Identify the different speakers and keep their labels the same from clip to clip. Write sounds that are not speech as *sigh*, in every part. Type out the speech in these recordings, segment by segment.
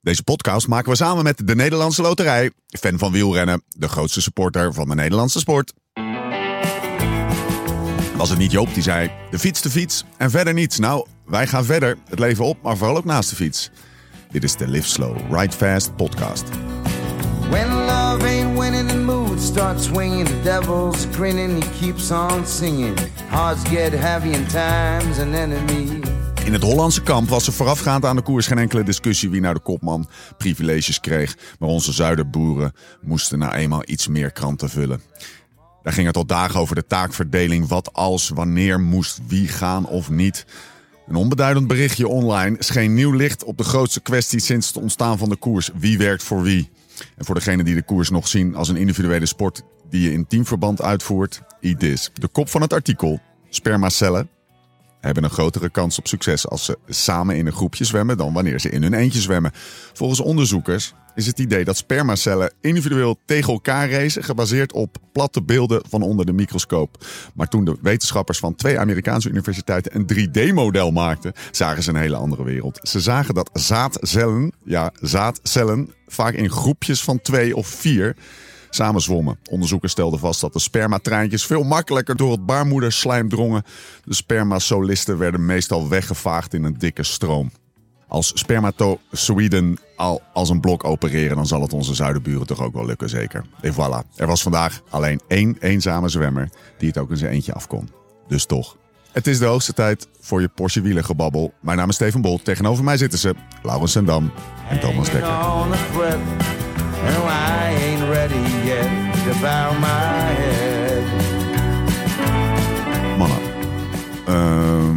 Speaker 1: Deze podcast maken we samen met de Nederlandse Loterij. Fan van wielrennen, de grootste supporter van de Nederlandse sport. Was het niet Joop die zei, de fiets de fiets en verder niets. Nou, wij gaan verder, het leven op, maar vooral ook naast de fiets. Dit is de Live Slow, Ride Fast podcast.
Speaker 2: When love ain't winning, the mood starts swinging. The devil's grinning, he keeps on singing. Hearts get heavy, and time's an enemy.
Speaker 1: In het Hollandse kamp was er voorafgaand aan de koers geen enkele discussie wie nou de kopman privileges kreeg. Maar onze zuiderboeren moesten nou eenmaal iets meer kranten vullen. Daar ging het al dagen over de taakverdeling. Wat als, wanneer moest wie gaan of niet. Een onbeduidend berichtje online scheen nieuw licht op de grootste kwestie sinds het ontstaan van de koers. Wie werkt voor wie? En voor degenen die de koers nog zien als een individuele sport die je in teamverband uitvoert, IDIS. De kop van het artikel, spermacellen, hebben een grotere kans op succes als ze samen in een groepje zwemmen dan wanneer ze in hun eentje zwemmen. Volgens onderzoekers is het idee dat spermacellen individueel tegen elkaar racen gebaseerd op platte beelden van onder de microscoop. Maar toen de wetenschappers van twee Amerikaanse universiteiten een 3D-model maakten, zagen ze een hele andere wereld. Ze zagen dat zaadcellen, ja, zaadcellen vaak in groepjes van twee of vier samen zwommen. Onderzoekers stelden vast dat de spermatreintjes veel makkelijker door het baarmoederslijm drongen. De spermasolisten werden meestal weggevaagd in een dikke stroom. Als spermatozoïden al als een blok opereren, dan zal het onze zuidenburen toch ook wel lukken, zeker. En voilà, er was vandaag alleen één eenzame zwemmer die het ook in zijn eentje afkon. Dus toch. Het is de hoogste tijd voor je Porsche wielengebabbel. Mijn naam is Steven Bolt. Tegenover mij zitten ze Laurens Sendam en Thomas
Speaker 2: Hanging
Speaker 1: Dekker.
Speaker 2: on a thread. No, I ain't ready yet to bow my head.
Speaker 1: Mannen, ehm,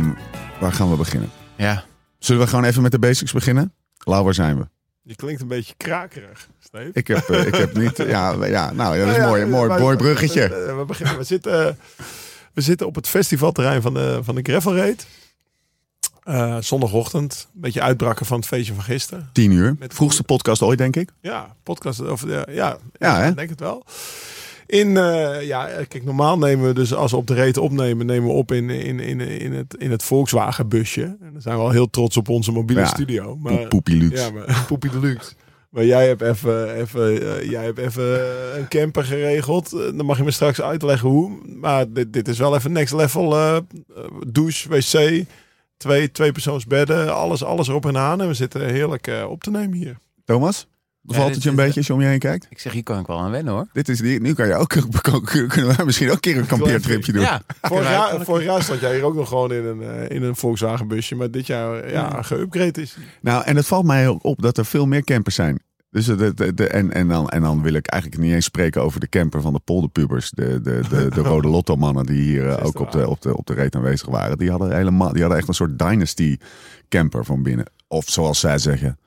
Speaker 1: waar gaan we beginnen?
Speaker 3: Ja.
Speaker 1: Zullen we gewoon even met de basics beginnen? Lau, waar zijn we?
Speaker 4: Je klinkt een beetje krakerig, Steve.
Speaker 1: Ik heb, eh, ik heb niet... Ja, ja, nou, ja, dat is
Speaker 4: Nou ja,
Speaker 1: mooi, mooi,
Speaker 4: wij-
Speaker 1: mooi bruggetje.
Speaker 4: eh, We, beginnen, we, zitten, eh, we zitten op het festivalterrein van de, van de Gravel Raid. Eh, zondagochtend, een beetje uitbraken van het feestje van gisteren.
Speaker 1: Tien uur.
Speaker 4: Met-
Speaker 1: Vroegste podcast ooit, denk ik.
Speaker 4: Ja, podcast. Of, eh, ja,
Speaker 1: Ja, hè?
Speaker 4: ik denk het wel. In, eh, ja, eh, kijk, normaal nemen we dus als we op de reet opnemen, nemen we op in, in, in, in, het, in het Volkswagen busje. En dan zijn we al heel trots op onze mobiele
Speaker 1: Ja,
Speaker 4: studio.
Speaker 1: Poep,
Speaker 4: Maar,
Speaker 1: poepie luxe.
Speaker 4: Ja, maar *laughs* poepie deluxe. Maar jij hebt even, even, eh, jij hebt even eh, een camper geregeld. Eh, Dan mag je me straks uitleggen hoe. Maar dit, dit is wel even next level. eh, eh, douche, wc, twee, twee persoonsbedden. Alles, alles erop en aan. En we zitten heerlijk eh, op te nemen hier.
Speaker 1: Thomas, bevalt
Speaker 3: dit
Speaker 1: het je een
Speaker 3: is-
Speaker 1: beetje als je om je heen kijkt?
Speaker 3: Ik zeg, hier kan ik wel aan wennen hoor.
Speaker 1: Dit is die, nu kan je ook, *laughs* kunnen wij misschien ook een keer een kampeertripje doen.
Speaker 3: Ja.
Speaker 4: Vorig jaar, vorig jaar stond jij hier ook nog gewoon in een, eh, in een Volkswagen busje. Maar dit jaar eh, ja, geüpgrade is.
Speaker 1: Nou, en het valt mij ook op dat er veel meer campers zijn. Dus de, de, de- en, en, dan, en dan wil ik eigenlijk niet eens spreken over de camper van de polderpubers. De, de,
Speaker 3: *laughs*
Speaker 1: de, de rode lotto-mannen die hier eh, ook op de, op, de, op de reet aanwezig waren. Die hadden, helemaal, die hadden echt een soort dynasty camper van binnen. Of zoals zij zeggen,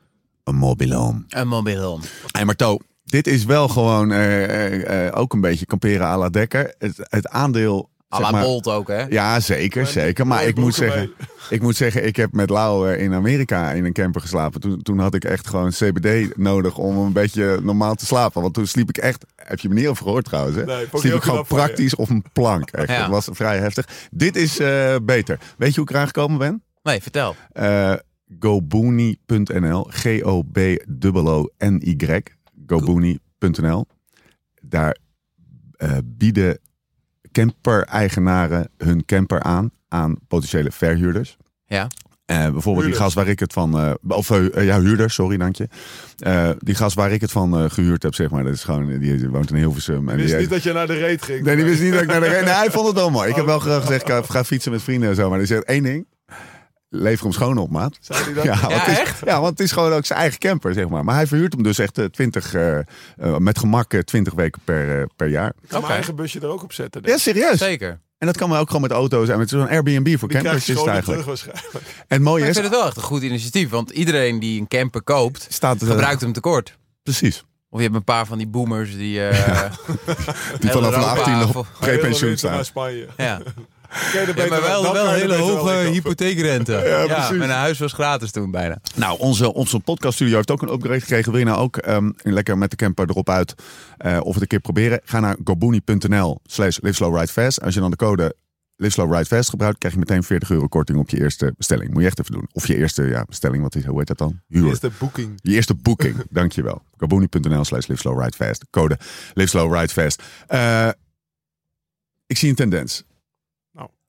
Speaker 1: een mobile home.
Speaker 3: Een mobiel home.
Speaker 1: Hey, maar To, dit is wel gewoon eh, eh, eh, ook een beetje kamperen à la Dekker. Het, het aandeel...
Speaker 3: À
Speaker 1: zeg
Speaker 3: la
Speaker 1: maar-
Speaker 3: Bolt ook hè.
Speaker 1: Ja, zeker, zeker. Maar
Speaker 4: mooie
Speaker 1: ik moet,
Speaker 4: broeken
Speaker 1: zeggen, ik moet zeggen, ik heb met Lau eh, in Amerika in een camper geslapen. Toen, toen had ik echt gewoon CBD nodig om een beetje normaal te slapen. Want toen sliep ik echt, heb je me niet over gehoord trouwens, hè?
Speaker 4: Nee, vond ik
Speaker 1: sliep
Speaker 4: heel
Speaker 1: ik gewoon
Speaker 4: knap van je.
Speaker 1: praktisch op een plank. Echt.
Speaker 3: Ja.
Speaker 1: Dat was vrij heftig. Dit is eh, beter. Weet je hoe ik eraan gekomen ben?
Speaker 3: Nee, vertel.
Speaker 1: Eh Gobuni.nl. G-O-B-O-O-N-Y. Gobuni.nl. Daar eh, bieden camper-eigenaren hun camper aan aan potentiële verhuurders.
Speaker 3: Ja.
Speaker 1: Eh, bijvoorbeeld die
Speaker 4: Huurders.
Speaker 1: gast waar ik het van... eh, of eh, ja, huurders, sorry, dank je. Eh, die gast waar ik het van eh, gehuurd heb, zeg maar. Dat is gewoon, eh, die woont in Hilversum. En
Speaker 4: Ik wist
Speaker 1: die,
Speaker 4: niet dat je Oh. naar de reet ging.
Speaker 1: Nee, die wist niet dat ik
Speaker 4: *laughs*
Speaker 1: naar de Nee, hij vond het wel mooi. Ik heb wel graag gezegd, ik ga fietsen met vrienden en zo. Maar er zegt één ding. Lever hem schoon op, maat.
Speaker 4: Zei die dat?
Speaker 1: want
Speaker 3: Ja,
Speaker 1: het is,
Speaker 3: echt?
Speaker 1: Ja, want het is gewoon ook zijn eigen camper, zeg maar. Maar hij verhuurt hem dus echt eh, 20, eh, eh, met gemak eh, 20 weken per, eh, per jaar.
Speaker 4: Ik kan
Speaker 3: Oké.
Speaker 4: mijn eigen busje er ook op zetten. denk
Speaker 1: Ja,
Speaker 4: ik.
Speaker 1: serieus.
Speaker 3: Zeker.
Speaker 1: En dat kan maar ook gewoon met auto's en met zo'n Airbnb voor
Speaker 4: Die
Speaker 1: campers
Speaker 4: krijg je
Speaker 1: is het
Speaker 4: gewoon weer
Speaker 1: eigenlijk.
Speaker 4: terug waarschijnlijk.
Speaker 1: En het mooie
Speaker 3: Maar ik
Speaker 1: is,
Speaker 3: vind het wel echt een goed initiatief. Want iedereen die een camper koopt,
Speaker 1: staat eh,
Speaker 3: gebruikt hem tekort.
Speaker 1: Precies.
Speaker 3: Of je hebt een paar van die boomers die... *laughs* eh
Speaker 1: Die vanaf de 18 nog
Speaker 3: Ja,
Speaker 1: prepensioen
Speaker 4: Naar
Speaker 1: staan.
Speaker 4: Spanje.
Speaker 3: ja.
Speaker 4: Ken je er
Speaker 3: ja
Speaker 4: beter
Speaker 3: maar wel,
Speaker 4: dan
Speaker 3: wel
Speaker 4: kan je er
Speaker 3: hele
Speaker 4: beter
Speaker 3: hoge
Speaker 4: wel in kopen.
Speaker 3: hypotheekrente. Ja,
Speaker 1: precies.
Speaker 3: Mijn huis was gratis toen bijna.
Speaker 1: Nou, onze, onze podcaststudio heeft ook een upgrade gekregen. Wil je nou ook ehm, lekker met de camper erop uit eh, of het een keer proberen? Ga naar gobooni.nl slash liveslowridefast. Als je dan de code Live Slow Ride Fast gebruikt, krijg je meteen 40 euro korting op je eerste bestelling. Moet je echt even doen. Of je eerste ja, bestelling, wat is, hoe heet dat dan? Huur.
Speaker 4: Is de boeking.
Speaker 1: Je eerste boeking, *laughs* dankjewel. Kaboeni.nl slash live slow ride fast. Code live slow ride fast. Eh, ik zie een tendens.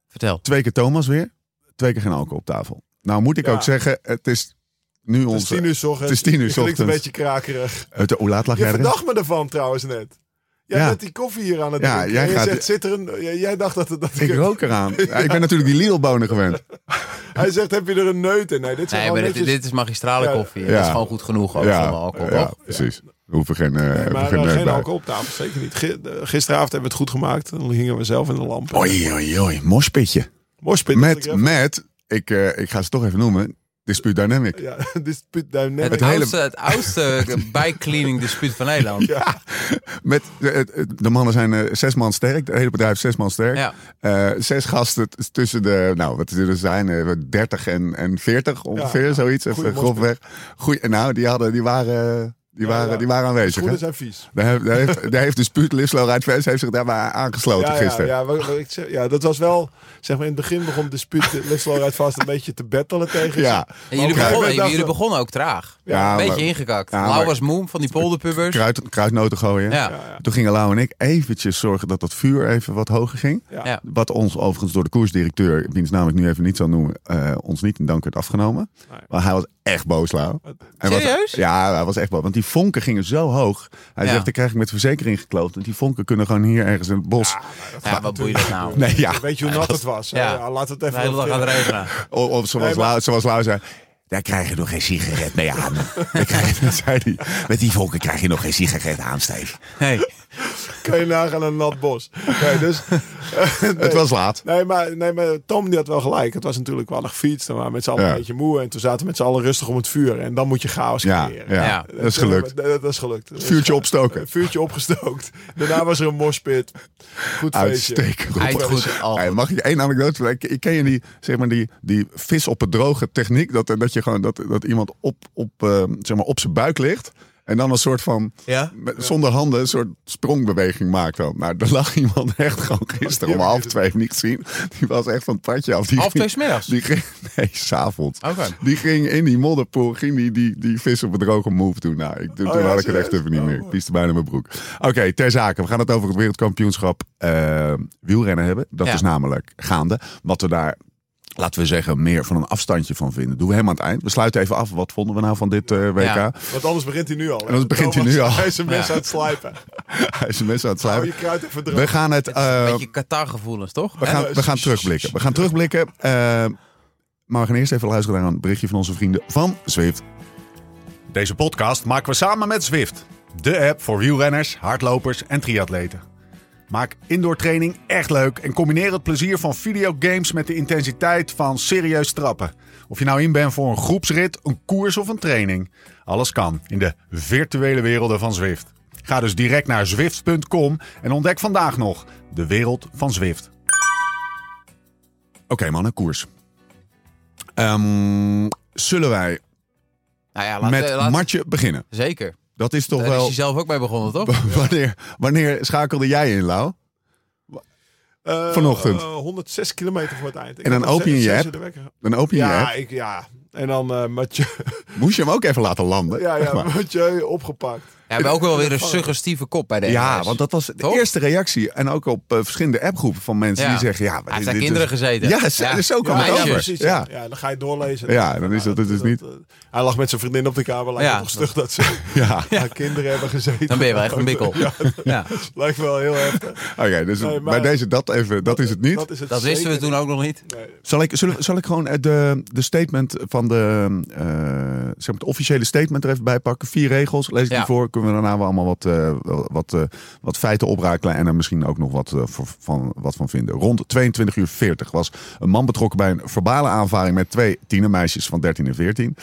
Speaker 3: Vertel.
Speaker 1: Twee keer Thomas weer, twee keer geen alcohol op tafel. Nou moet ik
Speaker 4: Ja.
Speaker 1: ook zeggen, het is nu
Speaker 4: Het
Speaker 1: ons...
Speaker 4: is tien uur 's ochtends.
Speaker 1: Het is tien uur 's
Speaker 4: Je klinkt een
Speaker 1: ochtends.
Speaker 4: beetje krakerig.
Speaker 1: Uit Eh, de- Hoe laat lag
Speaker 4: Je
Speaker 1: jij erin?
Speaker 4: verdacht me ervan trouwens net. Jij
Speaker 1: Ja.
Speaker 4: bent die koffie hier aan het
Speaker 1: Ja,
Speaker 4: drinken.
Speaker 1: jij
Speaker 4: En je
Speaker 1: gaat-
Speaker 4: zegt, zit er een... Jij, jij dacht dat het... Dat
Speaker 1: Ik rook
Speaker 4: *laughs*
Speaker 1: eraan. Ja, ik ben natuurlijk die Lidl-bonen gewend.
Speaker 4: Hij zegt, heb je er een neut in? Nee, dit zijn
Speaker 3: Nee, maar
Speaker 4: gewoon
Speaker 3: dit,
Speaker 4: netjes...
Speaker 3: dit is magistrale
Speaker 4: Ja.
Speaker 3: koffie.
Speaker 1: Ja.
Speaker 3: Dat is gewoon goed genoeg ook
Speaker 1: ja,
Speaker 3: zonder alcohol,
Speaker 1: ja,
Speaker 3: toch?
Speaker 1: precies. We hoeven geen, eh,
Speaker 4: Nee,
Speaker 1: we
Speaker 4: maar
Speaker 1: geen,
Speaker 4: eh,
Speaker 1: neus
Speaker 4: geen
Speaker 1: bij.
Speaker 4: alcohol op tafel, zeker niet. Gi- eh, Gisteravond hebben we het goed gemaakt. Dan hingen we zelf in de lamp.
Speaker 1: Oei, oei, oei. Moshpitje.
Speaker 4: Moshpit. dat ik
Speaker 1: Met,
Speaker 4: even-
Speaker 1: met ik, eh, ik ga ze toch even noemen, Dispute Dynamic.
Speaker 4: Ja, *laughs* dispute dynamic.
Speaker 3: Het,
Speaker 1: Het hele-
Speaker 3: oudste, het oudste bijcleaning dispuut van Nederland. Ja.
Speaker 1: Met, de, de mannen zijn eh, zes man sterk. Het hele bedrijf is zes man sterk.
Speaker 3: Ja.
Speaker 1: Eh, zes gasten t- tussen de, nou wat zullen het zijn, eh, 30 en, en 40 ongeveer,
Speaker 4: ja.
Speaker 1: zoiets.
Speaker 4: Goeie
Speaker 1: Even grofweg. Goeie, en nou, die, hadden, die, waren, die,
Speaker 4: Ja,
Speaker 1: waren,
Speaker 4: ja.
Speaker 1: die waren aanwezig.
Speaker 4: Schoenen
Speaker 1: hè?
Speaker 4: zijn vies.
Speaker 1: Daar heeft, daar heeft, daar heeft de spuut Lislo Rijtvest heeft zich daarbij aangesloten
Speaker 4: Ja, ja,
Speaker 1: gisteren.
Speaker 4: ja, wat- wat ik zeg- ja, dat was wel... Zeg maar, in het begin begon dispute Lislo rijdt vast een beetje te battelen tegen ze.
Speaker 1: Ja.
Speaker 3: En jullie,
Speaker 4: Oké.
Speaker 3: begonnen,
Speaker 4: Ik dacht-
Speaker 3: jullie begonnen ook traag.
Speaker 1: Ja,
Speaker 3: een beetje
Speaker 1: maar-
Speaker 3: ingekakt.
Speaker 1: ja,
Speaker 3: Lau
Speaker 1: maar-
Speaker 3: was moe van die polderpubbers. Ja.
Speaker 1: Kruid, kruidnoten gooien.
Speaker 3: Ja.
Speaker 1: Toen gingen Lau en ik eventjes zorgen dat dat vuur even wat hoger ging.
Speaker 4: Ja.
Speaker 3: Ja.
Speaker 1: Wat ons overigens door de koersdirecteur, wiens naam ik nu even niet zal noemen, eh, ons niet in dank werd afgenomen.
Speaker 4: Nee.
Speaker 1: Maar hij was echt boos, Lau. Hij was-
Speaker 3: Serieus?
Speaker 1: ja, hij was echt boos. Want die vonken gingen zo hoog. Hij
Speaker 3: Ja.
Speaker 1: zegt, daar krijg ik met verzekering gekloot. Want die vonken kunnen gewoon hier ergens in het bos.
Speaker 3: wat boeit dat nou?
Speaker 1: nee, ja.
Speaker 4: Weet je hoe nat het was? hè?
Speaker 3: Ja.
Speaker 4: Ja, laat het
Speaker 3: De
Speaker 4: even...
Speaker 3: hele dag aan het regenen.
Speaker 1: Of, of zoals,
Speaker 4: Nee, maar-
Speaker 1: oh, Lau, zoals Lau zei. Daar krijg je nog geen sigaret mee aan.
Speaker 4: *laughs*
Speaker 1: Daar krijg je- *laughs* zei hij, Met die vonken krijg je nog geen sigaret aan, Steve.
Speaker 3: Nee.
Speaker 1: Eh,
Speaker 4: Kan je nagaan een nat bos. Nee, dus,
Speaker 1: Het was laat.
Speaker 4: nee, maar, nee, maar Tom die had wel gelijk. Het was natuurlijk wel een gefietst. En we waren met z'n allen
Speaker 1: Ja.
Speaker 4: een beetje moe. En toen zaten we met z'n allen rustig om het vuur. En dan moet je chaos
Speaker 1: Ja, ja,
Speaker 4: creëren. Eh,
Speaker 3: Ja.
Speaker 1: dat is gelukt.
Speaker 4: Dat, dat is gelukt. Dat is
Speaker 1: Vuurtje
Speaker 4: ge-
Speaker 1: opstoken.
Speaker 4: Een vuurtje opgestookt. Daarna was er een moshpit. Goed feestje.
Speaker 1: Uitstekend.
Speaker 3: Hij is goed. oh. Al
Speaker 1: Hey,
Speaker 3: goed.
Speaker 1: mag ik één anekdote vertellen? Ik, ik ken je die, zeg maar die, die vis op het droge techniek. Dat, dat, je gewoon, dat, dat iemand op, op, eh, zeg maar op zijn buik ligt. En dan een soort van,
Speaker 3: Ja?
Speaker 1: met- zonder handen, een soort sprongbeweging maakt dan. Nou, daar lag iemand echt gewoon gisteren om half twee niet gezien. Die was echt van het padje af. Die
Speaker 3: Half twee
Speaker 1: ging-
Speaker 3: 's middags?
Speaker 1: Die ging, nee, s'avonds.
Speaker 3: Oké.
Speaker 1: Die ging in die modderpoel, ging die, die, die vis op het droge move doen. Nou, ik, toen
Speaker 4: Oh ja,
Speaker 1: had ik het
Speaker 4: serieus?
Speaker 1: echt even niet
Speaker 4: Oh,
Speaker 1: meer.
Speaker 4: mooi.
Speaker 1: Ik pieste bijna mijn broek. Oké, ter zake. We gaan het over het wereldkampioenschap eh, wielrennen hebben. Dat
Speaker 3: Ja.
Speaker 1: is namelijk gaande. Wat we daar, laten we zeggen, meer van een afstandje van vinden. Doen we helemaal aan het eind. We sluiten even af. Wat vonden we nou van dit eh, WK?
Speaker 3: Ja.
Speaker 4: Want anders begint hij nu al. hè?
Speaker 1: Anders begint hij
Speaker 4: Thomas,
Speaker 1: nu al.
Speaker 4: Hij is een mes
Speaker 3: Ja.
Speaker 4: aan het slijpen.
Speaker 1: *laughs* Hij is mensen aan het
Speaker 4: Hou je
Speaker 1: sluiten.
Speaker 4: kruid even droog.
Speaker 1: We gaan het... eh,
Speaker 3: Een beetje Qatar-gevoelens, toch? Hè?
Speaker 1: we,
Speaker 5: eh,
Speaker 1: gaan, we gaan terugblikken. We gaan terugblikken. eh, maar we gaan eerst even luisteren naar een berichtje van onze vrienden van Zwift.
Speaker 5: Deze podcast maken we samen met Zwift. De app voor wielrenners, hardlopers en triatleten. Maak indoor training echt leuk en combineer het plezier van videogames met de intensiteit van serieus trappen. Of je nou in bent voor een groepsrit, een koers of een training. Alles kan in de virtuele werelden van Zwift. Ga dus direct naar zwift.com en ontdek vandaag nog de wereld van Zwift.
Speaker 1: Oké mannen, koers. Ehm, zullen wij
Speaker 3: Nou ja, laat,
Speaker 1: met
Speaker 3: eh, laat-
Speaker 1: Matje beginnen?
Speaker 3: Zeker.
Speaker 1: Dat is toch
Speaker 3: Daar is
Speaker 1: wel...
Speaker 3: hij zelf ook mee begonnen,
Speaker 1: *laughs*
Speaker 3: toch?
Speaker 1: wanneer, wanneer schakelde jij in, Lau?
Speaker 4: Eh,
Speaker 1: Vanochtend.
Speaker 4: eh, 106 kilometer voor het eind. Ik
Speaker 1: En dan
Speaker 4: had om
Speaker 1: open je
Speaker 4: zes-
Speaker 1: je
Speaker 4: zes
Speaker 1: app.
Speaker 4: uur de wekker.
Speaker 1: Dan open je je
Speaker 4: Ja,
Speaker 1: app.
Speaker 4: ik, ja. En dan eh Mathieu,
Speaker 1: *laughs* Moest je hem ook even laten landen?
Speaker 4: ja,
Speaker 1: Zeg
Speaker 4: ja,
Speaker 1: maar.
Speaker 4: Mathieu opgepakt.
Speaker 3: Ja, maar ook wel weer een suggestieve kop bij de
Speaker 1: Ja,
Speaker 3: NOS.
Speaker 1: want dat was de
Speaker 3: Toch?
Speaker 1: eerste reactie. En ook op eh, verschillende appgroepen van mensen
Speaker 3: Ja.
Speaker 1: die zeggen... Ja,
Speaker 3: Hij heeft
Speaker 1: dit-
Speaker 3: daar
Speaker 1: dit
Speaker 3: kinderen
Speaker 1: is-
Speaker 3: gezeten.
Speaker 1: Ja, ze-
Speaker 3: Ja.
Speaker 1: zo kan
Speaker 3: Ja,
Speaker 1: het
Speaker 3: meisjes.
Speaker 1: over.
Speaker 4: precies. Ja.
Speaker 1: Ja.
Speaker 4: Ja. dan ga je doorlezen.
Speaker 1: Ja, dan is dat- dat is niet-
Speaker 4: eh, hij lag met zijn vriendin op de kamer. Lijkt
Speaker 3: Ja.
Speaker 4: me toch stug dat ze
Speaker 1: *laughs* Ja.
Speaker 4: haar kinderen hebben gezeten.
Speaker 3: Dan ben je wel echt een
Speaker 1: *laughs*
Speaker 3: bikkel. Ja,
Speaker 4: *laughs* Lijkt wel heel heftig.
Speaker 1: Oké, dus
Speaker 4: Nee, maar-
Speaker 1: bij deze dat even, dat *laughs* is het niet.
Speaker 4: Dat is het
Speaker 3: dat wisten we
Speaker 4: zeker
Speaker 3: toen ook nog niet.
Speaker 1: Zal ik, zullen we- zal ik gewoon eh, de, de statement van de, eh, zeg maar het officiële statement er even bij pakken? Vier regels, lees ik
Speaker 3: Ja.
Speaker 1: die voor. Kunnen we daarna wel allemaal wat, eh, wat, eh, wat feiten oprakelen en er misschien ook nog wat, eh, voor- van, wat van vinden. Rond 22 uur 40 was een man betrokken bij een verbale aanvaring met twee tienermeisjes van 13 en 14.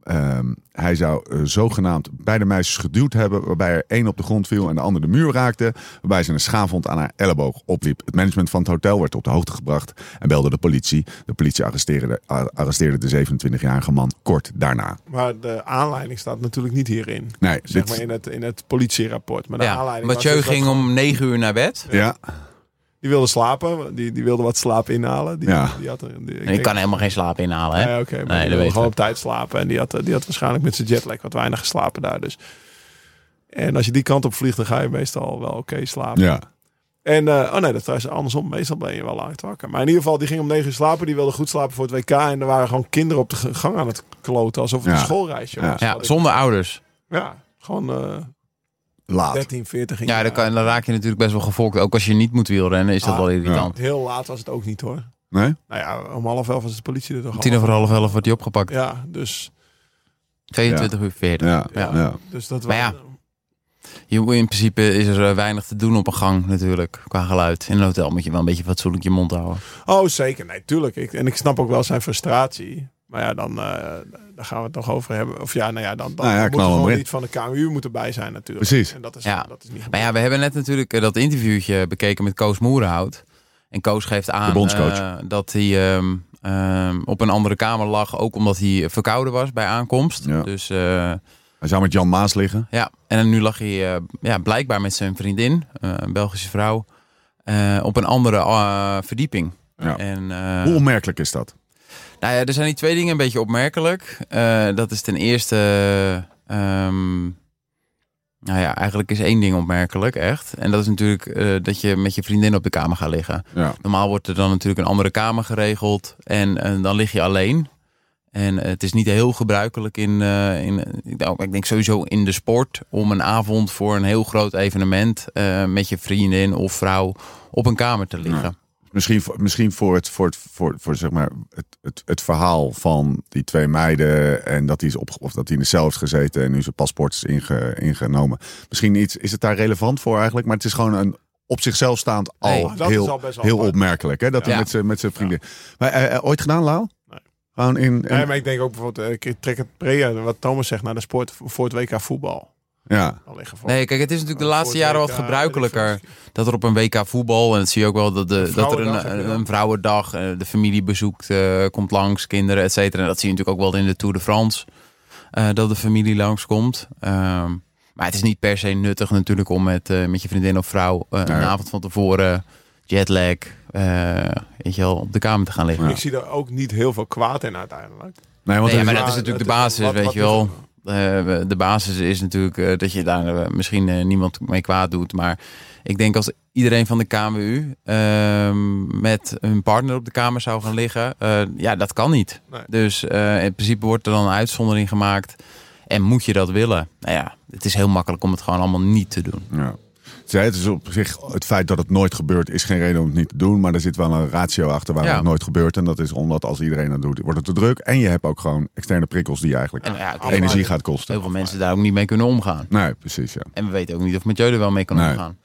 Speaker 1: Ehm, hij zou eh, zogenaamd beide meisjes geduwd hebben, waarbij er één op de grond viel en de ander de muur raakte, waarbij ze een schaafwond aan haar elleboog opliep. Het management van het hotel werd op de hoogte gebracht en belde de politie. De politie arresteerde, a- arresteerde de 27-jarige man kort daarna.
Speaker 4: Maar de aanleiding staat natuurlijk niet hierin.
Speaker 1: Nee,
Speaker 4: Zeg
Speaker 1: dit,
Speaker 4: maar in het, in het politierapport. Maar de
Speaker 3: Ja.
Speaker 4: aanleiding was
Speaker 3: Mathieu
Speaker 4: dus dat
Speaker 3: ging
Speaker 4: gewoon-
Speaker 3: om negen uur naar bed.
Speaker 1: ja,
Speaker 4: Die wilde slapen. Die, die wilde wat slaap inhalen. Die,
Speaker 1: Ja.
Speaker 4: die had, een- die,
Speaker 6: En ik kan helemaal geen slaap inhalen, hè?
Speaker 4: Nee, oké. maar
Speaker 6: nee,
Speaker 4: die
Speaker 6: dat
Speaker 4: wilde
Speaker 6: weet
Speaker 4: gewoon
Speaker 6: ik.
Speaker 4: op tijd slapen. En die had, eh, die had waarschijnlijk met zijn jetlag wat weinig geslapen daar. Dus. En als je die kant op vliegt, dan ga je meestal wel oké slapen.
Speaker 1: Ja.
Speaker 4: En, eh, oh nee, dat is andersom. Meestal ben je wel laat wakker. Maar in ieder geval, die ging om negen uur slapen. Die wilde goed slapen voor het WK. En er waren gewoon kinderen op de g- gang aan het kloten. Alsof het
Speaker 1: Ja.
Speaker 4: een schoolreisje
Speaker 1: Ja.
Speaker 4: was.
Speaker 6: Ja,
Speaker 4: Wat ik-
Speaker 6: zonder ouders.
Speaker 4: ja, gewoon eh
Speaker 1: Laat.
Speaker 4: 13, 14
Speaker 6: Ah. Ja, dan, kan, dan raak je natuurlijk best wel gevolgd. Ook als je niet moet wielrennen, is dat
Speaker 4: Ah,
Speaker 6: wel irritant.
Speaker 4: Heel laat was het ook niet hoor.
Speaker 1: Nee?
Speaker 4: Nou ja, om half elf was de politie er toch al.
Speaker 6: Tien over half elf wordt hij opgepakt.
Speaker 4: Ja, dus,
Speaker 6: 22 uur 40.
Speaker 1: Ja.
Speaker 6: Ja.
Speaker 1: ja.
Speaker 4: dus dat
Speaker 6: Maar
Speaker 4: waren-
Speaker 6: Je- In principe is er eh, weinig te doen op een gang natuurlijk, qua geluid. In een hotel moet je wel een beetje fatsoenlijk je mond houden.
Speaker 4: Oh, zeker. Nee, tuurlijk. Ik, en ik snap ook wel zijn frustratie. Maar ja, dan eh, daar gaan we het nog over hebben. Of ja, nou ja, dan, dan
Speaker 1: Nou ja,
Speaker 4: moet
Speaker 1: knal
Speaker 4: er
Speaker 1: hem
Speaker 4: gewoon
Speaker 1: erin.
Speaker 4: niet van de KMU moeten bij zijn natuurlijk.
Speaker 1: Precies.
Speaker 4: En dat is,
Speaker 6: Ja.
Speaker 4: dat is niet
Speaker 6: Maar ja, we hebben net natuurlijk eh, dat interviewtje bekeken met Koos Moerenhout. En Koos geeft aan
Speaker 1: De bondscoach.
Speaker 6: eh, dat hij ehm, ehm, op een andere kamer lag. Ook omdat hij verkouden was bij aankomst.
Speaker 1: Ja.
Speaker 6: Dus eh,
Speaker 1: Hij zou met Jan Maas liggen.
Speaker 6: ja, en nu lag hij eh, ja, blijkbaar met zijn vriendin, eh, een Belgische vrouw, eh, op een andere eh, verdieping.
Speaker 1: Ja.
Speaker 6: En, eh,
Speaker 1: Hoe onmerkelijk is dat?
Speaker 6: Nou ja, er zijn die twee dingen een beetje opmerkelijk. Eh, dat is ten eerste. ehm, nou ja, eigenlijk is één ding opmerkelijk, echt. En dat is natuurlijk eh, dat je met je vriendin op de kamer gaat liggen.
Speaker 1: Ja.
Speaker 6: Normaal wordt er dan natuurlijk een andere kamer geregeld. En, eh, dan lig je alleen. En eh, het is niet heel gebruikelijk in, eh, in ik denk- ik denk sowieso in de sport, om een avond voor een heel groot evenement eh, met je vriendin of vrouw op een kamer te liggen.
Speaker 1: Misschien, voor- misschien voor, het, voor, het, voor, voor zeg maar het, het, het verhaal van die twee meiden. En dat hij, is opge- of dat hij in de cel heeft gezeten en nu zijn paspoort is inge- ingenomen. Misschien iets, is het daar relevant voor eigenlijk. Maar het is gewoon een op zichzelf staand al
Speaker 6: Nee,
Speaker 4: dat is
Speaker 1: heel,
Speaker 4: al best wel
Speaker 1: heel
Speaker 4: apart.
Speaker 1: opmerkelijk. Hè? Dat hij
Speaker 6: Ja.
Speaker 1: met zijn- met zijn vrienden. Maar, eh, eh, ooit gedaan, Lau? Gewoon in. in-
Speaker 4: Nee, maar ik denk ook bijvoorbeeld, eh, ik trek het pre, wat Thomas zegt, naar de sport voor het WK voetbal.
Speaker 1: ja.
Speaker 4: Dan liggen voor-
Speaker 6: Nee, kijk, het is natuurlijk de
Speaker 4: voor
Speaker 6: laatste
Speaker 4: het
Speaker 6: jaren wat
Speaker 4: WK,
Speaker 6: gebruikelijker.
Speaker 4: eh, weet ik veel.
Speaker 6: dat er op een WK voetbal, en dat zie je ook wel, dat, de, dat er
Speaker 4: vrouwendag heb je
Speaker 6: een,
Speaker 4: wel.
Speaker 6: een vrouwendag, eh, de familie bezoekt, eh, komt langs, kinderen, et cetera. En dat zie je natuurlijk ook wel in de Tour de France, eh, dat de familie langskomt. Ehm maar het is niet per se nuttig natuurlijk om met, eh, met je vriendin of vrouw eh,
Speaker 1: Nee.
Speaker 6: een avond van tevoren, jetlag, eh, weet je wel, op de kamer te gaan liggen.
Speaker 1: Ja.
Speaker 4: Ik zie daar ook niet heel veel kwaad in uiteindelijk.
Speaker 1: Nee, want
Speaker 6: Nee,
Speaker 1: het
Speaker 6: maar
Speaker 1: is-
Speaker 6: dat is
Speaker 4: het
Speaker 6: natuurlijk de
Speaker 4: is
Speaker 6: basis,
Speaker 4: wat-
Speaker 6: weet
Speaker 4: wat
Speaker 6: je
Speaker 4: moet
Speaker 6: wel.
Speaker 4: er-
Speaker 6: Eh, de basis is natuurlijk eh, dat je daar eh, misschien eh, niemand mee kwaad doet. Maar ik denk als iedereen van de KMU ehm, met hun partner op de kamer zou gaan liggen, eh, ja, dat kan niet.
Speaker 4: Nee.
Speaker 6: Dus eh, in principe wordt er dan een uitzondering gemaakt. En moet je dat willen? Nou ja, het is heel makkelijk om het gewoon allemaal niet te doen.
Speaker 1: Ja. Zij, het is op zich, het feit dat het nooit gebeurt is geen reden om het niet te doen. Maar er zit wel een ratio achter waarom
Speaker 6: Ja.
Speaker 1: het nooit gebeurt. En dat is omdat als iedereen dat doet, wordt het te druk. En je hebt ook gewoon externe prikkels die je eigenlijk
Speaker 6: En ja, ik denk
Speaker 1: energie
Speaker 6: dat
Speaker 1: gaat kosten.
Speaker 6: Heel veel mensen daar ook niet mee kunnen omgaan.
Speaker 1: Nee, precies ja.
Speaker 6: En we weten ook niet of Mathieu er wel mee kan
Speaker 1: Nee.
Speaker 6: omgaan.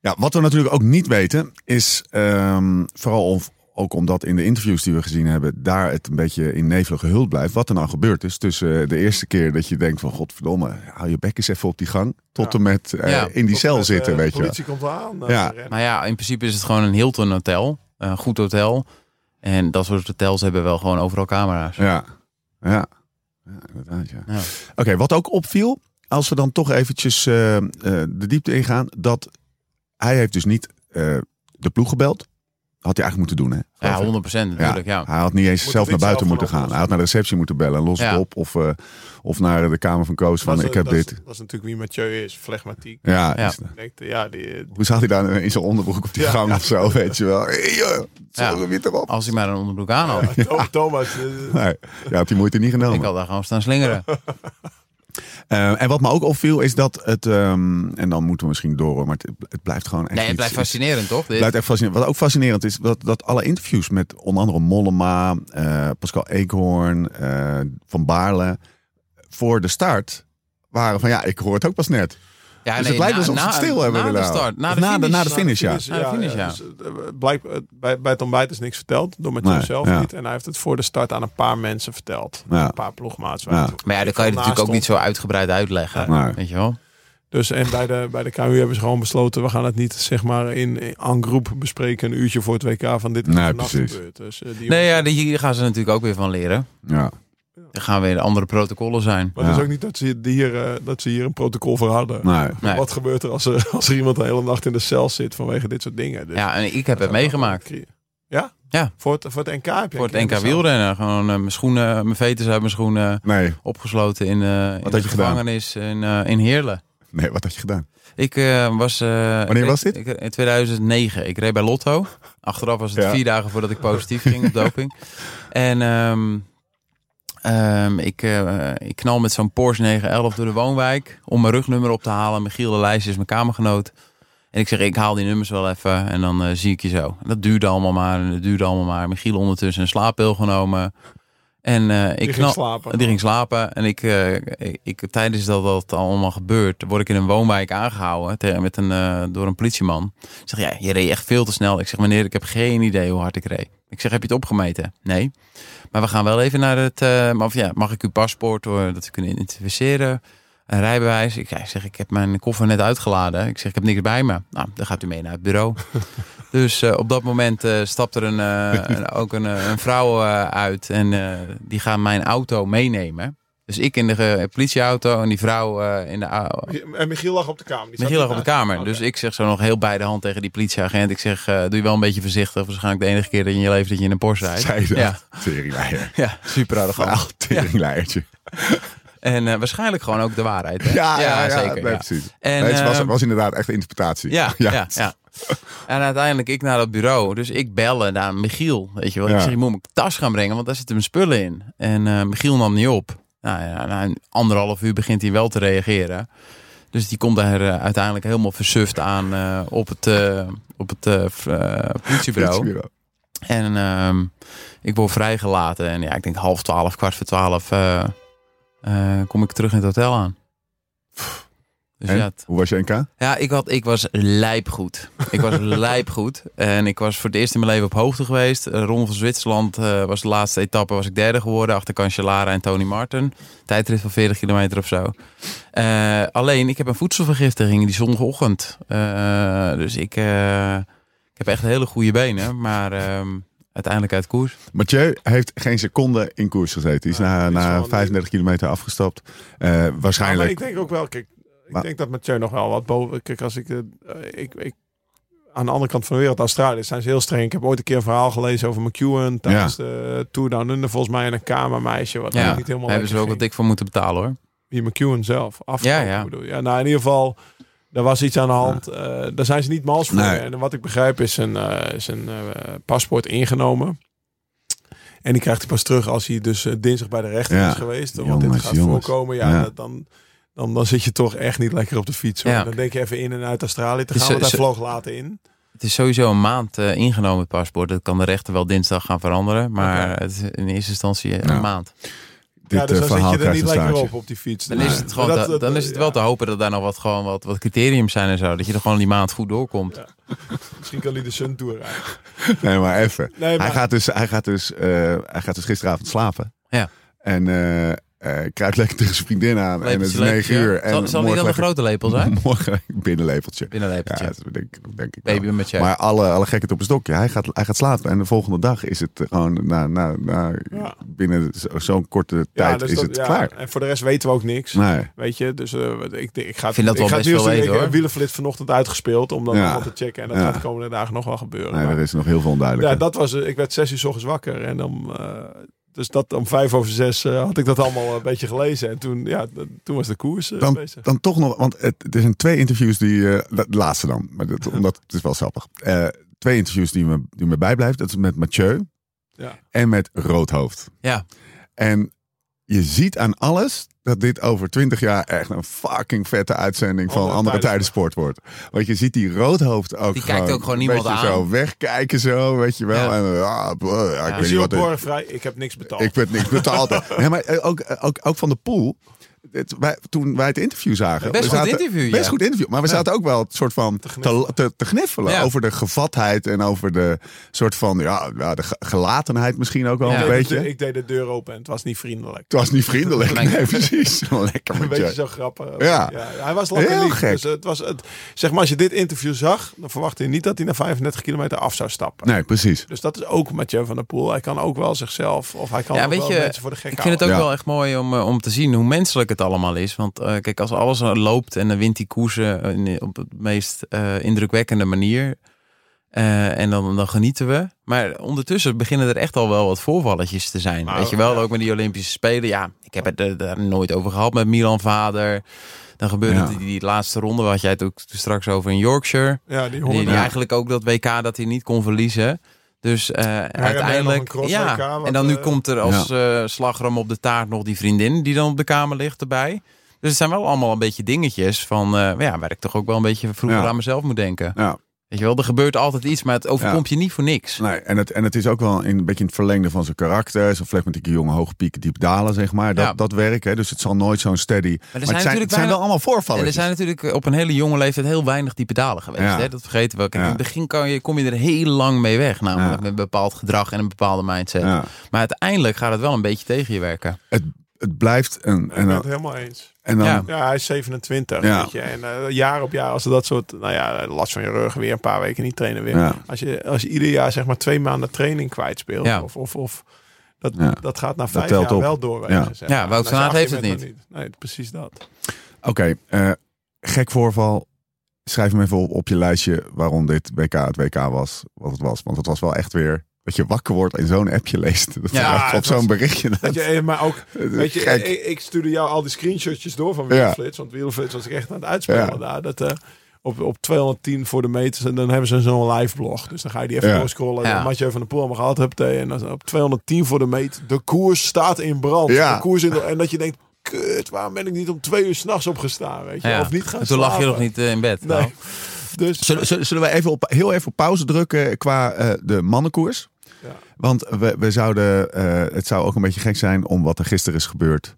Speaker 1: Ja, wat we natuurlijk ook niet weten is, ehm, vooral of- ook omdat in de interviews die we gezien hebben, daar het een beetje in nevelige hul blijft. Wat er nou gebeurd is tussen eh, de eerste keer dat je denkt van godverdomme, hou je bek eens even op die gang. Tot en met eh,
Speaker 6: Ja.
Speaker 1: in die cel zitten,
Speaker 4: Eh,
Speaker 1: weet je
Speaker 4: De
Speaker 1: wel.
Speaker 4: politie komt aan. eh,
Speaker 1: Ja.
Speaker 4: rennen.
Speaker 6: Nou ja, in principe is het gewoon een Hilton hotel. Een goed hotel. En dat soort hotels hebben wel gewoon overal camera's.
Speaker 1: Ja, ja. ja inderdaad, ja.
Speaker 6: Ja.
Speaker 1: Oké, wat ook opviel, als we dan toch eventjes eh, eh, de diepte ingaan, dat hij heeft dus niet eh, de ploeg gebeld. Had hij eigenlijk moeten doen, hè?
Speaker 6: Ja, 100% natuurlijk, ja.
Speaker 1: Hij had niet eens
Speaker 4: Moet
Speaker 1: zelf
Speaker 4: dit
Speaker 1: naar buiten
Speaker 4: zelf
Speaker 1: moeten
Speaker 4: gaan
Speaker 1: gaan. Hij had naar de receptie moeten bellen en los het
Speaker 6: Ja.
Speaker 1: op. Of, eh, of naar de kamer van coach van
Speaker 4: Dat is-
Speaker 1: ik heb
Speaker 4: dat is-
Speaker 1: dit.
Speaker 4: Dat is natuurlijk wie Mathieu is, flegmatiek.
Speaker 1: Ja,
Speaker 6: Ja.
Speaker 1: is-
Speaker 4: Ik denk, ja, die,
Speaker 1: hoe zat hij daar nou in zijn onderbroek op die
Speaker 4: Ja.
Speaker 1: gang of zo, weet je wel. *laughs* Hey, joh,
Speaker 6: Ja. Oh.
Speaker 1: zo wit erop.
Speaker 6: Als hij maar een onderbroek aan had.
Speaker 4: *laughs* Tho- Thomas, eh,
Speaker 1: Nee, ja, had die moeite niet genomen.
Speaker 6: Ik had daar gewoon staan slingeren.
Speaker 1: Eh, en wat me ook opviel is dat het, ehm, en dan moeten we misschien door, maar het, het blijft gewoon echt
Speaker 6: Nee, het
Speaker 1: iets-
Speaker 6: blijft fascinerend, toch?
Speaker 1: het
Speaker 6: Dit?
Speaker 1: blijft echt fascinerend. Wat ook fascinerend is, dat, dat alle interviews met onder andere Mollema, eh, Pascal Eekhoorn, eh, Van Baarle, voor de start waren van ja, ik hoor het ook pas net.
Speaker 6: Ja,
Speaker 1: dus het lijkt alsof ze het stil hebben
Speaker 6: na de
Speaker 1: willen
Speaker 6: start,
Speaker 1: houden.
Speaker 6: na
Speaker 1: Of
Speaker 6: de
Speaker 1: na de-
Speaker 6: finish. eh.
Speaker 1: na de finish, ja.
Speaker 4: Dus,
Speaker 6: Ja, dat vind ik, ja.
Speaker 4: dus, eh, blijk- eh, bij, bij Tom Bijt is niks verteld. Door Mathieu
Speaker 1: Nee,
Speaker 4: zelf
Speaker 1: ja.
Speaker 4: niet. En hij heeft het voor de start aan een paar mensen verteld.
Speaker 1: Ja.
Speaker 4: Een paar ploegmaats.
Speaker 1: Ja.
Speaker 6: Maar ja, dat kan je natuurlijk ook niet zo uitgebreid uitleggen.
Speaker 1: Nee.
Speaker 6: Weet je wel?
Speaker 4: Dus en bij de, bij de KU hebben ze gewoon besloten... we gaan het niet zeg maar in, in en groep bespreken... een uurtje voor het WK van dit is
Speaker 1: Nee,
Speaker 4: vannacht
Speaker 1: precies.
Speaker 4: gebeurd. Dus, eh, die
Speaker 6: Nee, ja, die- hier gaan ze natuurlijk ook weer van leren.
Speaker 1: Ja.
Speaker 6: Dan gaan weer andere protocollen zijn.
Speaker 4: Maar het is ook niet dat ze, hier, eh, dat ze hier een protocol voor hadden.
Speaker 1: Nee.
Speaker 6: Nee.
Speaker 4: Wat gebeurt er als er, als er iemand de hele nacht in de cel zit vanwege dit soort dingen? Dus
Speaker 6: Ja, en ik heb het meegemaakt.
Speaker 4: Ja?
Speaker 6: Ja.
Speaker 4: Voor het, voor het NK heb je
Speaker 6: Voor het
Speaker 4: een keer
Speaker 6: NK wielrennen. Gewoon eh, mijn schoenen, mijn veters uit mijn schoenen.
Speaker 1: Nee.
Speaker 6: Opgesloten in, eh in
Speaker 1: had
Speaker 6: de
Speaker 1: je gedaan?
Speaker 6: gevangenis in, eh, in Heerlen.
Speaker 1: nee, wat had je gedaan?
Speaker 6: Ik eh, was... eh, ik-
Speaker 1: was dit?
Speaker 6: ik- In 2009. Ik reed bij Lotto. Achteraf was het
Speaker 1: Ja.
Speaker 6: vier dagen voordat ik positief ging op
Speaker 1: *laughs*
Speaker 6: doping. En ehm, ehm, ik, eh, ik knal met zo'n Porsche 911 door de woonwijk... om mijn rugnummer op te halen. Michiel de Leijs is mijn kamergenoot. En ik zeg, ik haal die nummers wel even en dan eh, zie ik je zo. En dat duurde allemaal maar en dat duurde allemaal maar. Michiel ondertussen een slaappil genomen. En eh, ik
Speaker 4: Die ging
Speaker 6: knal-
Speaker 4: slapen.
Speaker 6: Die ging slapen. En ik, eh, ik, ik- tijdens dat dat allemaal gebeurt, word ik in een woonwijk aangehouden tegen- met een, eh, door een politieman. Ik zeg, ja, je reed echt veel te snel. Ik zeg, meneer, ik heb geen idee hoe hard ik reed. Ik zeg, heb je het opgemeten? Nee. Maar we gaan wel even naar het... eh, maar of ja, mag ik uw paspoort, hoor, dat we kunnen identificeren? Een rijbewijs. Ik zei, zeg, ik heb mijn koffer net uitgeladen. Ik zeg, ik heb niks bij me. Nou, dan gaat u mee naar het
Speaker 1: *laughs*
Speaker 6: bureau. dus eh, op dat moment eh, stapt er een, eh, een- ook een, eh, een vrouw eh, uit. En eh, die gaat mijn auto meenemen. Dus ik in de eh, politieauto en die vrouw eh, in de au-
Speaker 4: En Michiel lag op de kamer. Die zat
Speaker 6: Michiel lag op de
Speaker 4: ernaast.
Speaker 6: kamer.
Speaker 4: Oké.
Speaker 6: Dus ik zeg zo nog heel bij de hand tegen die politieagent. Ik zeg, eh, doe je wel een beetje voorzichtig. Waarschijnlijk de enige keer dat je in je leven dat je in een Porsche rijdt.
Speaker 1: Zei dat?
Speaker 6: Ja,
Speaker 1: Teringleier.
Speaker 6: ja super aardig. allemaal.
Speaker 1: Verhaal, teringleiertje.
Speaker 6: En eh, waarschijnlijk gewoon ook de waarheid. Hè?
Speaker 1: Ja, ja, ja,
Speaker 6: zeker.
Speaker 1: nee,
Speaker 6: ja.
Speaker 1: precies.
Speaker 6: En,
Speaker 1: nee, het was,
Speaker 6: ehm,
Speaker 1: was inderdaad echt een interpretatie. *laughs*
Speaker 6: Ja, ja, ja. En uiteindelijk ik naar dat bureau. Dus ik bellen naar Michiel. Weet je wel.
Speaker 1: Ja.
Speaker 6: Ik zeg, je moet mijn tas gaan brengen, want daar zitten mijn spullen in. En eh, Michiel nam niet op. Nou ja, na een anderhalf uur begint hij wel te reageren. Dus die komt daar eh, uiteindelijk helemaal versuft aan eh, op het, eh, op het eh, v- eh, politiebureau.
Speaker 1: Politiebureau.
Speaker 6: En ehm, ik word vrijgelaten. En ja, ik denk half twaalf, kwart voor twaalf eh, eh, kom ik terug in het hotel aan. Dus
Speaker 1: En?
Speaker 6: ja, het-
Speaker 1: Hoe was je NK?
Speaker 6: ja, ik, had, ik was lijpgoed. Ik was lijpgoed. En ik was voor het eerst in mijn leven op hoogte geweest. Eh, Ronde van Zwitserland eh, was de laatste etappe. Was ik derde geworden achter Cancellara en Tony Martin. Tijdrit van 40 kilometer of zo. Eh, alleen, ik heb een voedselvergiftiging die zondagochtend. Eh, dus ik, eh, ik heb echt hele goede benen. Maar ehm, uiteindelijk uit koers.
Speaker 1: Mathieu heeft geen seconde in koers gezeten. Die is na,
Speaker 4: Ah, die is
Speaker 1: na
Speaker 4: wel-
Speaker 1: 35 kilometer afgestapt. Eh,
Speaker 4: Ja, maar
Speaker 1: waarschijnlijk.
Speaker 4: ik denk ook wel, kijk, ik
Speaker 1: Maar-
Speaker 4: denk dat Mathieu nog wel wat boven. Kijk, als ik, eh, ik, ik aan de andere kant van de wereld, Australië, zijn ze heel streng. Ik heb ooit een keer een verhaal gelezen over McEwen tijdens de Tour Down Under, volgens mij en een kamermeisje, wat
Speaker 6: Ja,
Speaker 4: ja,
Speaker 6: daar
Speaker 4: niet helemaal
Speaker 6: hebben ze
Speaker 4: lekker
Speaker 6: ook wat
Speaker 4: ging.
Speaker 6: dik voor moeten betalen hoor.
Speaker 4: Die McEwen zelf, af.
Speaker 6: Ja,
Speaker 4: Ja,
Speaker 6: ja.
Speaker 4: ja. Bedoel. ja, nou in ieder geval, er was iets aan de hand. Eh, daar zijn ze niet mals voor.
Speaker 1: Nee.
Speaker 4: En wat ik begrijp is een, eh, is een eh, paspoort ingenomen. En die krijgt hij pas terug als hij dus eh, dinsdag bij de rechter
Speaker 1: Ja.
Speaker 4: is geweest. Want
Speaker 1: Jongens,
Speaker 4: dit gaat
Speaker 1: jongens.
Speaker 4: voorkomen. Ja,
Speaker 1: Ja.
Speaker 4: dat- Dan, dan, dan zit je toch echt niet lekker op de fiets. hoor.
Speaker 6: Ja.
Speaker 4: Dan denk je even in en uit Australië te
Speaker 6: Dus
Speaker 4: gaan.
Speaker 6: zo-
Speaker 4: Want hij
Speaker 6: zo-
Speaker 4: vloog later in.
Speaker 6: Het is sowieso een maand eh, ingenomen het paspoort. Dat kan de rechter wel dinsdag gaan veranderen. Maar het is in eerste instantie een
Speaker 1: Ja.
Speaker 6: maand.
Speaker 1: Dit
Speaker 4: ja, dus
Speaker 1: eh,
Speaker 4: dan
Speaker 1: verhaal
Speaker 4: zit je er
Speaker 1: krijgt
Speaker 4: niet
Speaker 1: een
Speaker 4: lekker
Speaker 1: staartje.
Speaker 4: op op die fiets.
Speaker 6: Dan
Speaker 4: Nee.
Speaker 6: is het, gewoon
Speaker 4: Dat-
Speaker 6: te-
Speaker 4: dat-
Speaker 6: dan is het wel
Speaker 4: ja,
Speaker 6: te hopen dat daar nog wat, gewoon wat, wat criteriums zijn en zo. Dat je er gewoon die maand goed doorkomt.
Speaker 4: Misschien kan hij de Sun Tour rijden.
Speaker 1: Nee, maar even.
Speaker 4: *laughs* Nee, maar-
Speaker 1: Hij gaat dus, hij gaat dus, eh, hij gaat dus gisteravond slapen.
Speaker 6: Ja.
Speaker 1: En eh eh krijgt lekker tegen zijn vriendin aan. en het is
Speaker 6: Lepeltje,
Speaker 1: negen
Speaker 6: lepeltje.
Speaker 1: uur. En
Speaker 6: Zal, zal niet dan
Speaker 1: morgen
Speaker 6: een
Speaker 1: *laughs*
Speaker 6: grote lepel
Speaker 1: lekker-
Speaker 6: zijn?
Speaker 1: Morgen binnenlepeltje.
Speaker 6: Binnen een
Speaker 1: Ja,
Speaker 6: lepeltje.
Speaker 1: dat denk, denk ik wel.
Speaker 6: Baby met je.
Speaker 1: Maar alle, alle gekheid op een stokje. Hij gaat, hij gaat slapen. En de volgende dag is het eh, gewoon na, na, na,
Speaker 4: Ja.
Speaker 1: binnen zo- zo'n korte tijd
Speaker 4: dus
Speaker 1: is
Speaker 4: dat-
Speaker 1: het
Speaker 4: ja,
Speaker 1: klaar.
Speaker 4: En voor de rest weten we ook niks.
Speaker 1: Nee.
Speaker 4: Weet je, dus eh, wat ik, ik ga,
Speaker 6: vind dat
Speaker 4: ik
Speaker 6: wel
Speaker 4: ga
Speaker 6: best
Speaker 4: het nieuws
Speaker 6: wel
Speaker 4: doen.
Speaker 6: even,
Speaker 4: Ik
Speaker 6: hoor.
Speaker 4: heb wielenflit vanochtend uitgespeeld om dat
Speaker 1: Ja.
Speaker 4: allemaal te checken. En dat
Speaker 1: Ja.
Speaker 4: gaat de komende dagen nog wel gebeuren.
Speaker 1: Nee,
Speaker 4: Maar-
Speaker 1: er is nog heel veel onduidelijk.
Speaker 4: ja, dat was, eh, ik werd zes uur 's ochtends wakker. En om, eh, dus dat, om vijf over zes eh, had ik dat allemaal een beetje gelezen. En toen, ja, d- toen was de koers eh,
Speaker 1: dan,
Speaker 4: bezig.
Speaker 1: dan toch nog, want het, er zijn twee interviews die, eh, de de laatste dan, maar dat, omdat het is wel grappig. Eh, twee interviews die me, die me bijblijft, dat is met Mathieu
Speaker 4: Ja.
Speaker 1: en met Roodhoofd.
Speaker 6: Ja.
Speaker 1: En je ziet aan alles dat dit over twintig jaar echt een fucking vette uitzending van
Speaker 4: Andere
Speaker 1: Andere
Speaker 4: Tijden
Speaker 1: Tijden Sport wordt. Want je ziet die Roodhoofd ook
Speaker 6: Die kijkt
Speaker 1: gewoon,
Speaker 6: ook gewoon
Speaker 1: een
Speaker 6: niemand
Speaker 1: beetje
Speaker 6: aan.
Speaker 1: zo wegkijken zo, weet je wel.
Speaker 6: Ja.
Speaker 1: En, ah, bleh, ja, ik weet
Speaker 4: Is
Speaker 1: niet
Speaker 4: heel
Speaker 1: wat er-
Speaker 6: Oh.
Speaker 4: borgvrij? Ik heb niks betaald.
Speaker 6: *laughs*
Speaker 1: ik werd niks betaald. nee, maar eh, ook, eh, ook, ook van de pool. het- wij, toen wij het interview zagen.
Speaker 6: Best
Speaker 1: we
Speaker 6: goed
Speaker 1: zaten-
Speaker 6: interview, ja.
Speaker 1: Best goed interview. Maar we zaten ook wel het soort van te, te, te gniffelen.
Speaker 6: Ja.
Speaker 1: Over de gevatheid en over de soort van, ja, ja, de ge- gelatenheid misschien ook wel
Speaker 6: Ja.
Speaker 1: een
Speaker 6: Ik
Speaker 4: Ik
Speaker 1: beetje.
Speaker 4: deed, de, ik deed de deur open en het was niet vriendelijk.
Speaker 1: Het was niet vriendelijk.
Speaker 6: Nee.
Speaker 1: Nee, precies.
Speaker 6: *laughs*
Speaker 1: Lekker
Speaker 4: Een
Speaker 1: met
Speaker 4: beetje
Speaker 1: je.
Speaker 4: zo grappig.
Speaker 1: Ja.
Speaker 4: hij was lekker
Speaker 1: Heel
Speaker 4: lief.
Speaker 1: gek.
Speaker 4: Dus het was het, zeg maar, als je dit interview zag, dan verwachtte je niet dat hij na 35 kilometer af zou stappen.
Speaker 1: Nee, precies.
Speaker 4: Dus dat is ook Mathieu van der Poel. Hij kan ook wel zichzelf, of hij kan
Speaker 6: Ja,
Speaker 4: ook
Speaker 6: weet
Speaker 4: wel
Speaker 6: je,
Speaker 4: mensen voor de gek
Speaker 6: Ik vind het ook
Speaker 1: Ja.
Speaker 6: wel echt mooi om, eh, om te zien hoe menselijk het allemaal is. Want eh, kijk, als alles eh, loopt en dan wint die koersen eh, in- op het meest eh, indrukwekkende manier. eh, en dan, dan genieten we. Maar ondertussen beginnen er echt al wel wat voorvalletjes te zijn. Weet je wel, ook met die Olympische Spelen. Ja, ik heb het er daar nooit over gehad met Milan Vader. Dan gebeurde
Speaker 1: Ja.
Speaker 6: het die, die laatste ronde, wat jij het ook straks over in Yorkshire.
Speaker 4: Ja, die
Speaker 6: Die,
Speaker 4: honden.
Speaker 6: die eigenlijk ook dat WK dat hij niet kon verliezen. Dus eh,
Speaker 4: nog een
Speaker 6: uiteindelijk.
Speaker 4: cross
Speaker 6: ja,
Speaker 4: WK, wat,
Speaker 6: en dan nu
Speaker 4: eh,
Speaker 6: komt er als eh, slagram op de taart nog die vriendin die dan op de kamer ligt erbij. Dus het zijn wel allemaal een beetje dingetjes van eh, ja, waar ik toch ook wel een beetje vroeger
Speaker 1: Ja.
Speaker 6: aan mezelf moet denken.
Speaker 1: Ja.
Speaker 6: Weet je wel, er gebeurt altijd iets, maar het overkomt je niet voor niks.
Speaker 1: Nee, en, het, en het is ook wel in, een beetje in het verlengde van zijn karakter. Zo'n flegmatieke jongen, hoge pieken, diep dalen, zeg maar. Dat,
Speaker 6: Ja.
Speaker 1: dat werk, hè. Dus het zal nooit zo'n steady... Maar,
Speaker 6: zijn
Speaker 1: het zijn,
Speaker 6: natuurlijk
Speaker 1: het zijn wel
Speaker 6: bijna-
Speaker 1: allemaal
Speaker 6: En er
Speaker 1: voorvallen.
Speaker 6: zijn natuurlijk eh, op een hele jonge leeftijd heel weinig diepe dalen geweest.
Speaker 1: Ja.
Speaker 6: Hè? Dat vergeten we. Kijk,
Speaker 1: Ja.
Speaker 6: In het begin kan je, kom je er heel lang mee weg, namelijk
Speaker 1: Ja.
Speaker 6: met een bepaald gedrag en een bepaalde mindset.
Speaker 1: Ja.
Speaker 6: Maar uiteindelijk gaat het wel een beetje tegen je werken.
Speaker 1: Het, het blijft een...
Speaker 4: Ik
Speaker 1: En
Speaker 4: ben het
Speaker 1: dan,
Speaker 4: helemaal eens.
Speaker 1: en dan,
Speaker 6: Ja.
Speaker 4: Ja, hij is 27.
Speaker 1: Ja.
Speaker 4: Weet je. En eh, jaar op jaar, als er dat soort, nou ja, last van je rug, weer een paar weken niet trainen weer.
Speaker 1: Ja.
Speaker 4: Als, je, als je ieder jaar zeg maar twee maanden training kwijtspeelt,
Speaker 6: Ja.
Speaker 4: of, of, of dat,
Speaker 1: Ja.
Speaker 4: dat gaat na vijf
Speaker 1: telt
Speaker 4: jaar
Speaker 1: op.
Speaker 4: wel doorwezen.
Speaker 1: Ja.
Speaker 4: zeg
Speaker 6: Ja,
Speaker 4: maar.
Speaker 6: Wout
Speaker 4: En
Speaker 6: van
Speaker 4: als je
Speaker 6: Aert
Speaker 4: 18
Speaker 6: heeft het
Speaker 4: bent, dan Nee, precies dat.
Speaker 1: Oké, eh, gek voorval. Schrijf hem even op, op je lijstje waarom dit WK het WK was wat het was. Want het was wel echt weer dat je wakker wordt en zo'n appje leest. Dat
Speaker 6: Ja,
Speaker 1: ja, *laughs* op
Speaker 4: het was-
Speaker 1: zo'n berichtje. Dat,
Speaker 4: Dat je, eh, maar ook,
Speaker 1: dat is
Speaker 4: weet je,
Speaker 1: gek.
Speaker 4: ik, ik stuurde jou al die screenshotjes door van
Speaker 1: Ja.
Speaker 4: Wielflits. Want Wielflits was ik echt aan het uitspelen
Speaker 1: Ja.
Speaker 4: daar. Dat, eh, op, op 210 voor de meters. En dan hebben ze zo'n live blog. Dus dan ga je die even
Speaker 1: Ja.
Speaker 4: doorscrollen.
Speaker 6: Ja.
Speaker 4: Ja. Mathieu van der Poel allemaal gehad hebt. eh, En dan op 210 voor de meet. De koers staat in brand.
Speaker 1: Ja.
Speaker 4: De koers in de- en dat je denkt, kut, waarom ben ik niet om twee uur s'nachts opgestaan? Weet je?
Speaker 6: Ja.
Speaker 4: Of niet gaan
Speaker 6: En toen lag je
Speaker 4: slapen.
Speaker 6: nog niet eh, in bed.
Speaker 4: Nee.
Speaker 6: Nou.
Speaker 4: *laughs* Dus
Speaker 1: Zullen, zullen- zullen we even op, heel even op pauze drukken qua eh, de mannenkoers?
Speaker 4: Ja.
Speaker 1: Want we, we zouden, eh, het zou ook een beetje gek zijn om wat er gisteren is gebeurd.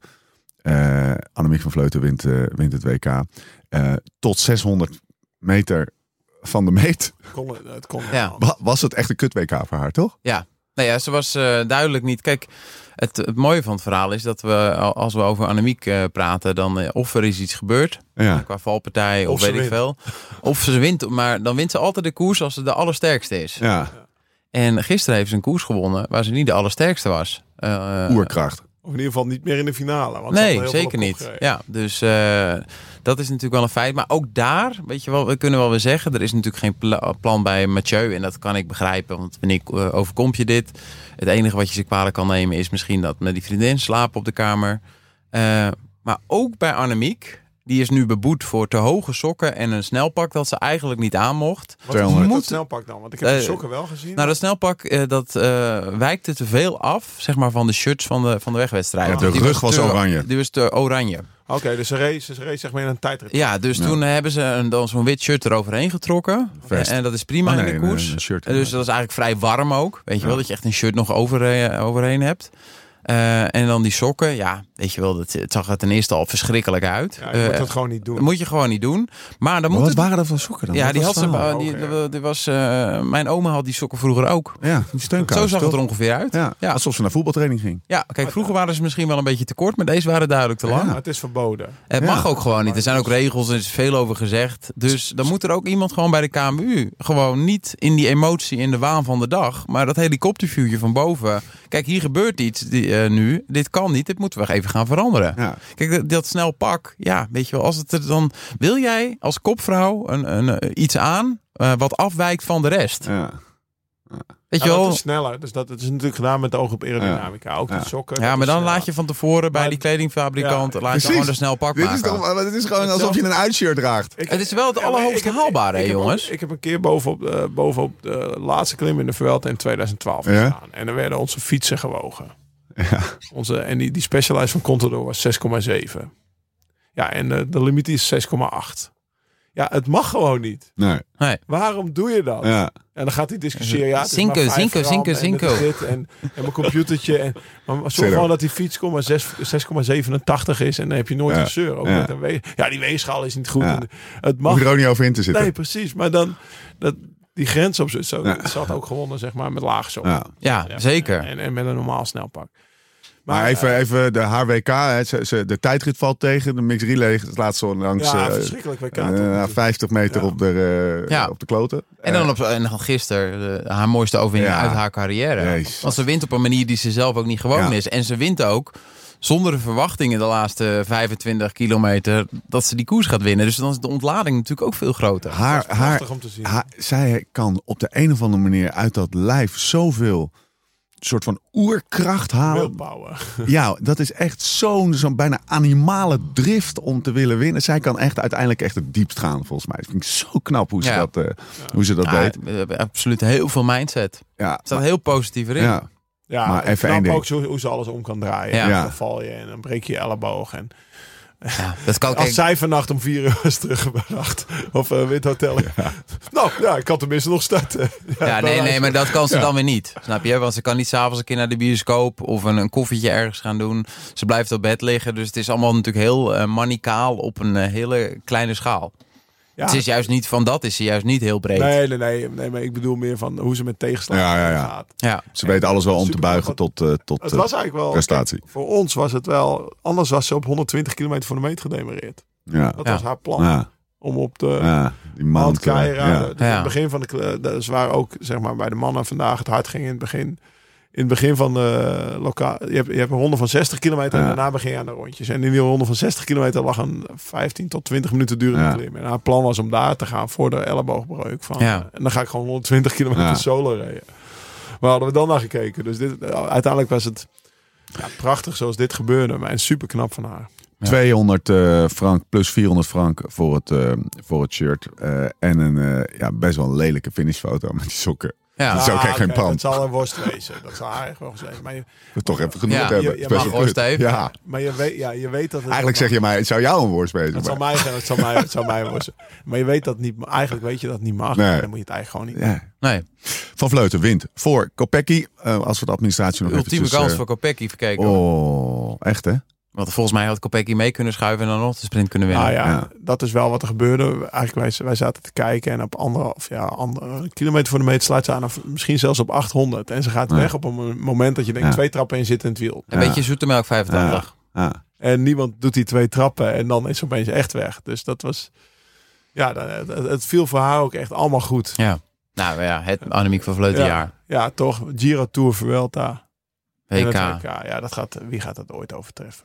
Speaker 1: Eh Annemiek van Vleuten wint, eh, wint het WK. Eh, tot 600 meter van de meet *laughs*
Speaker 4: kon, het- het kon
Speaker 6: Ja.
Speaker 4: helemaal.
Speaker 1: wa- was het echt een kut WK voor haar, toch?
Speaker 6: Nou ja, ze was eh, duidelijk niet. Kijk, het, het mooie van het verhaal is dat we, al- als we over Annemiek eh, praten, dan eh, of er is iets gebeurd
Speaker 1: Ja.
Speaker 6: qua valpartij of,
Speaker 4: Of ze
Speaker 6: weet ik
Speaker 4: wint.
Speaker 6: veel. Of ze wint, maar dan wint ze altijd de koers als ze de allersterkste is.
Speaker 1: ja.
Speaker 6: En gisteren heeft ze een koers gewonnen waar ze niet de allersterkste was. Eh,
Speaker 1: Oerkracht.
Speaker 4: Of in ieder geval niet meer in de finale. Want ze hadden
Speaker 6: Nee,
Speaker 4: heel veel
Speaker 6: zeker
Speaker 4: op kop
Speaker 6: niet.
Speaker 4: gereden.
Speaker 6: Ja, dus eh, dat is natuurlijk wel een feit. Maar ook daar, weet je wel, we kunnen wel weer zeggen... er is natuurlijk geen pla- plan bij Mathieu. En dat kan ik begrijpen, want wanneer eh, overkomt je dit? Het enige wat je ze kwalijk kan nemen is misschien dat met die vriendin slapen op de kamer. Eh, maar ook bij Annemiek, die is nu beboet voor te hoge sokken... en een snelpak dat ze eigenlijk niet aan mocht.
Speaker 4: Wat is
Speaker 1: 200.
Speaker 4: dat snelpak dan? Want ik heb de
Speaker 6: Eh,
Speaker 4: sokken wel gezien.
Speaker 6: Nou, dat snelpak eh, dat, eh, wijkte te veel af zeg maar, van de shirts van de, van de wegwedstrijd.
Speaker 1: Ja, de
Speaker 6: Want die
Speaker 1: rug was
Speaker 6: te-
Speaker 1: oranje.
Speaker 6: Die was te oranje.
Speaker 4: Oké, dus ze race, ze race zeg maar in een tijdrit.
Speaker 6: Ja, dus toen hebben ze een, dan zo'n wit shirt eroverheen getrokken.
Speaker 1: Vest.
Speaker 6: En dat is prima
Speaker 1: Oh, nee,
Speaker 6: in de koers.
Speaker 1: een- een shirt,
Speaker 6: En dus dat is eigenlijk vrij warm ook. Weet je wel, dat je echt een shirt nog over, eh, overheen hebt. Eh, en dan die sokken. Ja, weet je wel, dat, het zag er ten eerste al verschrikkelijk uit.
Speaker 4: Ja, je moet
Speaker 6: Eh,
Speaker 4: dat gewoon niet
Speaker 6: dat
Speaker 4: doen.
Speaker 6: moet je gewoon niet doen. Maar dan
Speaker 1: Maar
Speaker 6: moet
Speaker 1: wat
Speaker 6: het...
Speaker 1: waren dat voor sokken dan?
Speaker 6: Ja,
Speaker 1: Wat
Speaker 6: die
Speaker 1: was
Speaker 6: had ze...
Speaker 1: het verhaal?
Speaker 6: eh, die, die was, eh, mijn oma had die sokken vroeger ook.
Speaker 1: Ja, die steunkous,
Speaker 6: Zo zag het
Speaker 1: toch?
Speaker 6: er ongeveer uit.
Speaker 1: Ja,
Speaker 6: Ja.
Speaker 1: alsof ze naar voetbaltraining ging.
Speaker 6: Ja, kijk, vroeger waren ze misschien wel een beetje te kort, maar deze waren duidelijk te lang.
Speaker 4: Maar het is verboden.
Speaker 6: Het
Speaker 1: Ja.
Speaker 6: mag ook gewoon niet. Er zijn ook regels en er is veel over gezegd. Dus dan moet er ook iemand gewoon bij de KMU. Gewoon niet in die emotie, in de waan van de dag. Maar dat helikopterviewtje van boven. Kijk, hier gebeurt iets die, eh, nu. Dit kan niet. Dit moeten we even gaan veranderen.
Speaker 1: Ja.
Speaker 6: Kijk, dat, dat snel pak. Ja, weet je wel. Als het er dan, wil jij als kopvrouw een, een, eh, iets aan eh, wat afwijkt van de rest?
Speaker 1: Ja.
Speaker 6: Weet
Speaker 4: Ja,
Speaker 6: je
Speaker 4: dat
Speaker 6: wel?
Speaker 4: is sneller. Dus dat, het is natuurlijk gedaan met het oog op aerodynamica. Ook
Speaker 1: Ja.
Speaker 4: de sokken.
Speaker 6: Ja,
Speaker 4: dat
Speaker 6: maar
Speaker 4: is
Speaker 6: dan
Speaker 4: sneller.
Speaker 6: laat je van tevoren bij
Speaker 4: Maar-
Speaker 6: die kledingfabrikant
Speaker 4: Ja,
Speaker 6: laat je
Speaker 1: precies.
Speaker 6: gewoon een snel pak
Speaker 1: Dit
Speaker 6: maken.
Speaker 1: is, toch, dit is gewoon alsof je een uitshirt draagt.
Speaker 4: Ik-
Speaker 6: Het is wel het
Speaker 4: Ja, maar
Speaker 6: allerhoogste
Speaker 4: ik heb-
Speaker 6: haalbare,
Speaker 4: ik
Speaker 6: hè,
Speaker 4: heb ook-
Speaker 6: jongens.
Speaker 4: ik heb een keer bovenop, eh, bovenop de laatste klim in de Vuelta in 2012
Speaker 1: Ja.
Speaker 4: gestaan. En dan werden onze fietsen gewogen. Onze, en die, die eh, Specialized van Contador was 6,7. Ja, en de, de limiet is 6,8. Ja, het mag gewoon niet.
Speaker 1: Nee.
Speaker 6: Nee.
Speaker 4: Waarom doe je dat?
Speaker 1: Ja.
Speaker 4: En dan gaat hij discussiëren. Ja, het is
Speaker 6: Zinko,
Speaker 4: maar vijf
Speaker 6: zinko,
Speaker 4: gram
Speaker 6: zinko,
Speaker 4: en dit
Speaker 6: zinko.
Speaker 4: is dit En, en mijn computertje. En, maar maar zorg
Speaker 1: Zero.
Speaker 4: gewoon dat die fiets 6,87 is. En dan heb je nooit
Speaker 1: Ja.
Speaker 4: een zeur. Ook
Speaker 1: Ja.
Speaker 4: met een weeg- ja, die weegschaal is niet goed.
Speaker 1: Ja.
Speaker 4: En Het
Speaker 1: Mag
Speaker 4: mag.
Speaker 1: er ook niet over in te zitten.
Speaker 4: Nee, precies. Maar dan dat, die grens op zo, zo
Speaker 1: Ja.
Speaker 4: het zat ook gewonnen, zeg maar, met laag zo.
Speaker 1: Ja.
Speaker 6: Ja,
Speaker 4: Ja,
Speaker 6: zeker.
Speaker 4: En, en met een normaal snelpak.
Speaker 1: Maar, even,
Speaker 4: eh,
Speaker 1: even de HWK, hè, ze- ze- de tijdrit valt tegen. De mixed relay laat zo langs
Speaker 4: ja,
Speaker 1: eh,
Speaker 4: verschrikkelijk WK.
Speaker 1: eh,
Speaker 4: tot nu
Speaker 1: na
Speaker 4: toe.
Speaker 1: 50 meter
Speaker 4: Ja.
Speaker 1: op, de, eh,
Speaker 6: Ja.
Speaker 1: op de kloten. Eh,
Speaker 6: En dan, op, en dan gisteren eh, haar mooiste overwinning
Speaker 1: Ja.
Speaker 6: uit haar carrière.
Speaker 1: Jezus.
Speaker 6: Want ze wint op een manier die ze zelf ook niet gewoon
Speaker 1: Ja.
Speaker 6: is. En ze wint ook zonder de verwachtingen de laatste 25 kilometer dat ze die koers gaat winnen. Dus dan is de ontlading natuurlijk ook veel groter.
Speaker 1: haar, haar,
Speaker 4: Prachtig om te zien.
Speaker 1: haar, zij kan op de een of andere manier uit dat lijf zoveel soort van oerkracht
Speaker 4: eh,
Speaker 1: halen.
Speaker 4: Willpower.
Speaker 1: Ja, dat is echt zo'n zo'n bijna animale drift om te willen winnen. Zij kan echt uiteindelijk echt het diepst gaan, volgens mij. Dat vind ik zo knap hoe ze
Speaker 6: Ja.
Speaker 1: dat, eh, Hoe ze dat
Speaker 6: Ja,
Speaker 1: deed.
Speaker 6: eh, absoluut heel veel mindset. Er
Speaker 1: Ja,
Speaker 6: staat heel positief erin.
Speaker 1: ja,
Speaker 4: *laughs* Ja,
Speaker 1: Maar
Speaker 4: maar
Speaker 1: even
Speaker 4: even
Speaker 1: één ding.
Speaker 4: ook zo, hoe ze alles om kan draaien.
Speaker 6: Ja.
Speaker 1: Ja.
Speaker 4: Dan val je en dan breek je je elleboog. En
Speaker 6: Ja, dat kan ook.
Speaker 4: als zij vannacht om vier uur is teruggebracht. Of eh wit hotel. Nou, ja, ik kan tenminste nog starten.
Speaker 6: Ja, nee,
Speaker 4: dan-
Speaker 6: nee, maar dat kan ze dan weer niet. Snap je? Want ze kan niet s'avonds een keer naar de bioscoop of een, een koffietje ergens gaan doen. Ze blijft op bed liggen. Dus het is allemaal natuurlijk heel eh, manicaal op een eh, hele kleine schaal.
Speaker 4: Ja.
Speaker 6: Het is juist niet van dat, is ze juist niet heel breed.
Speaker 4: Nee, nee, nee, nee, maar ik bedoel meer van hoe ze met tegenslag
Speaker 1: Ja, ja, ja.
Speaker 4: gaat.
Speaker 6: Ja.
Speaker 1: ze weet alles wel om te
Speaker 4: Super,
Speaker 1: buigen
Speaker 4: want-
Speaker 1: tot, eh, tot
Speaker 4: Het
Speaker 1: eh,
Speaker 4: was eigenlijk wel.
Speaker 1: prestatie.
Speaker 4: kijk, voor ons was het wel. Anders was ze op 120 kilometer voor de meet gedemereerd.
Speaker 1: Ja,
Speaker 4: Dat
Speaker 6: Ja.
Speaker 4: was haar plan.
Speaker 1: ja,
Speaker 4: Om op de
Speaker 1: ja, die man. eh,
Speaker 4: Mount Keira.
Speaker 1: ja.
Speaker 4: Dus in
Speaker 6: Ja.
Speaker 4: het begin van de. kle- de- Ze waren ook zeg maar bij de mannen vandaag. Het hard ging in het begin. In het begin van de lokaal. Je hebt, je hebt een ronde van 60 kilometer.
Speaker 1: Ja.
Speaker 4: En daarna begin je aan de rondjes. En in die ronde van 60 kilometer lag een 15 tot 20 minuten durende
Speaker 1: Ja.
Speaker 4: klim. En haar plan was om daar te gaan voor de elleboogbreuk. Van,
Speaker 6: Ja.
Speaker 4: eh, En dan ga ik gewoon 120 kilometer
Speaker 1: Ja.
Speaker 4: solo rijden. Waar hadden we dan naar gekeken? Dus dit, eh, uiteindelijk was het ja, prachtig zoals dit gebeurde. Maar super knap van haar.
Speaker 1: 200 eh, frank plus 400 frank voor het, eh, voor het shirt. Eh, en een eh, ja, best wel een lelijke finishfoto met die sokken.
Speaker 6: Ja.
Speaker 1: Dat is ook echt geen
Speaker 4: oké,
Speaker 1: plan.
Speaker 4: Dat Ah, zal een worst wezen. Dat zal haar echt wel gezegd. Maar je,
Speaker 1: We toch even genoeg
Speaker 6: Ja,
Speaker 1: hebben.
Speaker 4: je-
Speaker 1: Het is
Speaker 4: je
Speaker 1: best
Speaker 4: mag
Speaker 1: wel kut.
Speaker 6: gewoon steven.
Speaker 1: Ja,
Speaker 4: maar je, weet, ja, je weet dat het...
Speaker 1: Ah. eigenlijk zeg je mij, het zou jou een worst bezig
Speaker 4: Het
Speaker 1: zijn.
Speaker 4: zou mij zijn, het zou mij, het zou mij worden. Maar je weet dat niet, eigenlijk weet je dat niet mag.
Speaker 1: Nee.
Speaker 4: En Dan moet je het eigenlijk gewoon niet.
Speaker 1: Ja.
Speaker 6: Nee,
Speaker 1: Van Vleuten wint voor Kopecky. Eh, als we de administratie nog
Speaker 6: ultieme
Speaker 1: eventjes,
Speaker 6: kans
Speaker 1: eh,
Speaker 6: voor Kopecky verkeken.
Speaker 1: Oh, echt hè?
Speaker 6: Want volgens mij had Kopecky mee kunnen schuiven en dan nog de sprint kunnen winnen.
Speaker 4: Nou ja,
Speaker 1: Ja.
Speaker 4: dat is wel wat er gebeurde. Eigenlijk wij, wij zaten te kijken en op anderhalf ja, ander, kilometer voor de meet sluit ze aan. Of misschien zelfs op 800. En ze gaat
Speaker 1: Ja.
Speaker 4: weg op een mo- moment dat je denkt
Speaker 1: Ja.
Speaker 4: twee trappen in zitten in het wiel.
Speaker 6: Een beetje zoete melk 85.
Speaker 1: Ja.
Speaker 4: En niemand doet die twee trappen en dan is ze opeens echt weg. Dus dat was... Ja, dat- het- het viel voor haar ook echt allemaal goed.
Speaker 6: Ja. Nou ja, het Annemiek van Vleuten
Speaker 4: Ja.
Speaker 6: jaar.
Speaker 4: Ja, toch? Giro Tour Vuelta. en het
Speaker 6: WK.
Speaker 4: WK. Ja, dat gaat, wie gaat dat ooit overtreffen?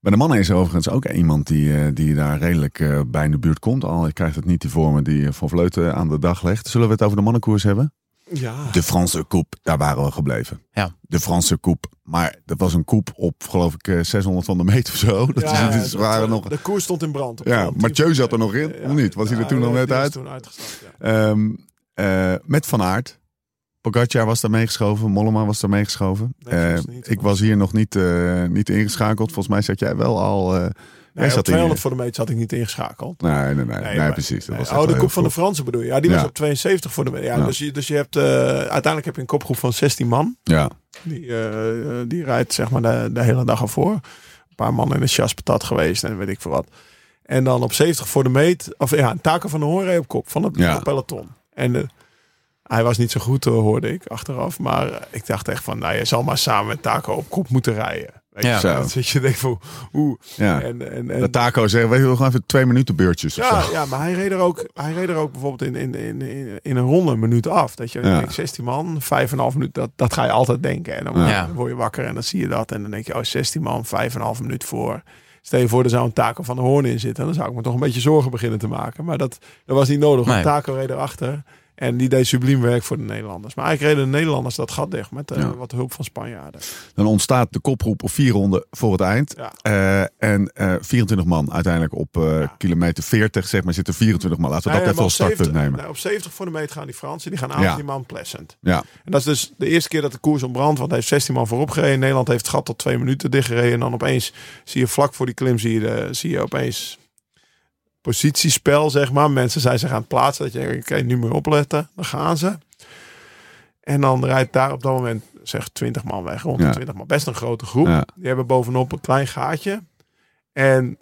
Speaker 1: Bij de mannen is er overigens ook iemand die, eh, die daar redelijk eh, bij in de buurt komt. Al ik krijg het niet die vormen die eh, Van Vleuten aan de dag legt. Zullen we het over de mannenkoers hebben?
Speaker 4: Ja.
Speaker 1: De Franse koep, daar waren we gebleven.
Speaker 6: Ja.
Speaker 1: De Franse koep. Maar dat was een koep op, geloof ik, eh, 600 van de meter of zo. *laughs* Dat is, dat is-
Speaker 4: dat,
Speaker 1: waren
Speaker 4: eh,
Speaker 1: nog...
Speaker 4: De koers stond in brand. Op
Speaker 1: Ja,
Speaker 4: de-
Speaker 1: Mathieu zat er nog in, of niet? Was hij er toen
Speaker 4: ja,
Speaker 1: al net
Speaker 4: die was
Speaker 1: uit?
Speaker 4: toen uitgestapt, ja.
Speaker 1: Ehm, eh, met Van Aert. Pogacar was daar meegeschoven. Mollema was daar meegeschoven.
Speaker 4: Nee, volgens
Speaker 1: Eh,
Speaker 4: mij niet.
Speaker 1: ik was hier nog niet, eh, niet ingeschakeld. Volgens mij zat jij wel al... eh,
Speaker 4: Nee,
Speaker 1: zat
Speaker 4: op
Speaker 1: in-
Speaker 4: 200 voor de meet zat ik niet ingeschakeld.
Speaker 1: Nee, nee, nee. nee,
Speaker 4: maar-
Speaker 1: precies. Dat
Speaker 4: nee,
Speaker 1: was echt
Speaker 4: oh, de
Speaker 1: wel
Speaker 4: kop
Speaker 1: heel
Speaker 4: van de
Speaker 1: vroeg.
Speaker 4: Fransen bedoel je? Ja, die
Speaker 1: Ja.
Speaker 4: was op 72 voor de meet. Ja,
Speaker 1: Ja.
Speaker 4: Dus, je, dus je hebt... eh, uiteindelijk heb je een kopgroep van 16 man.
Speaker 1: Ja,
Speaker 4: Die, eh, eh, die rijdt zeg maar de, de hele dag ervoor. Een paar mannen in de chasse patat geweest en weet ik veel wat. En dan op 70 voor de meet. Of ja, Taken van de Hoorn reed op kop van het
Speaker 1: Ja.
Speaker 4: het peloton. En eh, hij was niet zo goed, eh, hoorde ik achteraf. Maar eh, ik dacht echt van, nou, je zal maar samen met Taco op kop moeten rijden. Weet
Speaker 6: Ja.
Speaker 4: je,
Speaker 1: Zo.
Speaker 4: zo. Dat je denkt van, hoe?
Speaker 1: ja.
Speaker 4: En, en, en,
Speaker 1: Dat Taco zegt, weet je wel, gewoon even twee minuten beurtjes of
Speaker 4: ja,
Speaker 1: zo.
Speaker 4: ja, maar hij reed er ook, hij reed er ook bijvoorbeeld in, in, in, in- in een ronde een minuut af. Dat je
Speaker 1: Ja.
Speaker 4: denkt, 16 man, 5,5 minuut, dat, dat ga je altijd denken. En dan
Speaker 6: Ja.
Speaker 4: word je wakker en dan zie je dat. En dan denk je, oh, 16 man, 5,5 minuut voor. Stel je voor, er zou een Taco van de Hoorn in zitten. Dan zou ik me toch een beetje zorgen beginnen te maken. Maar dat, dat was niet nodig, want
Speaker 6: Nee.
Speaker 4: Taco reed erachter. En die deed subliem werk voor de Nederlanders. Maar eigenlijk reden de Nederlanders dat gat dicht met eh,
Speaker 1: Ja.
Speaker 4: wat hulp van Spanjaarden.
Speaker 1: Dan ontstaat de kopgroep op vier ronden voor het eind.
Speaker 4: Ja.
Speaker 1: Eh, en eh, 24 man uiteindelijk op eh, kilometer 40, zeg maar, zitten 24 man. Laten we
Speaker 4: Nee,
Speaker 1: dat even
Speaker 4: maar
Speaker 1: als
Speaker 4: op
Speaker 1: startpunt
Speaker 4: 70
Speaker 1: nemen.
Speaker 4: nee, op 70 voor de meet gaan die Fransen. Die gaan
Speaker 1: Ja.
Speaker 4: aan die man Pleasant.
Speaker 1: Ja,
Speaker 4: En dat is dus de eerste keer dat de koers ontbrandt. Want hij heeft 16 man voorop gereden. Nederland heeft het gat tot twee minuten dichtgereden. En dan opeens zie je vlak voor die klim, zie je, de- zie je opeens positiespel, zeg maar. Mensen zijn zich aan het plaatsen. Dat je denkt, oké, nu moet je opletten. Dan gaan ze. En dan rijdt daar op dat moment, zeg, 20 man weg. Rond de
Speaker 1: Ja.
Speaker 4: 20 man. Best een grote groep.
Speaker 1: Ja.
Speaker 4: Die hebben bovenop een klein gaatje. En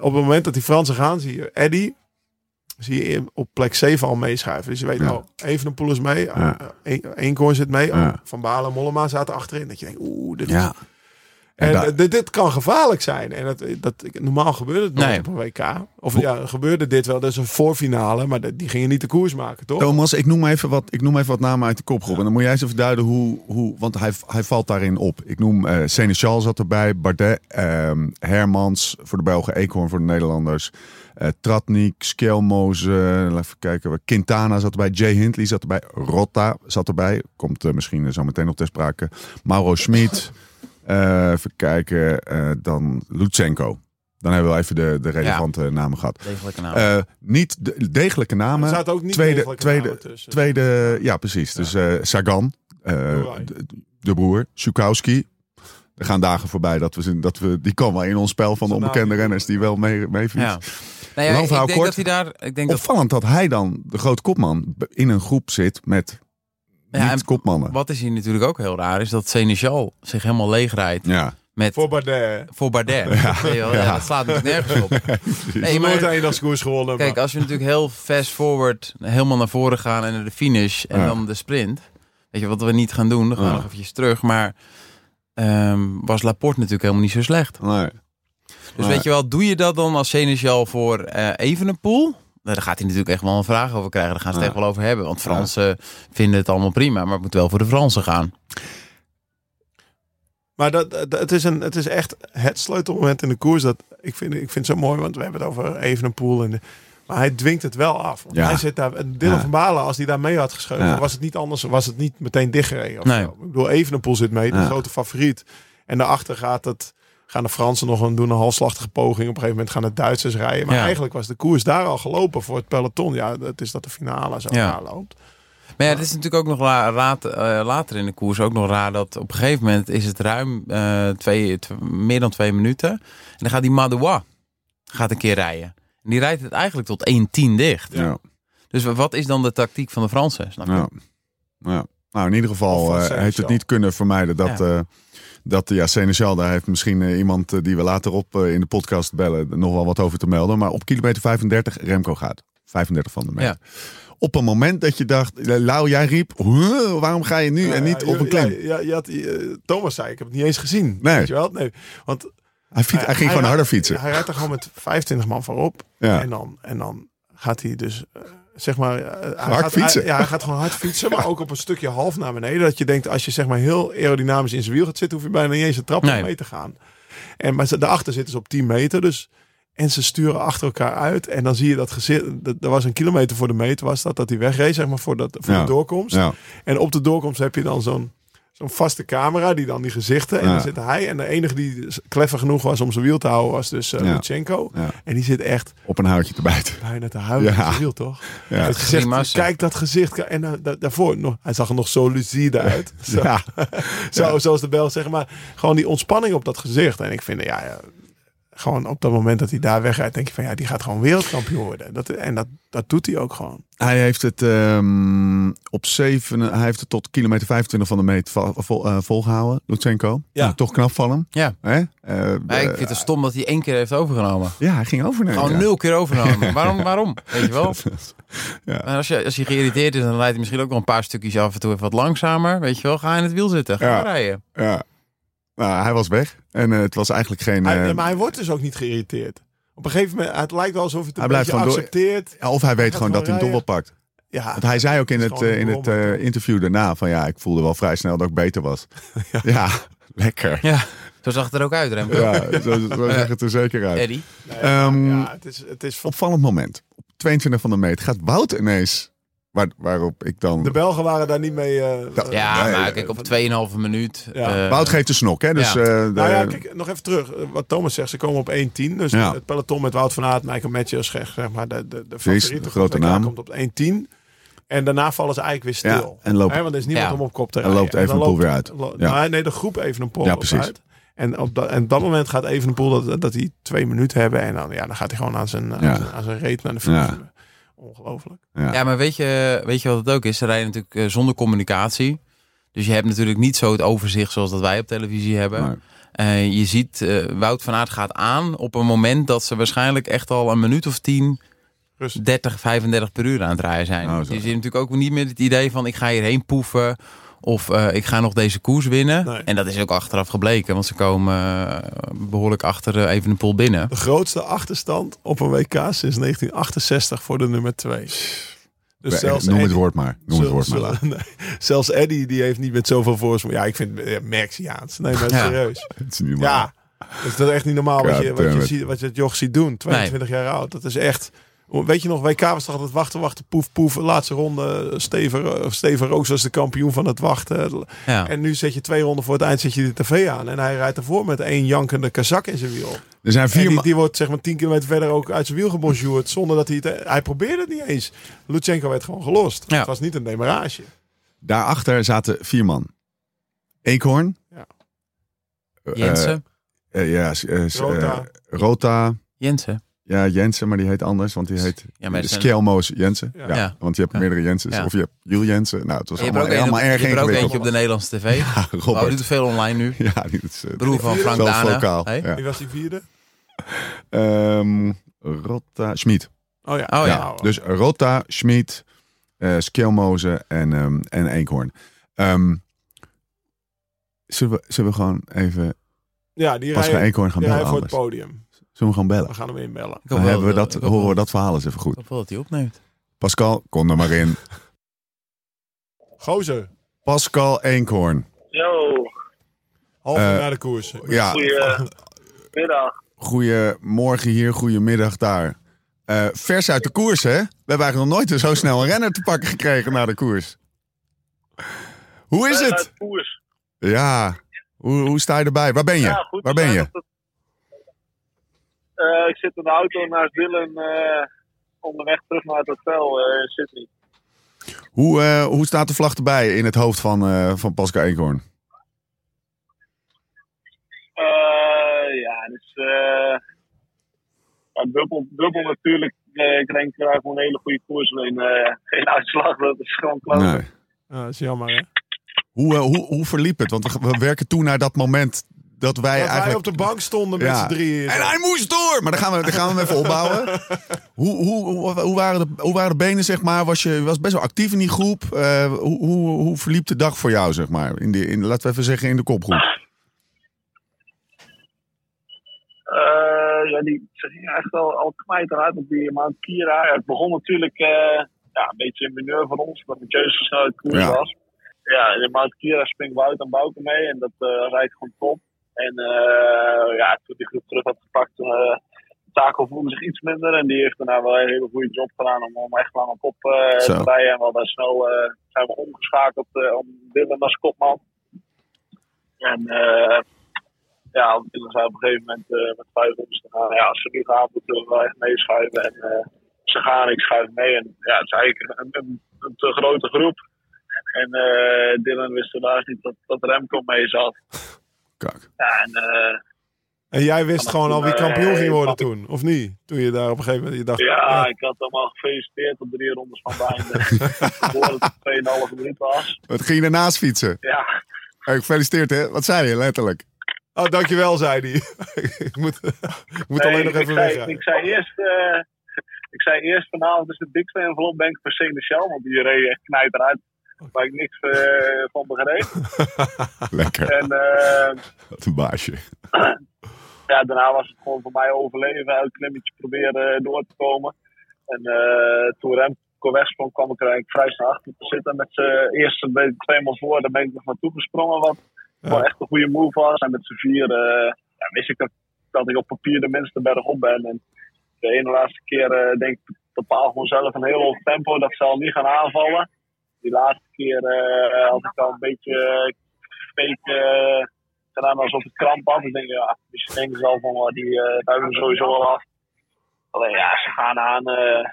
Speaker 4: op het moment dat die Fransen gaan, zie je Eddy... Zie je op plek 7 al meeschuiven. Dus je weet,
Speaker 1: Ja.
Speaker 4: nou, even een poel is mee.
Speaker 1: Ja.
Speaker 4: Eén zit mee. Oh,
Speaker 1: Ja.
Speaker 4: Van Balen en Mollema zaten achterin. Dat je denkt, oeh, dit is
Speaker 1: Ja. En
Speaker 4: en
Speaker 1: daar-
Speaker 4: eh, dit, dit kan gevaarlijk zijn. En dat, dat, normaal gebeurde het nooit
Speaker 6: Nee.
Speaker 4: op een WK. Of ja, gebeurde dit wel. Dat is een voorfinale, maar dat- die gingen niet de koers maken, toch?
Speaker 1: Thomas, ik noem even wat, ik noem even wat namen uit de kopgroep. En dan moet jij eens even duiden hoe... hoe want hij, hij valt daarin op. Ik noem eh Seneschal zat erbij. Bardet, ehm, Hermans voor de Belgen. Eekhoorn voor de Nederlanders. eh Tratnik, Skelmoze. even kijken. waar- Quintana zat erbij. Jay Hindley zat erbij. Rotta zat erbij. Komt eh, misschien eh, zo meteen nog ter sprake. Mauro Schmid. Eh, even kijken. eh, dan Lutsenko. Dan hebben we even de, de relevante namen gehad.
Speaker 6: Degelijke naam.
Speaker 1: Eh, niet de- degelijke namen.
Speaker 4: Er zaten ook niet
Speaker 1: tweede,
Speaker 4: degelijke
Speaker 1: tweede,
Speaker 4: namen tussen.
Speaker 1: tweede, Dus- ja precies. Dus eh, Sagan, eh,
Speaker 4: Durai.
Speaker 1: de, de broer, Schukowski. Er gaan dagen voorbij dat we, zien- dat we die kan wel in ons spel van de
Speaker 4: Zijn naam
Speaker 1: onbekende
Speaker 4: niet.
Speaker 1: renners die wel mee, mee
Speaker 6: ja.
Speaker 1: fietst.
Speaker 6: Nou ja,
Speaker 1: lang
Speaker 6: ik
Speaker 1: verhaal
Speaker 6: denk
Speaker 1: kort.
Speaker 6: dat hij daar. Ik denk dat,
Speaker 1: Opvallend dat hij dan, de grote kopman, b- in een groep zit met
Speaker 6: ja, en
Speaker 1: niet-kopmannen.
Speaker 6: wat is hier natuurlijk ook heel raar is dat Seneschal zich helemaal leegrijdt
Speaker 1: Ja,
Speaker 6: met
Speaker 4: Voor Bardet.
Speaker 6: voor Bardet. Weet je wel, Ja,
Speaker 1: ja.
Speaker 6: dat slaat natuurlijk nergens op. Nee,
Speaker 4: nooit
Speaker 6: maar,
Speaker 4: een dagskoers gewonnen.
Speaker 6: kijk,
Speaker 4: maar-
Speaker 6: als we natuurlijk heel fast forward helemaal naar voren gaan en naar de finish en
Speaker 1: Ja.
Speaker 6: dan de sprint. Weet je wat we niet gaan doen? Dan gaan we
Speaker 1: Ja.
Speaker 6: nog eventjes terug. Maar ehm, was Laporte natuurlijk helemaal niet zo slecht.
Speaker 1: nee.
Speaker 6: Dus
Speaker 1: Ja.
Speaker 6: weet je wel, doe je dat dan als Seneschal voor eh Evenepoel? Nou, Daar gaat hij natuurlijk echt wel een vraag over krijgen. Daar gaan ze het
Speaker 1: Ja.
Speaker 6: echt wel over hebben. Want Fransen vinden het allemaal prima, maar het moet wel voor de Fransen gaan.
Speaker 4: Maar dat, dat- het, is een, het is echt het sleutelmoment in de koers. Dat, ik, vind, ik vind het zo mooi, want we hebben het over Evenepoel. En de, maar hij dwingt het wel af. Want
Speaker 1: Ja.
Speaker 4: hij zit daar, Dylan
Speaker 1: Ja.
Speaker 4: van Balen, als hij daar mee had geschreven,
Speaker 1: Ja.
Speaker 4: was het niet anders. Was het niet meteen dichtgereden. of
Speaker 6: Nee.
Speaker 4: zo. Ik bedoel, Evenepoel zit mee, de
Speaker 1: Ja.
Speaker 4: grote favoriet. En daarachter gaat het, gaan de Fransen nog een, doen een halfslachtige poging. Op een gegeven moment gaan de Duitsers rijden. Maar
Speaker 6: Ja.
Speaker 4: eigenlijk was de koers daar al gelopen voor het peloton. Ja, het is dat de finale zo
Speaker 6: Ja.
Speaker 4: ja. loopt.
Speaker 6: Maar ja, het is natuurlijk ook nog la- raad- eh, later in de koers ook nog raar dat op een gegeven moment is het ruim eh, twee, tw- meer dan twee minuten. En dan gaat die Madoua gaat een keer rijden. En die rijdt het eigenlijk tot 1-10 dicht.
Speaker 1: Ja.
Speaker 6: Dus wa- wat is dan de tactiek van de Fransen? Snap je?
Speaker 1: Ja. Ja. Nou, in ieder
Speaker 4: Of
Speaker 1: geval
Speaker 4: van
Speaker 1: eh,
Speaker 4: Seneschal.
Speaker 1: heeft het niet kunnen vermijden dat. eh dat ja, Seneschal, daar heeft misschien eh, iemand eh, die we later op eh, in de podcast bellen nog wel wat over te melden. Maar op kilometer 35, Remco gaat. 35 van de meter. Op een moment dat je dacht, eh, Lau, jij riep, "Huh, waarom ga je nu? en
Speaker 4: Ja,
Speaker 1: niet
Speaker 4: ja,
Speaker 1: op een klem.
Speaker 4: Ja, ja, je had, eh, Thomas zei, ik heb het niet eens gezien.
Speaker 1: Nee.
Speaker 4: Weet je wel? Nee. Want
Speaker 1: hij, fiet, hij ging gewoon
Speaker 4: rijdt-
Speaker 1: harder fietsen.
Speaker 4: Hij rijdt er gewoon met 25 man voorop.
Speaker 1: Ja.
Speaker 4: En, dan, en dan gaat hij dus, eh, zeg maar... eh, hij
Speaker 1: Hard
Speaker 4: gaat,
Speaker 1: fietsen.
Speaker 4: hij- ja, hij gaat gewoon hard fietsen, maar ook op een stukje half naar beneden. Dat je denkt, als je zeg maar heel aerodynamisch in zijn wiel gaat zitten, hoef je bijna niet eens een trap op
Speaker 6: Nee.
Speaker 4: mee te gaan. En, maar ze, daarachter zitten ze op 10 meter, dus... En ze sturen achter elkaar uit. En dan zie je dat gezicht. dat- Er was een kilometer voor de meter, was dat dat hij wegreed, zeg maar, voor, dat, voor
Speaker 1: Ja.
Speaker 4: de doorkomst.
Speaker 1: Ja.
Speaker 4: En op de doorkomst heb je dan zo'n zo'n vaste camera die dan die gezichten. En
Speaker 1: Ja.
Speaker 4: dan zit hij. En de enige die s- clever genoeg was om zijn wiel te houden was dus eh
Speaker 1: Ja.
Speaker 4: Lutsenko.
Speaker 1: Ja.
Speaker 4: En die zit echt
Speaker 1: Op een houtje te bijten.
Speaker 4: bijna te huilen
Speaker 1: Ja.
Speaker 4: op zijn wiel, toch?
Speaker 1: Ja.
Speaker 4: Het gezicht,
Speaker 6: Grimassen.
Speaker 4: kijk dat gezicht. Kijk- En dan da- daarvoor, nog, hij zag er nog zo lucide uit.
Speaker 1: *laughs*
Speaker 4: Zo,
Speaker 1: Ja.
Speaker 4: zo, zoals de bel zeg maar. Gewoon die ontspanning op dat gezicht. En ik vind, ja, ja, gewoon op dat moment dat hij daar wegrijdt, denk je van, ja, die gaat gewoon wereldkampioen worden. Dat, en dat, dat doet hij ook gewoon.
Speaker 1: Hij heeft het ehm, op 7, hij heeft het tot kilometer 25 van de meet va- vol, eh, volgehouden, Lutsenko.
Speaker 4: Ja.
Speaker 1: Toch knap van hem.
Speaker 6: Ja.
Speaker 1: Hè? Eh,
Speaker 6: Maar ik vind het stom dat hij één keer heeft overgenomen.
Speaker 1: Ja, hij ging overnemen.
Speaker 6: Gewoon
Speaker 1: ja.
Speaker 6: nul keer overgenomen. waarom? Waarom? Weet je wel?
Speaker 1: *laughs* Ja.
Speaker 6: En als, je, als je geïrriteerd is, dan rijdt hij misschien ook wel een paar stukjes af en toe even wat langzamer. Weet je wel, ga in het wiel zitten. Ga
Speaker 1: Ja.
Speaker 6: rijden.
Speaker 1: *laughs* Ja. Nou, hij was weg. En eh, het was eigenlijk geen...
Speaker 4: Hij-
Speaker 1: eh,
Speaker 4: maar hij wordt dus ook niet geïrriteerd. Op een gegeven moment, het lijkt wel alsof het een
Speaker 1: Hij blijft
Speaker 4: beetje
Speaker 1: gewoon door-
Speaker 4: accepteert.
Speaker 1: ja, of hij weet
Speaker 4: gaat
Speaker 1: gewoon dat hij hem
Speaker 4: gewoon
Speaker 1: toch wel pakt.
Speaker 4: Ja,
Speaker 1: Want hij zei ook in
Speaker 4: is
Speaker 1: het,
Speaker 4: gewoon
Speaker 1: eh, in
Speaker 4: een
Speaker 1: het eh, interview daarna van ja, ik voelde wel vrij snel dat ik beter
Speaker 4: *laughs*
Speaker 1: was. Ja, lekker.
Speaker 6: Ja, zo zag het er ook uit, Remco.
Speaker 4: *laughs*
Speaker 1: Ja, zo, zo
Speaker 6: Eh.
Speaker 1: zag het er zeker uit.
Speaker 6: Eddie.
Speaker 1: Ehm,
Speaker 4: ja, het is, het is van...
Speaker 1: Opvallend moment. Op 22 van de meet gaat Wout ineens, waar, waarop ik dan...
Speaker 4: De Belgen waren daar niet mee... eh,
Speaker 1: Dat-
Speaker 6: Ja,
Speaker 1: Nee,
Speaker 6: maar
Speaker 1: eh,
Speaker 6: kijk, op 2,5 minuut.
Speaker 4: Ja.
Speaker 6: eh,
Speaker 1: Wout geeft de snok, hè? Dus,
Speaker 6: Ja.
Speaker 1: eh, de-
Speaker 4: Nou ja, kijk, nog even terug. Eh, Wat Thomas zegt, ze komen op 1-10. Dus
Speaker 1: Ja.
Speaker 4: het peloton met Wout van Aert, Michael Matthews, zeg zeg maar, de, de, de
Speaker 1: Precies,
Speaker 4: favoriete
Speaker 1: de grote
Speaker 4: van het WK
Speaker 1: naam.
Speaker 4: komt op 1-10. En daarna vallen ze eigenlijk weer
Speaker 1: Ja,
Speaker 4: stil.
Speaker 1: en lopen-
Speaker 4: Hè, want er is niemand
Speaker 6: Ja.
Speaker 4: om op kop te
Speaker 1: En
Speaker 4: rijden.
Speaker 1: loopt
Speaker 4: dan
Speaker 1: Evenepoel
Speaker 4: loopt-
Speaker 1: weer uit.
Speaker 4: lo-
Speaker 1: Ja.
Speaker 4: nou, nee, de groep even een
Speaker 1: Ja,
Speaker 4: pol
Speaker 1: precies.
Speaker 4: uit. En op dat, en op dat moment gaat Evenepoel dat, dat hij twee minuten hebben. En dan, ja, dan gaat hij gewoon aan zijn,
Speaker 1: Ja.
Speaker 4: aan zijn, aan zijn reet naar de finish.
Speaker 1: Ja.
Speaker 4: Ongelooflijk.
Speaker 1: Ja.
Speaker 6: Ja, maar weet je, weet je wat het ook is? Ze rijden natuurlijk eh, zonder communicatie. Dus je hebt natuurlijk niet zo het overzicht zoals dat wij op televisie hebben.
Speaker 1: Nee.
Speaker 6: Eh, je ziet, eh, Wout van Aert gaat aan op een moment dat ze waarschijnlijk echt al een minuut of 10,
Speaker 4: Rust.
Speaker 6: 30, 35 per uur aan het rijden zijn.
Speaker 1: Oh, zo.
Speaker 6: dus je hebt natuurlijk ook niet meer het idee van ik ga hierheen poeven of eh, ik ga nog deze koers winnen.
Speaker 4: Nee.
Speaker 6: En dat is ook achteraf gebleken, want ze komen eh, behoorlijk achter eh, even een pool binnen.
Speaker 4: De grootste achterstand op een WK sinds 1968 voor de nummer 2. Dus zelfs
Speaker 1: Noem het
Speaker 4: Eddie-
Speaker 1: woord maar. Noem het woord maar.
Speaker 4: zelfs- nee, *laughs* zelfs Eddie die heeft niet met zoveel voorsprong. Ja, ik vind eh, Merxiaans. Nee, maar
Speaker 6: Ja.
Speaker 4: serieus.
Speaker 1: Het is niet normaal.
Speaker 4: Ja, dat is toch echt niet normaal wat je, wat je,
Speaker 1: Goddammit.
Speaker 4: ziet, wat je het joch ziet doen. 22 jaar oud, dat is echt... Weet je nog, WK was toch altijd wachten, wachten, poef, poef. Laatste ronde, eh, Steven, eh, Steven Roos was de kampioen van het wachten.
Speaker 6: Ja.
Speaker 4: En nu zet je twee ronden voor het eind, zet je de tv aan. En hij rijdt ervoor met één jankende kazak in zijn wiel.
Speaker 1: Er zijn
Speaker 4: En
Speaker 1: vier
Speaker 4: die,
Speaker 1: ma-
Speaker 4: die wordt zeg maar 10 kilometer verder ook uit zijn wiel gebonjourd. Zonder dat hij het... Hij probeerde het niet eens. Lutsenko werd gewoon gelost.
Speaker 6: Ja.
Speaker 4: Het was niet een demarage.
Speaker 1: Daarachter zaten vier man. Eekhoorn.
Speaker 4: Ja.
Speaker 1: Eh,
Speaker 6: Jensen.
Speaker 1: eh, ja, s- eh, s- eh,
Speaker 4: Rota.
Speaker 1: Rota.
Speaker 6: Jensen.
Speaker 1: Ja, Jensen, maar die heet anders, want die heet
Speaker 6: Ja, maar er zijn-
Speaker 1: Skelmoos Jensen. Ja.
Speaker 4: Ja.
Speaker 6: Ja.
Speaker 1: Want je hebt
Speaker 6: Ja.
Speaker 1: meerdere Jensens.
Speaker 6: Ja.
Speaker 1: Of je hebt Jules Jensen. Nou, het was
Speaker 6: Je hebt er
Speaker 1: allemaal,
Speaker 6: ook een
Speaker 1: helemaal
Speaker 6: op- je
Speaker 1: erg
Speaker 6: hebt er ook eentje
Speaker 1: ingewikkeld.
Speaker 6: op de Nederlandse
Speaker 1: *laughs*
Speaker 6: tv.
Speaker 1: Ja,
Speaker 6: Oh, die
Speaker 1: Robert.
Speaker 6: doet veel online nu.
Speaker 1: *laughs* Ja, die is... eh,
Speaker 6: Broer van Frank
Speaker 1: zelfs
Speaker 6: Dane.
Speaker 1: lokaal.
Speaker 6: Hey?
Speaker 1: Ja.
Speaker 4: Wie was die vierde?
Speaker 1: Ehm, Rotta, Schmid.
Speaker 4: Oh ja.
Speaker 6: Oh ja.
Speaker 1: Ja, dus Rotta, Schmid, eh Skelmozen en, ehm en Eekhoorn. Ehm, zullen, we, zullen we gewoon even...
Speaker 4: ja, die
Speaker 1: Als we
Speaker 4: rijden,
Speaker 1: Eekhoorn gaan
Speaker 4: die
Speaker 1: bellen
Speaker 4: rijden voor
Speaker 1: anders?
Speaker 4: het
Speaker 1: Zullen
Speaker 4: podium.
Speaker 1: we hem gewoon bellen?
Speaker 4: We gaan hem inbellen.
Speaker 6: Ik hoop
Speaker 1: Dan
Speaker 6: wel
Speaker 1: hebben we dat,
Speaker 6: ik hoop
Speaker 1: horen we
Speaker 6: wel-
Speaker 1: dat verhaal eens even
Speaker 6: Ik
Speaker 1: goed.
Speaker 6: hoop wel dat hij opneemt.
Speaker 1: Pascal, kom er maar in.
Speaker 4: Gozer,
Speaker 1: Pascal Eekhoorn.
Speaker 7: Yo,
Speaker 4: half uur
Speaker 1: Eh,
Speaker 4: na de koers.
Speaker 1: Ja,
Speaker 7: goedemiddag.
Speaker 1: goedemorgen hier, goedemiddag daar. Eh, vers uit de koers, hè? We hebben eigenlijk nog nooit zo snel een renner te pakken gekregen na de koers. Hoe is het?
Speaker 7: Uit Koers.
Speaker 1: Ja, hoe, hoe sta je erbij? Waar ben je?
Speaker 7: Ja, goed.
Speaker 1: Waar ben je?
Speaker 7: Eh, ik zit in de auto naast Dylan eh, onderweg terug naar het hotel eh, in Sydney.
Speaker 1: Hoe, eh, hoe staat de vlag erbij in het hoofd van, eh, van Pascal Eekhoorn?
Speaker 7: Eh, ja, dus eh ja, dubbel, dubbel natuurlijk. Eh, ik denk dat we een hele goede koers alleen eh, geen uitslag. Dat is gewoon klaar.
Speaker 1: Nee.
Speaker 4: Ja, dat is jammer hè.
Speaker 1: Hoe, eh, hoe, hoe verliep het? Want we, we werken toe naar dat moment dat wij
Speaker 4: Dat wij
Speaker 1: eigenlijk...
Speaker 4: op de bank stonden met z'n drieën.
Speaker 1: En hij moest door! Maar dan gaan we, dan gaan we hem even
Speaker 4: *laughs*
Speaker 1: opbouwen. Hoe, hoe, hoe, hoe waren de, hoe waren de benen, zeg maar? Was je je was best wel actief in die groep. Eh, hoe, hoe, hoe verliep de dag voor jou, zeg maar? In de, in, laten we even zeggen, in de kopgroep.
Speaker 7: Eh, ja, die, ze gingen echt al, al kwijt eruit op die Mount Kira. Ja, het begon natuurlijk eh, ja, een beetje in mineur van ons, omdat Mathieu zo snel uit koers
Speaker 1: Ja.
Speaker 7: was. Ja, in de Mount Kira springt Wout en Bouke mee en dat eh, rijdt gewoon top. En eh, ja, toen die groep terug had gepakt, eh Taco voelde zich iets minder. En die heeft daarna wel een hele goede job gedaan om, om echt lang op kop eh,
Speaker 1: Zo.
Speaker 7: te rijden. En we hadden snel eh, zijn we omgeschakeld eh, om Dylan als kopman. En eh, ja, want we zijn op een gegeven moment eh, met vijf rondes te gaan. Ja, als ze nu gaan, moeten we wel echt meeschuiven. En eh, ze gaan, ik schuif mee. En ja, het is eigenlijk een, een, een te grote groep. En eh, Dylan wist helaas niet dat, dat Remco mee zat.
Speaker 1: Kijk.
Speaker 7: Ja, en eh,
Speaker 4: En jij wist gewoon al wie kampioen ging worden toen, of niet? Toen je daar op een gegeven moment je dacht,
Speaker 7: ja, ik had hem al gefeliciteerd op drie rondes van het
Speaker 4: *laughs*
Speaker 7: einde. Voordat het 2,5 minuut was.
Speaker 1: Wat ging je daarnaast fietsen?
Speaker 7: Ja,
Speaker 1: Eh, Gefeliciteerd, hè? Wat zei je, *laughs* letterlijk?
Speaker 4: oh dankjewel, zei hij. *laughs* ik moet, ik moet alleen
Speaker 7: Nee,
Speaker 4: nog
Speaker 7: ik
Speaker 4: even
Speaker 7: zei-
Speaker 4: weg.
Speaker 7: Ik zei eerst, eh, ik zei eerst vanavond is de dikste envelop denk ik voor Sene Shell, want die reed echt knijt eruit. Waar ik niks eh, van begreep.
Speaker 1: Lekker,
Speaker 7: En eh,
Speaker 1: wat een baasje.
Speaker 7: ja, daarna was het gewoon voor mij overleven, uit klimmetje proberen eh, door te komen. En eh, toen Remco wegsprong, kwam ik er eigenlijk vrij snel achter te zitten. Met z'n eerste ben ik tweemaal voor, daar ben ik nog naartoe gesprongen, wat wel echt een goede move was. En met z'n vier eh, ja, wist ik dat, dat ik op papier de minste berg op ben. En de ene laatste keer eh, denk ik bepaal gewoon zelf een heel hoog tempo, dat ze al niet gaan aanvallen. Die laatste keer eh, had ik al een beetje eh, fake eh, gedaan alsof het kramp had. Ik denk, ja, misschien denken ze al van, oh, die eh duiken we sowieso wel af. Alleen ja, ze gaan aan eh,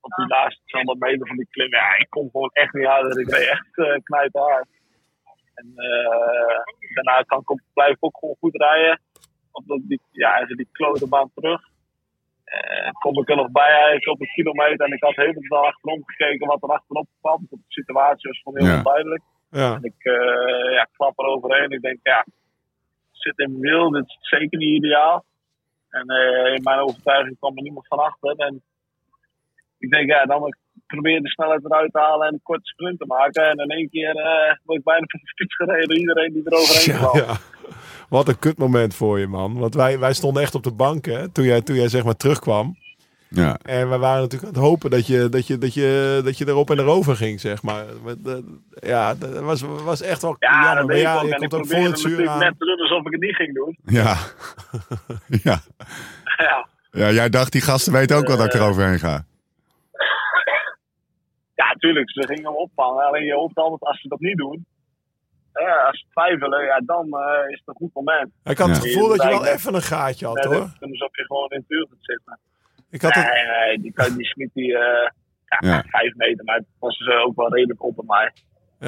Speaker 7: op die laatste 200 meter van die klim. Ja, ik kom gewoon echt niet harder. Ik reed echt eh knijpen hard. En eh, daarna kan ik, ook- blijf ik ook gewoon goed rijden. Omdat die, ja, eigenlijk die klote baan terug. Eh, kom ik er nog bij eigenlijk op een kilometer. En ik had heel snel achterom gekeken wat er achterop kwam. Want de situatie was gewoon heel
Speaker 1: Ja.
Speaker 7: duidelijk.
Speaker 4: Ja.
Speaker 7: En ik eh, ja, klap er overheen. Ik denk, ja, ik zit in wil. Dit is zeker niet ideaal. En eh, in mijn overtuiging kwam er niemand van achter. En ik denk, ja, dan moet ik proberen de snelheid eruit te halen en een korte sprint te maken. En in één keer eh word ik bijna van de fiets gereden. door Iedereen die er overheen
Speaker 4: Ja,
Speaker 7: kwam.
Speaker 4: ja. Wat een kutmoment voor je, man. Want wij, wij stonden echt op de bank, hè, toen jij, toen jij zeg maar terugkwam.
Speaker 1: Ja.
Speaker 4: En we waren natuurlijk aan het hopen dat je, dat je, dat je, dat je erop en erover ging, zeg maar. Maar dat- Ja, dat was, was echt wel
Speaker 7: Ja,
Speaker 4: jammer.
Speaker 7: dat
Speaker 4: Maar
Speaker 7: weet
Speaker 4: ja,
Speaker 7: ik ook.
Speaker 4: je
Speaker 7: En ik
Speaker 4: komt ook voor
Speaker 7: probeerde
Speaker 4: het zuur
Speaker 7: natuurlijk
Speaker 4: aan.
Speaker 7: net te doen alsof ik het niet ging doen. *laughs*
Speaker 1: *laughs* Ja. ja.
Speaker 7: Ja,
Speaker 1: Ja, jij dacht, die gasten weten ook wel dat ik er overheen ga.
Speaker 7: ja tuurlijk. Ze gingen hem opvangen. Alleen je hoopt altijd als ze dat niet doen. Ja, als ze twijfelen, ja, dan eh, is het een goed moment.
Speaker 4: Ik had het
Speaker 7: Ja.
Speaker 4: gevoel dat je wel
Speaker 7: Blijkbaar.
Speaker 4: even een gaatje had,
Speaker 7: Nee,
Speaker 4: hoor.
Speaker 7: dat- Dan alsof je gewoon in het uur gaat zitten.
Speaker 4: Ik had het...
Speaker 7: Nee, nee, die, kan- die smiet die eh, ja,
Speaker 1: Ja.
Speaker 7: vijf meter, maar het was dus ook wel redelijk op bij mij.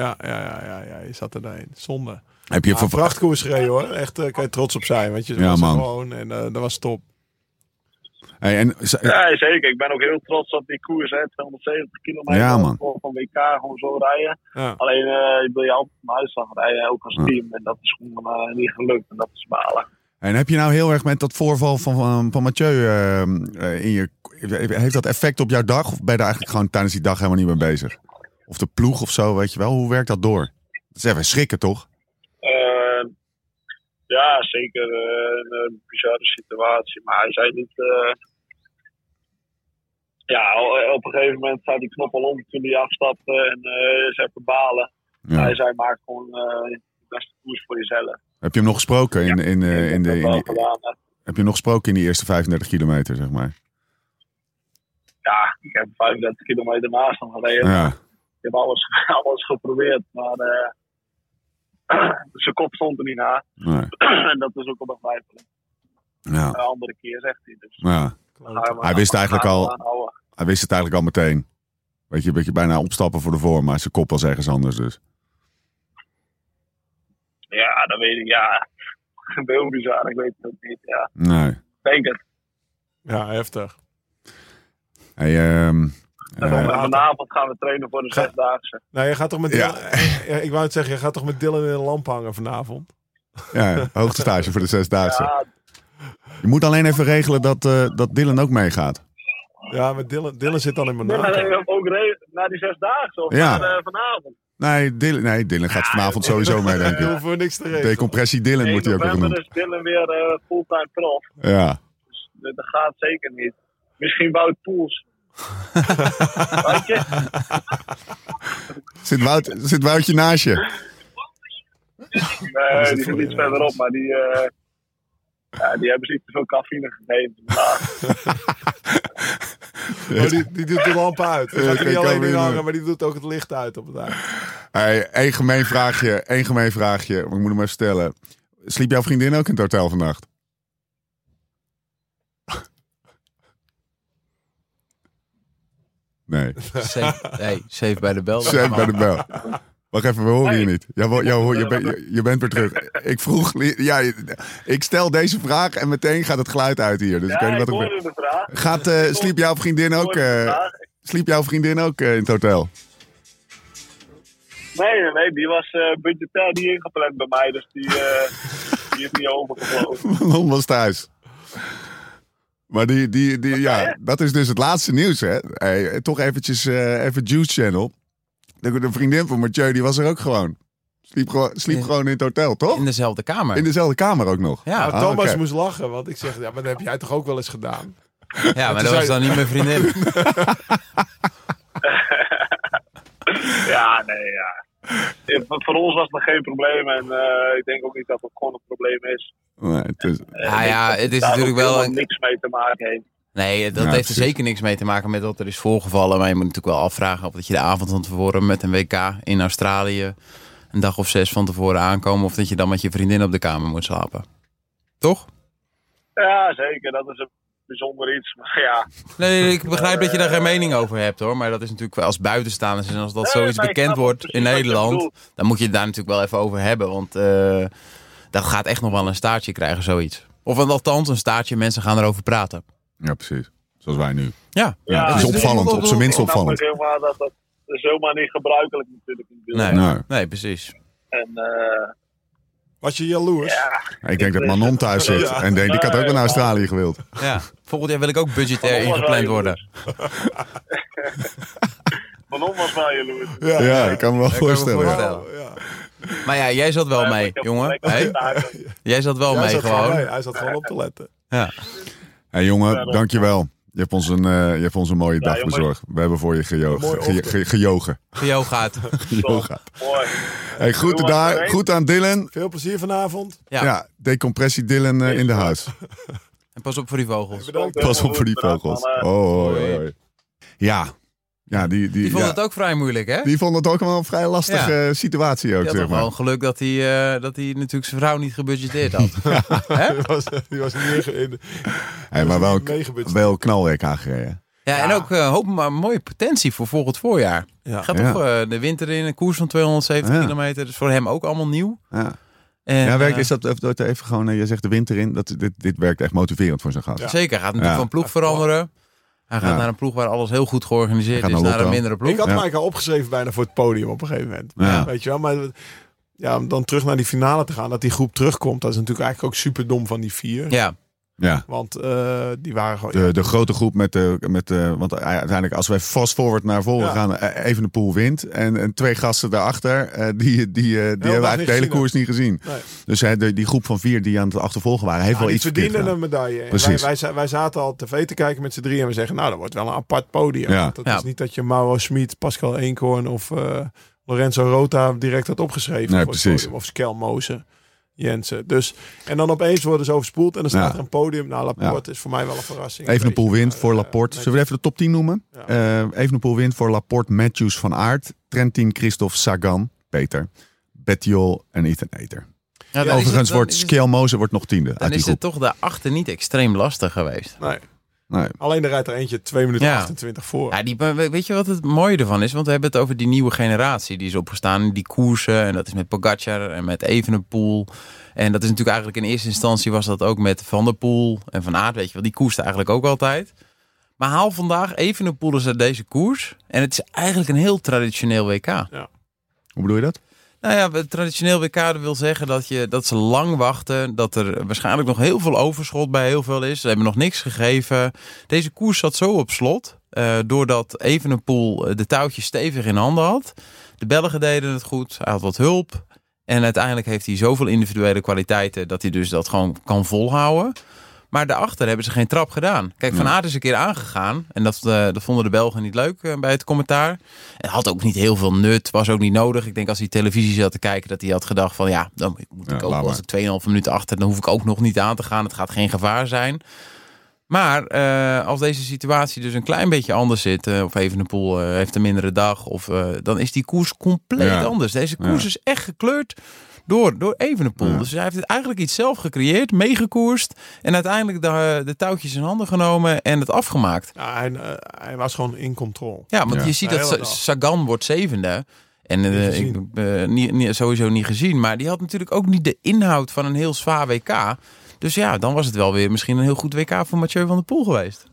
Speaker 4: Ja, ja, ja, ja, ja, je zat er doorheen. Zonde.
Speaker 1: Heb je
Speaker 4: Ja,
Speaker 1: van
Speaker 4: prachtkoers gereden, hoor. Echt, eh, kan je trots op zijn, want je
Speaker 1: Ja,
Speaker 4: was er
Speaker 1: man.
Speaker 4: gewoon en eh, dat was top.
Speaker 1: Hey, en, z-
Speaker 7: Ja, zeker. Ik ben ook heel trots op die koers, hè, 270 kilometer
Speaker 1: Ja, man.
Speaker 7: Gewoon van WK, gewoon zo rijden.
Speaker 4: Ja.
Speaker 7: Alleen eh, ik wil je altijd naar huis gaan rijden, ook als
Speaker 1: Ja.
Speaker 7: team. En dat is gewoon eh, niet gelukt en dat is balen.
Speaker 1: en heb je nou heel erg met dat voorval van, van, van Mathieu eh, eh, in je... Heeft dat effect op jouw dag? Of ben je daar eigenlijk gewoon tijdens die dag helemaal niet mee bezig? Of de ploeg of zo, weet je wel? Hoe werkt dat door? Dat is even schrikken, toch?
Speaker 7: Eh, ja, zeker eh, een eh, bizarre situatie. Maar hij zei niet. eh, ja, o- op een gegeven moment staat die knop al om toen hij afstapte en eh is even balen. Hij
Speaker 1: Ja.
Speaker 7: zei: maak gewoon eh, de beste koers voor jezelf.
Speaker 1: Heb je hem nog gesproken in, in, eh, in,
Speaker 7: En
Speaker 1: de,
Speaker 7: dat
Speaker 1: in
Speaker 7: wel
Speaker 1: die-
Speaker 7: gedaan. hè.
Speaker 1: heb je hem nog gesproken in die eerste 35 kilometer, zeg maar?
Speaker 7: Ja, ik heb 35 kilometer naast hem gereden.
Speaker 1: Ja,
Speaker 7: Ik heb alles, *laughs* alles geprobeerd, maar eh, *clears throat* zijn kop stond er niet na. *clears throat*
Speaker 1: nee,
Speaker 7: en dat is ook op een twijfel.
Speaker 1: ja,
Speaker 7: Een andere keer zegt hij. Dus,
Speaker 1: ja.
Speaker 7: gaan we-
Speaker 1: Ah. Hij wist eigenlijk
Speaker 7: gaan we
Speaker 1: al-
Speaker 7: aanhouden.
Speaker 1: Hij wist het eigenlijk al meteen. Weet je, een beetje bijna opstappen voor de vorm, maar zijn kop was ergens anders dus.
Speaker 7: Ja, dat weet ik, ja. *laughs* Heel bizar, ik weet het ook niet. Ja,
Speaker 1: Nee.
Speaker 7: ik denk het.
Speaker 4: Ja, heftig.
Speaker 1: Hey, ehm,
Speaker 7: En
Speaker 1: eh,
Speaker 7: dan vanavond gaan we trainen voor de
Speaker 4: Ga-
Speaker 7: zesdaagse.
Speaker 4: Nou, je gaat toch met
Speaker 1: Ja.
Speaker 4: Dylan, ja, ik wou het zeggen, je gaat toch met Dylan in een lamp hangen vanavond?
Speaker 1: ja, hoogtestage voor de zesdaagse.
Speaker 7: Ja,
Speaker 1: Je moet alleen even regelen dat, eh, dat Dylan ook meegaat.
Speaker 4: Ja, maar Dylan, Dylan zit dan in mijn
Speaker 7: maar
Speaker 4: naam.
Speaker 7: dan eh, ook re- naar die zesdaagse of
Speaker 1: nou, Ja.
Speaker 7: naar, eh, vanavond.
Speaker 1: Nee, Dylan, nee, Dylan gaat vanavond sowieso mee, denk
Speaker 4: Je
Speaker 1: ik.
Speaker 4: hoeft voor niks te regelen.
Speaker 1: Decompressie Dylan
Speaker 7: 1
Speaker 1: wordt hij ook nog
Speaker 7: november
Speaker 1: genoemd.
Speaker 7: is Dylan weer eh, fulltime prof.
Speaker 1: Ja.
Speaker 7: Dus dat dat gaat zeker niet. Misschien Wout
Speaker 1: *laughs*
Speaker 7: Poels. Weet je?
Speaker 1: Zit, Wout, zit Woutje naast je?
Speaker 7: Nee, die zit iets verderop, maar die, eh, ja, die hebben ze niet te veel cafeïne gegeven.
Speaker 4: Oh, die, die doet de lamp uit. Die gaat er
Speaker 1: ik
Speaker 4: niet
Speaker 1: kan Ah,
Speaker 4: alleen
Speaker 1: me
Speaker 4: in hangen,
Speaker 1: herinneren.
Speaker 4: maar die doet ook het licht uit op het eind.
Speaker 1: *laughs* Hey, één gemeen vraagje, één gemeen vraagje. maar Ik moet hem even stellen. Sliep jouw vriendin ook in het hotel vannacht? *laughs* Nee. *laughs*
Speaker 6: Safe, nee, safe bij de bel.
Speaker 1: Zet bij de bel. Wacht even, we horen je niet. Jij wo- jij hoor- je, bent- je, je bent weer terug. Ik vroeg... li- Ja, je- ik stel deze vraag en meteen gaat het geluid uit hier. Dus ik
Speaker 7: Ja,
Speaker 1: weet niet
Speaker 7: ik
Speaker 1: wat ik ben.
Speaker 7: hoorde de vraag.
Speaker 1: Gaat, eh, sliep jouw vriendin ook,
Speaker 7: Ik hoorde de
Speaker 1: eh,
Speaker 7: vraag.
Speaker 1: sliep jouw vriendin ook eh, in het hotel? *laughs*
Speaker 7: Nee, nee, nee, die was eh budgetair niet ingepland bij mij, dus die, eh, die is niet overgevlogen.
Speaker 6: *laughs*
Speaker 1: Lon was thuis. Maar die, die, die, ja, dat is dus het laatste nieuws, hè? Hey, toch eventjes, eh, even Juice Channel. De, de vriendin van Mathieu, die was er ook gewoon. Sliep, gewoon- sliep
Speaker 6: In-
Speaker 1: gewoon in het hotel, toch?
Speaker 6: In dezelfde kamer.
Speaker 1: In dezelfde kamer ook nog.
Speaker 6: Ja.
Speaker 4: Maar
Speaker 1: Ah,
Speaker 4: Nou, Thomas
Speaker 1: oké.
Speaker 4: moest lachen, want ik zeg, ja, maar dat heb jij toch ook wel eens gedaan?
Speaker 6: ja, maar dat
Speaker 4: zei-
Speaker 6: was dan niet mijn vriendin.
Speaker 1: *laughs*
Speaker 7: Ja, nee, ja. Eh, voor- Voor ons was dat geen probleem en eh, ik denk ook niet dat het gewoon een probleem is. Eh,
Speaker 1: Nee, het is-
Speaker 6: Ah ja, het is
Speaker 7: Daar
Speaker 6: natuurlijk
Speaker 7: ook
Speaker 6: wel...
Speaker 7: helemaal niks mee te maken heeft.
Speaker 6: Nee, dat
Speaker 1: Ja,
Speaker 6: heeft
Speaker 1: precies.
Speaker 6: er zeker niks mee te maken met wat er is voorgevallen. Maar je moet natuurlijk wel afvragen of dat je de avond van tevoren met een WK in Australië... een dag of zes van tevoren aankomen... of dat je dan met je vriendin op de kamer moet slapen. Toch?
Speaker 7: Ja, zeker, dat is een bijzonder iets. Maar ja, Dus,
Speaker 6: Nee,
Speaker 7: eh,
Speaker 6: ik begrijp dat je daar geen mening over hebt hoor. Maar dat is natuurlijk wel als buitenstaanders en als dat
Speaker 7: Nee,
Speaker 6: zoiets
Speaker 7: maar ik
Speaker 6: bekend
Speaker 7: snap
Speaker 6: wordt
Speaker 7: precies
Speaker 6: in
Speaker 7: wat je
Speaker 6: Nederland,
Speaker 7: bedoelt.
Speaker 6: dan moet je het daar natuurlijk wel even over hebben. Want eh, dat gaat echt nog wel een staartje krijgen, zoiets. Of althans een staartje, mensen gaan erover praten.
Speaker 1: Ja, precies. Zoals wij nu.
Speaker 6: Ja,
Speaker 1: Ja, het is
Speaker 7: dus-
Speaker 1: opvallend, op zijn minst
Speaker 7: Ik snap
Speaker 1: opvallend.
Speaker 7: ook helemaal dat dat dat is helemaal niet gebruikelijk natuurlijk. in beeld.
Speaker 6: nee,
Speaker 1: Nee.
Speaker 6: nee. precies.
Speaker 7: En eh,
Speaker 4: Was je jaloers?
Speaker 1: Ik denk dat Manon thuis zit
Speaker 7: Ja.
Speaker 1: en denkt, ik had ook wel naar Australië gewild.
Speaker 6: Ja. Volgend jaar wil ik ook budgetair
Speaker 7: Manon was
Speaker 6: ingepland
Speaker 7: wel
Speaker 6: worden.
Speaker 7: Manon was wel jaloers.
Speaker 1: Ja, ik kan me wel
Speaker 6: me
Speaker 1: voorstellen.
Speaker 6: voorstellen.
Speaker 4: Oh, ja.
Speaker 6: Maar ja, jij zat wel
Speaker 7: Ja,
Speaker 6: mee,
Speaker 7: ik heb
Speaker 6: jongen.
Speaker 7: gelijk.
Speaker 6: Hey, jij zat wel
Speaker 4: Hij
Speaker 6: mee
Speaker 4: zat gewoon mee.
Speaker 6: gewoon.
Speaker 4: Hij zat gewoon op te letten.
Speaker 6: Ja.
Speaker 1: hey, jongen, dankjewel. Je hebt ons een, eh, je hebt ons een mooie dag
Speaker 7: jongen.
Speaker 1: bezorgd. We hebben voor je gejogen.
Speaker 4: Mooie
Speaker 1: Ge-
Speaker 4: ochtend.
Speaker 1: ge- gejogen.
Speaker 6: Geo gaat.
Speaker 1: Yoga.
Speaker 7: Mooi.
Speaker 1: Hey, groeten
Speaker 7: Doe maar
Speaker 1: daar.
Speaker 7: doorheen.
Speaker 1: Goed aan Dylan.
Speaker 4: Veel plezier vanavond.
Speaker 1: Ja,
Speaker 6: Ja.
Speaker 1: decompressie Dylan eh, in de huis. *laughs*
Speaker 6: En pas op voor die vogels.
Speaker 4: Bedankt.
Speaker 1: Pas op voor die vogels. Oh, hoi, hoi, hoi. Ja. Ja, die, die,
Speaker 6: Die vond
Speaker 1: ja.
Speaker 6: het ook vrij moeilijk, hè?
Speaker 1: Die vond het ook wel een vrij lastige
Speaker 6: Ja.
Speaker 1: eh, situatie ook,
Speaker 6: Die had
Speaker 1: zeg
Speaker 6: toch wel
Speaker 1: maar.
Speaker 6: een geluk dat hij, eh, dat hij natuurlijk zijn vrouw niet gebudgeteerd had.
Speaker 1: *laughs*
Speaker 6: Hè?
Speaker 4: *laughs* Die was, die was niet in- in,
Speaker 1: Hey, maar wel,
Speaker 4: meegebutst.
Speaker 1: wel een knalwerk aangereden.
Speaker 6: Ja, en ook eh, hoop maar mooie potentie voor volgend voorjaar. Gaat
Speaker 1: Ja.
Speaker 6: toch eh, de winter in, een koers van 270
Speaker 1: Ja.
Speaker 6: kilometer. Dus voor hem ook allemaal nieuw.
Speaker 1: Ja,
Speaker 6: En,
Speaker 1: ja werkt
Speaker 6: eh,
Speaker 1: is dat, dat even gewoon, eh, je zegt de winter in, dat, dit, dit werkt echt motiverend voor zo'n gast.
Speaker 4: Ja.
Speaker 6: Zeker, gaat natuurlijk
Speaker 1: Ja.
Speaker 6: van ploeg veranderen. Hij gaat
Speaker 1: Ja.
Speaker 6: naar een ploeg waar alles heel goed
Speaker 1: Hij
Speaker 6: georganiseerd
Speaker 1: gaat
Speaker 6: is,
Speaker 1: naar
Speaker 6: naar een
Speaker 1: Lotto.
Speaker 6: mindere
Speaker 4: Ik
Speaker 6: ploeg.
Speaker 4: had
Speaker 1: Ja.
Speaker 4: Mike al opgeschreven bijna voor het podium op een gegeven moment.
Speaker 1: Ja.
Speaker 4: Weet je wel, maar ja, om dan terug naar die finale te gaan, dat die groep terugkomt, dat is natuurlijk eigenlijk ook super dom van die vier.
Speaker 6: Ja,
Speaker 1: Ja.
Speaker 4: Want eh, die waren gewoon.
Speaker 1: De, de grote groep met de, met de, want eh, uiteindelijk als wij fast forward naar voren
Speaker 4: Ja.
Speaker 1: gaan, eh, even de pool wint en, en twee gasten daarachter, eh, die, die, eh, die hebben
Speaker 4: niet
Speaker 1: eigenlijk de hele
Speaker 4: gezien,
Speaker 1: koers niet gezien.
Speaker 4: Nee.
Speaker 1: Dus hè, de, die groep van vier die aan het achtervolgen waren, heeft
Speaker 4: Ja,
Speaker 1: wel
Speaker 4: Ah, die
Speaker 1: iets verkeerd
Speaker 4: verdienen een
Speaker 1: gedaan.
Speaker 4: medaille. En
Speaker 1: Precies.
Speaker 4: Wij, wij, za- wij zaten al tv te kijken met z'n drieën en we zeggen, nou, dat wordt wel een apart podium.
Speaker 1: Ja.
Speaker 4: Want Het
Speaker 6: Ja.
Speaker 4: is niet dat je Mauro Schmid, Pascal Eenkhoorn of eh, Lorenzo Rota direct had opgeschreven.
Speaker 1: Nee,
Speaker 4: het
Speaker 1: precies.
Speaker 4: podium. Of Skel Mozen, Jensen. Dus, en dan opeens worden ze overspoeld en dan staat
Speaker 1: Ja.
Speaker 4: er een podium. Nou, Laporte is voor mij wel een verrassing.
Speaker 1: Even een pool wint
Speaker 4: Maar,
Speaker 1: voor
Speaker 4: eh,
Speaker 1: Laporte.
Speaker 4: nee,
Speaker 1: Zullen we even de top 10 noemen?
Speaker 4: Ja.
Speaker 1: Eh, even een pool wint voor Laporte, Matthews van Aert, Trentin, Christophe, Sagan, Peter, Bettiol en Ethan Eter.
Speaker 6: ja dan is het-
Speaker 1: Overigens
Speaker 6: dan
Speaker 1: wordt
Speaker 6: is het-
Speaker 1: Scale Moser wordt nog tiende uit
Speaker 6: Dan
Speaker 1: die
Speaker 6: is het
Speaker 1: groep.
Speaker 6: toch daarachter niet extreem lastig geweest.
Speaker 4: nee.
Speaker 1: Nee.
Speaker 4: Alleen er rijdt er eentje 2 minuten
Speaker 6: Ja.
Speaker 4: 28 voor.
Speaker 6: Ja, die, maar we- weet je wat het mooie ervan is? Want we hebben het over die nieuwe generatie die is opgestaan. in Die koersen. En dat is met Pogacar en met Evenepoel. En dat is natuurlijk eigenlijk in eerste instantie was dat ook met Van der Poel en Van Aert. Weet je wel, die koersten eigenlijk ook altijd. Maar haal vandaag Evenepoel eens uit deze koers. En het is eigenlijk een heel traditioneel WK.
Speaker 1: Hoe bedoel je dat?
Speaker 6: Nou ja, het traditioneel WK dat wil zeggen dat, je, dat ze lang wachten. Dat er waarschijnlijk nog heel veel overschot bij heel veel is. Ze hebben nog niks gegeven. Deze koers zat zo op slot. eh, doordat Evenepoel eh, de touwtjes stevig in handen had. De Belgen deden het goed. Hij had wat hulp. En uiteindelijk heeft hij zoveel individuele kwaliteiten dat hij dus dat gewoon kan volhouden. Maar daarachter hebben ze geen trap gedaan. Kijk, Van Aert is een keer aangegaan. En dat, eh, dat vonden de Belgen niet leuk eh, bij het commentaar. En had ook niet heel veel nut. Was ook niet nodig. Ik denk als hij televisie zat te kijken dat hij had gedacht van... Ja, dan moet
Speaker 1: Ja,
Speaker 6: ik
Speaker 1: laat
Speaker 6: ook als ik 2,5 minuten achter... dan hoef ik ook nog niet aan te gaan. Het gaat geen gevaar zijn. Maar eh, als deze situatie dus een klein beetje anders zit... eh, of even een poel heeft een mindere dag... Of, eh, dan is die koers compleet
Speaker 1: Ja.
Speaker 6: anders. Deze koers
Speaker 1: Ja.
Speaker 6: is echt gekleurd door, door Evenepoel. Dus hij heeft het eigenlijk iets zelf gecreëerd, meegekoerst... en uiteindelijk de, de touwtjes in handen genomen en het afgemaakt.
Speaker 4: Ja, hij, eh, hij was gewoon in controle.
Speaker 6: Ja, want
Speaker 1: Ja.
Speaker 6: je ziet
Speaker 4: Ja,
Speaker 6: dat
Speaker 4: heel
Speaker 6: Sa-
Speaker 4: erg.
Speaker 6: Sagan wordt zevende. En eh, ik,
Speaker 4: gezien.
Speaker 6: eh, niet, niet- sowieso niet gezien. Maar die had natuurlijk ook niet de inhoud van een heel zwaar WK. Dus ja, dan was het wel weer misschien een heel goed WK voor Mathieu van der Poel geweest.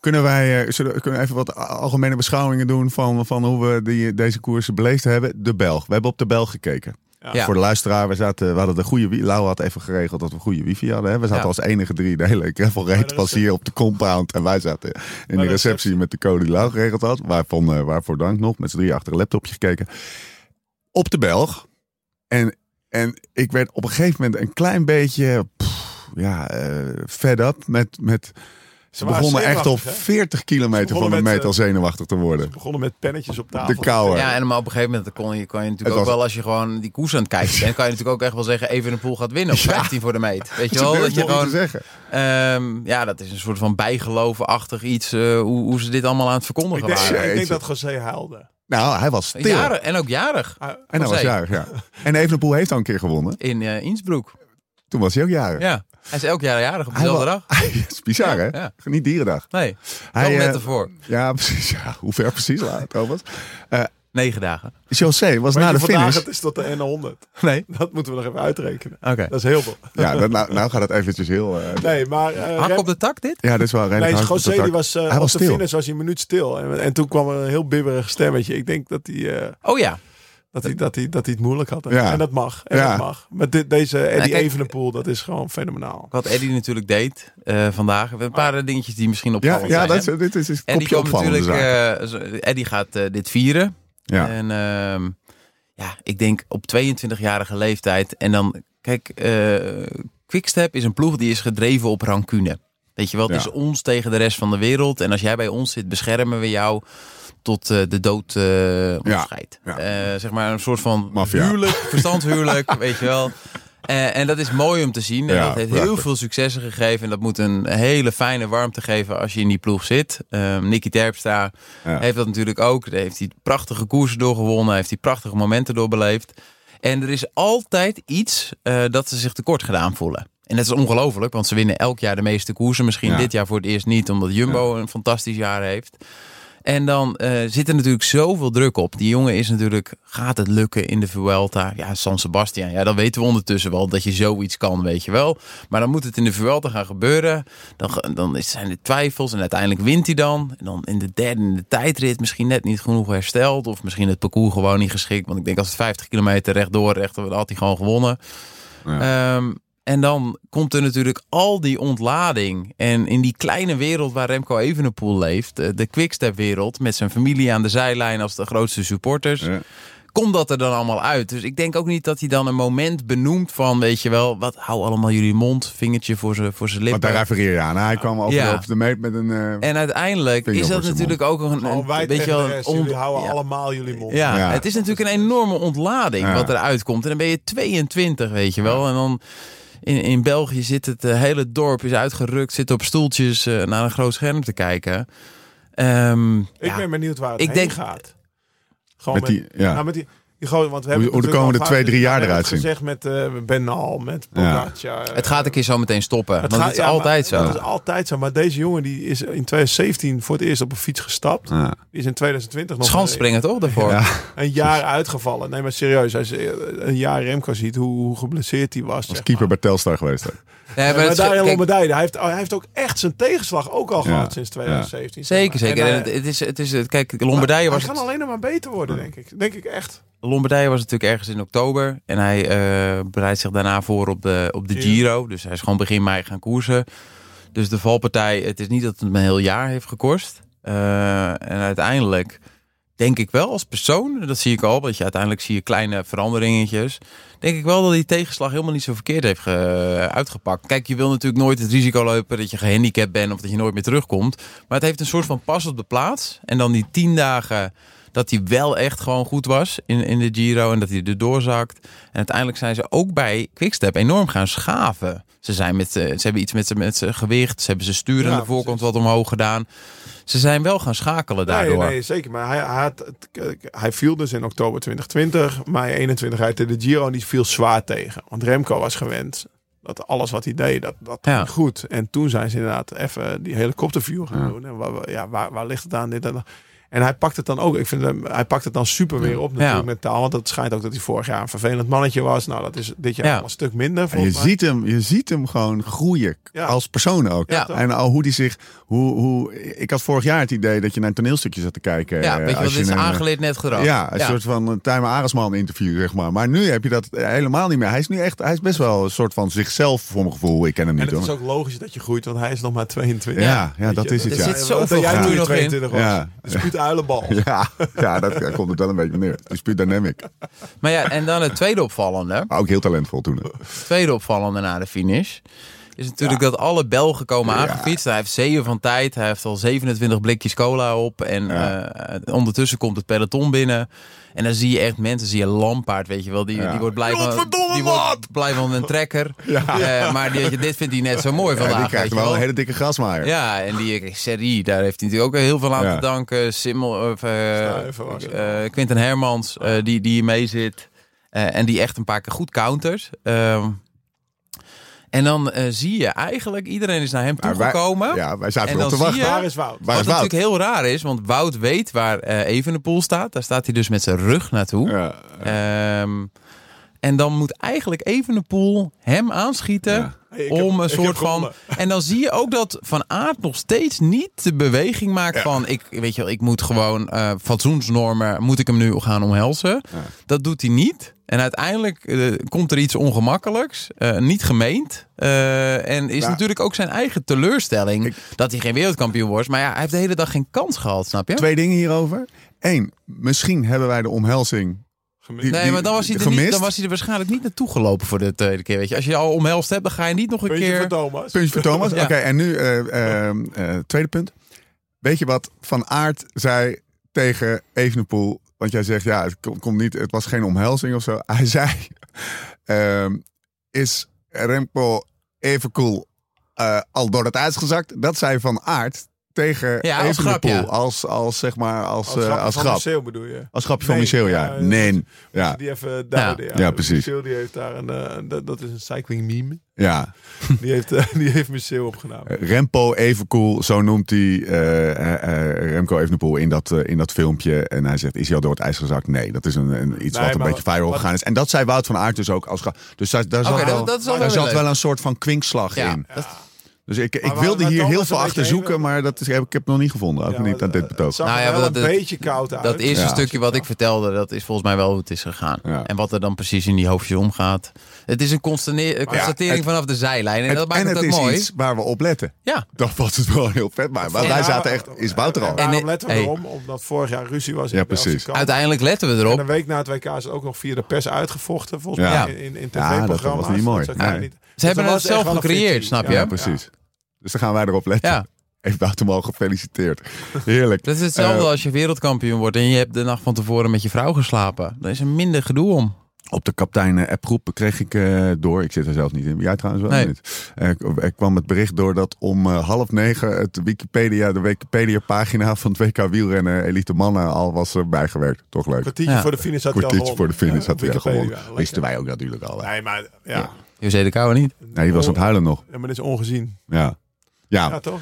Speaker 1: Kunnen wij eh, zullen, kunnen we even wat a- algemene beschouwingen doen van, van hoe we die, deze koersen beleefd hebben? De Belg. We hebben op de Belg gekeken.
Speaker 6: Ja.
Speaker 1: Voor de luisteraar, we, zaten, we hadden de goede wi- Lau had even geregeld dat we goede wifi hadden. Hè? We zaten
Speaker 6: Ja.
Speaker 1: als enige drie. De hele gravelreed was hier op de compound. En wij zaten in de receptie
Speaker 4: receptie.
Speaker 1: met de code die Lau geregeld had. Waarvan, eh, waarvoor dank nog. Met z'n drie achter een laptopje gekeken. Op de Belg. En, en ik werd op een gegeven moment een klein beetje pff, ja, eh, fed up met... met ze
Speaker 4: waren
Speaker 1: begonnen echt op
Speaker 4: zenuwachtig, hè?
Speaker 1: 40 kilometer van de
Speaker 4: begonnen met, eh,
Speaker 1: meter al zenuwachtig te worden.
Speaker 4: We begonnen met pennetjes op tafel.
Speaker 1: De kouwer.
Speaker 6: Ja, en maar op een gegeven moment kon je, kon je natuurlijk
Speaker 1: Het
Speaker 6: ook
Speaker 1: was-
Speaker 6: wel, als je gewoon die koers aan het kijken bent, kan je natuurlijk ook echt wel zeggen, even een poel gaat winnen
Speaker 1: *laughs*
Speaker 6: op 15 voor de meet. Weet je wel, dat je
Speaker 1: gewoon...
Speaker 6: gewoon,
Speaker 1: te zeggen.
Speaker 6: ehm, ja, dat is een soort van bijgelovenachtig iets, eh, hoe, hoe ze dit allemaal aan het
Speaker 4: Ik
Speaker 6: verkondigen
Speaker 1: *laughs*
Speaker 4: denk,
Speaker 6: waren.
Speaker 4: ik
Speaker 1: Jeetje.
Speaker 4: denk dat José huilde.
Speaker 1: Nou, hij was stil.
Speaker 6: Jarig, en ook jarig,
Speaker 4: Hij-
Speaker 1: En hij was
Speaker 6: José.
Speaker 1: jarig, ja. En Evenepoel heeft al een keer gewonnen.
Speaker 6: in eh, Innsbruck.
Speaker 1: Toen was hij ook jarig.
Speaker 6: Ja. Hij is elk jaar jarig op
Speaker 1: *laughs* Hij
Speaker 6: dezelfde
Speaker 1: wa-
Speaker 6: dag.
Speaker 1: Het is bizar, hè?
Speaker 6: ja.
Speaker 1: Niet dierendag.
Speaker 6: Nee,
Speaker 1: Hij,
Speaker 6: hij, net
Speaker 1: eh,
Speaker 6: ervoor.
Speaker 1: Ja, *laughs* precies. Ja, hoe ver precies, laat, Thomas?
Speaker 6: Negen dagen.
Speaker 1: José was
Speaker 4: Weet
Speaker 1: na
Speaker 4: je,
Speaker 1: de
Speaker 4: vandaag
Speaker 1: finish... Ah,
Speaker 4: het is tot de N100.
Speaker 6: Nee.
Speaker 4: *laughs* Dat moeten we nog even uitrekenen.
Speaker 6: Oké.
Speaker 4: Dat is heel veel.
Speaker 1: Ja, dat, nou, nou gaat het eventjes heel... eh,
Speaker 4: Nee, maar... eh,
Speaker 6: Hak
Speaker 4: Rem-
Speaker 6: op de tak dit?
Speaker 1: ja, dat is wel redelijk
Speaker 4: Nee,
Speaker 1: hard op de
Speaker 4: José
Speaker 1: tak.
Speaker 4: die was, eh
Speaker 1: Hij
Speaker 4: op
Speaker 1: was
Speaker 4: de
Speaker 1: stil.
Speaker 4: finish was hij een minuut stil. En, en toen kwam er een heel bibberig stemmetje. Ik denk dat hij, eh,
Speaker 6: Oh ja.
Speaker 4: dat hij, dat hij, dat hij het moeilijk had. En,
Speaker 1: Ja.
Speaker 4: en dat mag. En
Speaker 1: Ja.
Speaker 4: dat mag. Met dit, deze Eddie
Speaker 6: kijk-
Speaker 4: Evenepoel, dat is gewoon fenomenaal.
Speaker 6: Wat Eddie natuurlijk deed eh, vandaag. We hebben Een paar eh, dingetjes die misschien
Speaker 1: Ja,
Speaker 6: opvallend
Speaker 1: ja
Speaker 6: zijn.
Speaker 1: dat
Speaker 6: hè?
Speaker 1: is, dit is een
Speaker 6: Eddie
Speaker 1: kopje
Speaker 6: kwam
Speaker 1: opvallende
Speaker 6: natuurlijk.
Speaker 1: zaak.
Speaker 6: eh, zo- Eddie gaat eh, dit vieren.
Speaker 1: ja.
Speaker 6: En ehm, ja, ik denk op 22-jarige leeftijd. En dan, kijk, eh Quickstep is een ploeg die is gedreven op rancune. Weet je wel, het
Speaker 1: Ja.
Speaker 6: is ons tegen de rest van de wereld. En als jij bij ons zit, beschermen we jou tot eh, de dood eh ons
Speaker 1: Ja,
Speaker 6: scheidt.
Speaker 1: ja.
Speaker 6: Eh, zeg maar een soort van
Speaker 1: Maffia.
Speaker 6: huwelijk,
Speaker 1: *laughs*
Speaker 6: verstandhuwelijk, weet je wel. Eh, en dat is mooi om te zien. En
Speaker 1: Ja,
Speaker 6: dat heeft heel
Speaker 1: prachtig.
Speaker 6: veel successen gegeven. En dat moet een hele fijne warmte geven als je in die ploeg zit. Ehm Nicky Terpstra
Speaker 1: Ja.
Speaker 6: heeft dat natuurlijk ook. Daar Heeft hij prachtige koersen doorgewonnen. Heeft hij prachtige momenten doorbeleefd. En er is altijd iets eh, dat ze zich tekort gedaan voelen. En dat is ongelooflijk, want ze winnen elk jaar de meeste koersen. Misschien
Speaker 1: Ja.
Speaker 6: dit jaar voor het eerst niet, omdat Jumbo een fantastisch jaar heeft. En dan eh, zit er natuurlijk zoveel druk op. Die jongen is natuurlijk, gaat het lukken in de Vuelta? Ja, San Sebastian. Ja, dan weten we ondertussen wel dat je zoiets kan, weet je wel. Maar dan moet het in de Vuelta gaan gebeuren. Dan, ge- dan is- zijn er twijfels en uiteindelijk wint hij dan. En dan in de derde, in de tijdrit misschien net niet genoeg hersteld. Of misschien het parcours gewoon niet geschikt. Want ik denk als het 50 kilometer rechtdoor, rechtdoor, dan had hij gewoon gewonnen. Ehm, en dan komt er natuurlijk al die ontlading. En in die kleine wereld waar Remco Evenepoel leeft, eh, de quickstep-wereld, met zijn familie aan de zijlijn als de grootste supporters,
Speaker 1: Ja.
Speaker 6: komt dat er dan allemaal uit. Dus ik denk ook niet dat hij dan een moment benoemt van, weet je wel, wat hou allemaal jullie mond, vingertje voor zijn voor zijn
Speaker 1: Want daar
Speaker 6: lippen.
Speaker 1: refereer je aan. Hij kwam over
Speaker 6: Ja.
Speaker 1: op de meet met een... eh,
Speaker 6: En uiteindelijk
Speaker 1: Vinger
Speaker 6: is
Speaker 1: voor
Speaker 6: dat
Speaker 1: zijn
Speaker 6: natuurlijk ook een,
Speaker 4: Gewoon
Speaker 6: een
Speaker 4: wij
Speaker 6: beetje
Speaker 4: tegen
Speaker 6: wel
Speaker 4: de
Speaker 6: een
Speaker 4: rest. Jullie
Speaker 6: on-
Speaker 4: houden
Speaker 6: ja.
Speaker 4: allemaal jullie mond.
Speaker 6: Ja,
Speaker 1: Ja.
Speaker 6: het is natuurlijk een enorme ontlading
Speaker 1: Ja.
Speaker 6: wat eruit komt. En dan ben je 22, weet je wel. En dan in, in België zit het eh, hele dorp is uitgerukt, zit op stoeltjes eh, naar een groot scherm te kijken. Ehm,
Speaker 4: Ik
Speaker 6: ja.
Speaker 4: ben benieuwd waar het
Speaker 6: Ik
Speaker 4: heen
Speaker 6: denk-
Speaker 4: gaat. Gewoon
Speaker 1: Met die- ja.
Speaker 4: nou, met die, die gozer, want we hebben
Speaker 1: hoe de
Speaker 4: natuurlijk
Speaker 1: komende
Speaker 4: al
Speaker 1: twee,
Speaker 4: vaak-
Speaker 1: drie jaar
Speaker 4: we hebben
Speaker 1: eruit
Speaker 4: het gezegd met eh Benal, met Pogacar.
Speaker 6: het gaat een keer zo meteen stoppen.
Speaker 4: Het
Speaker 6: want
Speaker 4: gaat-
Speaker 6: het is
Speaker 4: ja, maar-
Speaker 6: altijd zo.
Speaker 4: Dat is altijd zo. Maar deze jongen die is in 2017 voor het eerst op een fiets gestapt.
Speaker 1: Ja.
Speaker 4: Die is in 2020 nog
Speaker 6: Schans
Speaker 4: een,
Speaker 6: springen toch daarvoor?
Speaker 1: Ja.
Speaker 4: een jaar uitgevallen. Nee, maar serieus. Als je een jaar Remco ziet hoe, hoe geblesseerd hij was.
Speaker 1: was
Speaker 4: zeg
Speaker 1: keeper
Speaker 4: maar.
Speaker 1: bij Telstar geweest. ook.
Speaker 6: Nee, maar
Speaker 4: maar
Speaker 6: het is-
Speaker 4: Daniel
Speaker 6: kijk,
Speaker 4: Lombardije, hij heeft, oh, hij heeft ook echt zijn tegenslag ook al
Speaker 1: Ja.
Speaker 4: gehad sinds 2017. zeg
Speaker 6: zeker,
Speaker 4: maar.
Speaker 6: zeker. En
Speaker 4: En,
Speaker 6: het,
Speaker 4: eh,
Speaker 6: het is, het is, kijk, Lombardije
Speaker 4: hij
Speaker 6: was
Speaker 4: kan
Speaker 6: het-
Speaker 4: alleen nog maar beter worden, denk ik. Denk ik echt.
Speaker 6: Lombardije was natuurlijk ergens in oktober. En hij eh, bereidt zich daarna voor op de, op de
Speaker 4: Giro.
Speaker 6: Giro. Dus hij is gewoon begin mei gaan koersen. Dus de valpartij, het is niet dat het hem een heel jaar heeft gekost. Eh, en uiteindelijk denk ik wel als persoon, dat zie ik al, want je uiteindelijk zie je kleine veranderingetjes. Denk ik wel dat die tegenslag helemaal niet zo verkeerd heeft ge- uitgepakt. Kijk, je wil natuurlijk nooit het risico lopen dat je gehandicapt bent of dat je nooit meer terugkomt. Maar het heeft een soort van pas op de plaats. En dan die tien dagen dat hij wel echt gewoon goed was in, in de Giro en dat hij erdoor zakt. En uiteindelijk zijn ze ook bij Quickstep enorm gaan schaven. Ze, zijn met, eh, ze hebben iets met, z'n- met zijn gewicht, ze hebben zijn stuur aan
Speaker 4: Ja,
Speaker 6: de voorkant wat omhoog gedaan. Ze zijn wel gaan schakelen daardoor.
Speaker 4: Nee, nee, zeker. Maar hij, hij, had, het- kijk, hij viel dus in oktober 2020. Mei 21 rijdt hij de Giro en die viel zwaar tegen. Want Remco was gewend dat alles wat hij deed, dat, dat
Speaker 6: Ja.
Speaker 4: ging goed. En toen zijn ze inderdaad even die helikopterview gaan doen. En waar, waar- ja, waar, waar ligt het aan? Dit en, dat. en hij pakt het dan ook. Ik vind hem, hij pakt het dan super weer op natuurlijk
Speaker 6: Ja.
Speaker 4: met taal. Want het schijnt ook dat hij vorig jaar een vervelend mannetje was. Nou, dat is dit jaar
Speaker 6: Ja.
Speaker 4: al een stuk minder.
Speaker 1: En je,
Speaker 4: volgens mij.
Speaker 1: ziet hem, je ziet hem gewoon groeien.
Speaker 4: Ja.
Speaker 1: Als persoon ook.
Speaker 6: Ja.
Speaker 1: En al hoe die zich. Hoe, hoe, ik had vorig jaar het idee dat je naar een toneelstukje zat te kijken. eh,
Speaker 6: Ja, weet je wel,
Speaker 1: als
Speaker 6: dit is
Speaker 1: een, eh,
Speaker 6: aangeleerd net gedrag.
Speaker 1: Ja, een soort van een Tijmen Aresman interview, zeg maar. Maar nu heb je dat eh, helemaal niet meer. Hij is nu echt, hij is best wel een soort van zichzelf voor mijn gevoel. Ik ken hem
Speaker 4: En
Speaker 1: niet
Speaker 4: het is
Speaker 1: hoor.
Speaker 4: ook logisch dat je groeit, want hij is nog maar 22.
Speaker 1: Ja, ja,
Speaker 4: Weet
Speaker 1: dat
Speaker 4: je,
Speaker 1: is het, ja.
Speaker 6: Er zit zoveel
Speaker 4: Dat jij
Speaker 6: groei
Speaker 4: toen
Speaker 6: nog in.
Speaker 4: 22 was.
Speaker 1: Ja.
Speaker 4: Ja. Dat is Piet Uilenbal.
Speaker 1: *laughs* Ja, ja dat, daar komt het wel een beetje neer. Het is puur dynamic.
Speaker 6: Maar ja, en dan het tweede opvallende.
Speaker 1: Maar ook heel talentvol toen. hè.
Speaker 6: Het tweede opvallende na de finish. Is natuurlijk dat alle Belgen komen aangefietst. Hij heeft zeeën van tijd. Hij heeft al 27 blikjes cola op. En eh, ondertussen komt het peloton binnen. En dan zie je echt mensen, zie je Lampaard, weet je wel. Die, die wordt blij van,
Speaker 1: Godverdomme,
Speaker 6: die wordt blij van een trekker. Eh, maar die, dit vindt hij net zo mooi
Speaker 1: Ja,
Speaker 6: vandaag.
Speaker 1: die krijgt
Speaker 6: weet
Speaker 1: wel
Speaker 6: je
Speaker 1: een
Speaker 6: wel.
Speaker 1: hele dikke grasmaaier.
Speaker 6: Ja, en die serie, daar heeft hij natuurlijk ook heel veel aan
Speaker 1: Ja.
Speaker 6: te danken. Simmel, of, eh,
Speaker 4: Stuiven was het.
Speaker 6: eh, Quinten Hermans, eh, die, die mee zit. Eh, en die echt een paar keer goed counters. Ehm, En dan eh, zie je eigenlijk, iedereen is naar hem
Speaker 1: Maar wij-
Speaker 6: toegekomen.
Speaker 1: ja, wij
Speaker 6: En
Speaker 1: zaten wel
Speaker 6: dan
Speaker 1: te wachten.
Speaker 6: zie je-
Speaker 4: Waar is Wout?
Speaker 1: Eh, Waar is
Speaker 6: Wat
Speaker 1: Wout?
Speaker 6: natuurlijk heel raar is, want Wout weet waar eh Evenepoel staat. Daar staat hij dus met zijn rug naartoe.
Speaker 1: Ja,
Speaker 6: Ehm, en dan moet eigenlijk Evenepoel hem aanschieten
Speaker 4: Hey, ik heb-
Speaker 6: om een
Speaker 4: ik heb
Speaker 6: soort van...
Speaker 4: gewonnen. *laughs*
Speaker 6: En dan zie je ook dat Van Aert nog steeds niet de beweging maakt van... Ik, weet je wel, ik moet gewoon eh, fatsoensnormen, moet ik hem nu gaan omhelzen? Dat doet hij niet. En uiteindelijk eh, komt er iets ongemakkelijks, eh, niet gemeend. Eh, en is
Speaker 1: Ja.
Speaker 6: natuurlijk ook zijn eigen teleurstelling dat hij geen wereldkampioen wordt. Maar ja, hij heeft de hele dag geen kans gehad, snap je?
Speaker 1: Twee dingen hierover. Eén, misschien hebben wij de omhelzing.
Speaker 4: Gemist.
Speaker 1: die-
Speaker 6: Nee,
Speaker 1: die-
Speaker 6: maar dan was, hij er
Speaker 1: gemist.
Speaker 6: niet, dan was hij er waarschijnlijk niet naartoe gelopen voor de tweede keer. Weet je. Als je je al omhelst hebt, dan ga je niet nog een
Speaker 4: Puntje
Speaker 6: keer...
Speaker 4: voor Thomas.
Speaker 1: Puntje voor
Speaker 4: *laughs*
Speaker 1: Thomas.
Speaker 6: *laughs* Ja.
Speaker 1: Oké, en nu eh, eh, eh, tweede punt. Weet je wat Van Aert zei tegen Evenepoel? Want jij zegt, ja, het kon- komt niet, het was geen omhelzing of zo. *laughs* Hij zei, ehm, is Remco even cool al door het ijs gezakt? Dat zei Van Aert tegen
Speaker 6: Ja, als
Speaker 1: Evenepoel.
Speaker 6: grap, ja.
Speaker 1: als, als, zeg maar, als,
Speaker 4: Als
Speaker 1: eh,
Speaker 4: grapje
Speaker 1: als
Speaker 4: van
Speaker 1: grap.
Speaker 4: Marcel bedoel je?
Speaker 1: Als grapje van
Speaker 4: Nee,
Speaker 1: Michel, ja.
Speaker 4: ja,
Speaker 1: nee,
Speaker 4: Als
Speaker 1: ja,
Speaker 4: je Die even eh, duiden.
Speaker 1: Ja, precies.
Speaker 4: Michel die heeft daar een, eh, dat, dat is een cycling meme.
Speaker 1: ja.
Speaker 4: Die heeft, eh, die heeft Michel
Speaker 1: Eh,
Speaker 4: opgenomen.
Speaker 1: Rempo Evenkoel, zo noemt hij eh, eh, eh, Remco Evenepoel in dat, eh, in dat filmpje. En hij zegt, is hij al door het ijs gezakt? Nee, dat is een, een, iets
Speaker 4: Nee,
Speaker 1: wat een
Speaker 4: maar
Speaker 1: beetje viral
Speaker 4: wat-
Speaker 1: gegaan is. En dat zei Wout van Aert dus ook. Als ga- dus daar, daar zat,
Speaker 6: Oké,
Speaker 1: wel,
Speaker 6: dat- dat is wel
Speaker 1: daar
Speaker 6: weer
Speaker 1: zat
Speaker 6: leuk.
Speaker 1: wel een soort van kwinkslag
Speaker 6: Ja,
Speaker 1: in.
Speaker 6: dat-
Speaker 1: Dus ik, ik
Speaker 4: Maar waar-
Speaker 1: wilde
Speaker 4: waar
Speaker 1: hier
Speaker 4: Thomas
Speaker 1: heel
Speaker 4: een
Speaker 1: veel
Speaker 4: beetje
Speaker 1: achter
Speaker 4: heen
Speaker 1: zoeken,
Speaker 4: wilde.
Speaker 1: maar dat is, heb- ik heb het nog niet gevonden. Ook niet aan dit betoog.
Speaker 4: Nou
Speaker 6: Nou ja,
Speaker 4: ja, wel
Speaker 6: wel
Speaker 4: een
Speaker 6: dat-
Speaker 4: beetje koud uit.
Speaker 6: Dat eerste
Speaker 1: Ja.
Speaker 6: stukje wat ik vertelde, dat is volgens mij wel hoe het is gegaan.
Speaker 1: Ja.
Speaker 6: En wat er dan precies in die hoofdjes omgaat. Het is een constane- eh, constatering
Speaker 1: het-
Speaker 6: vanaf de zijlijn. En
Speaker 1: Het-
Speaker 6: dat maakt
Speaker 1: en
Speaker 6: het,
Speaker 1: het
Speaker 6: ook
Speaker 1: is
Speaker 6: mooi.
Speaker 1: iets waar we op letten. *laughs*
Speaker 6: Ja.
Speaker 1: Dat was het wel heel vet. Maar maar wij
Speaker 6: Ja,
Speaker 1: zaten echt, is Wout er al?
Speaker 4: En waarom
Speaker 6: En-
Speaker 4: letten we
Speaker 6: hey.
Speaker 4: erom? Omdat vorig jaar ruzie was. In
Speaker 1: Ja,
Speaker 4: de Belgische
Speaker 1: precies.
Speaker 4: kamp.
Speaker 6: Uiteindelijk letten we
Speaker 4: En
Speaker 6: erop.
Speaker 4: een week na het WK is het ook nog via de pers uitgevochten. Volgens
Speaker 1: Ja.
Speaker 4: mij in, in
Speaker 1: Ja, dat
Speaker 4: tv-programma's.
Speaker 1: was niet mooi.
Speaker 4: Dat kan je
Speaker 1: Nee.
Speaker 4: niet- Dus
Speaker 6: Ze hebben
Speaker 4: dat
Speaker 6: het
Speaker 4: was echt
Speaker 6: zelf
Speaker 4: wel een
Speaker 6: gecreëerd,
Speaker 4: fictie.
Speaker 6: snap je?
Speaker 1: Ja, precies. Dus dan gaan wij erop letten.
Speaker 6: Ja.
Speaker 1: Heeft Wout hem al gefeliciteerd. Heerlijk.
Speaker 6: Dat is hetzelfde
Speaker 1: Eh,
Speaker 6: als je wereldkampioen wordt en je hebt de nacht van tevoren met je vrouw geslapen. Dan is er minder gedoe om.
Speaker 1: Op de kaptein-appgroep kreeg ik eh, door. Ik zit er zelf niet in. Jij trouwens wel
Speaker 6: Nee.
Speaker 1: niet. Eh, k- er kwam het bericht door dat om eh, half negen het Wikipedia, de Wikipedia-pagina van het WK wielrennen Elite Mannen al was eh, bijgewerkt. Toch leuk.
Speaker 4: Kwartiertje
Speaker 6: Ja.
Speaker 4: voor de finish had hij al
Speaker 1: Kwartiertje voor de finish
Speaker 4: Ja,
Speaker 1: had hij al
Speaker 4: Wikipedia,
Speaker 1: gewonnen.
Speaker 4: lekker.
Speaker 1: Wisten wij ook natuurlijk al. hè.
Speaker 4: Nee, maar ja. ja.
Speaker 6: José de Kouwer niet.
Speaker 1: Nee, die was aan het huilen nog.
Speaker 4: maar dat is ongezien.
Speaker 1: Ja.
Speaker 4: Ja,
Speaker 1: Ja.
Speaker 4: toch?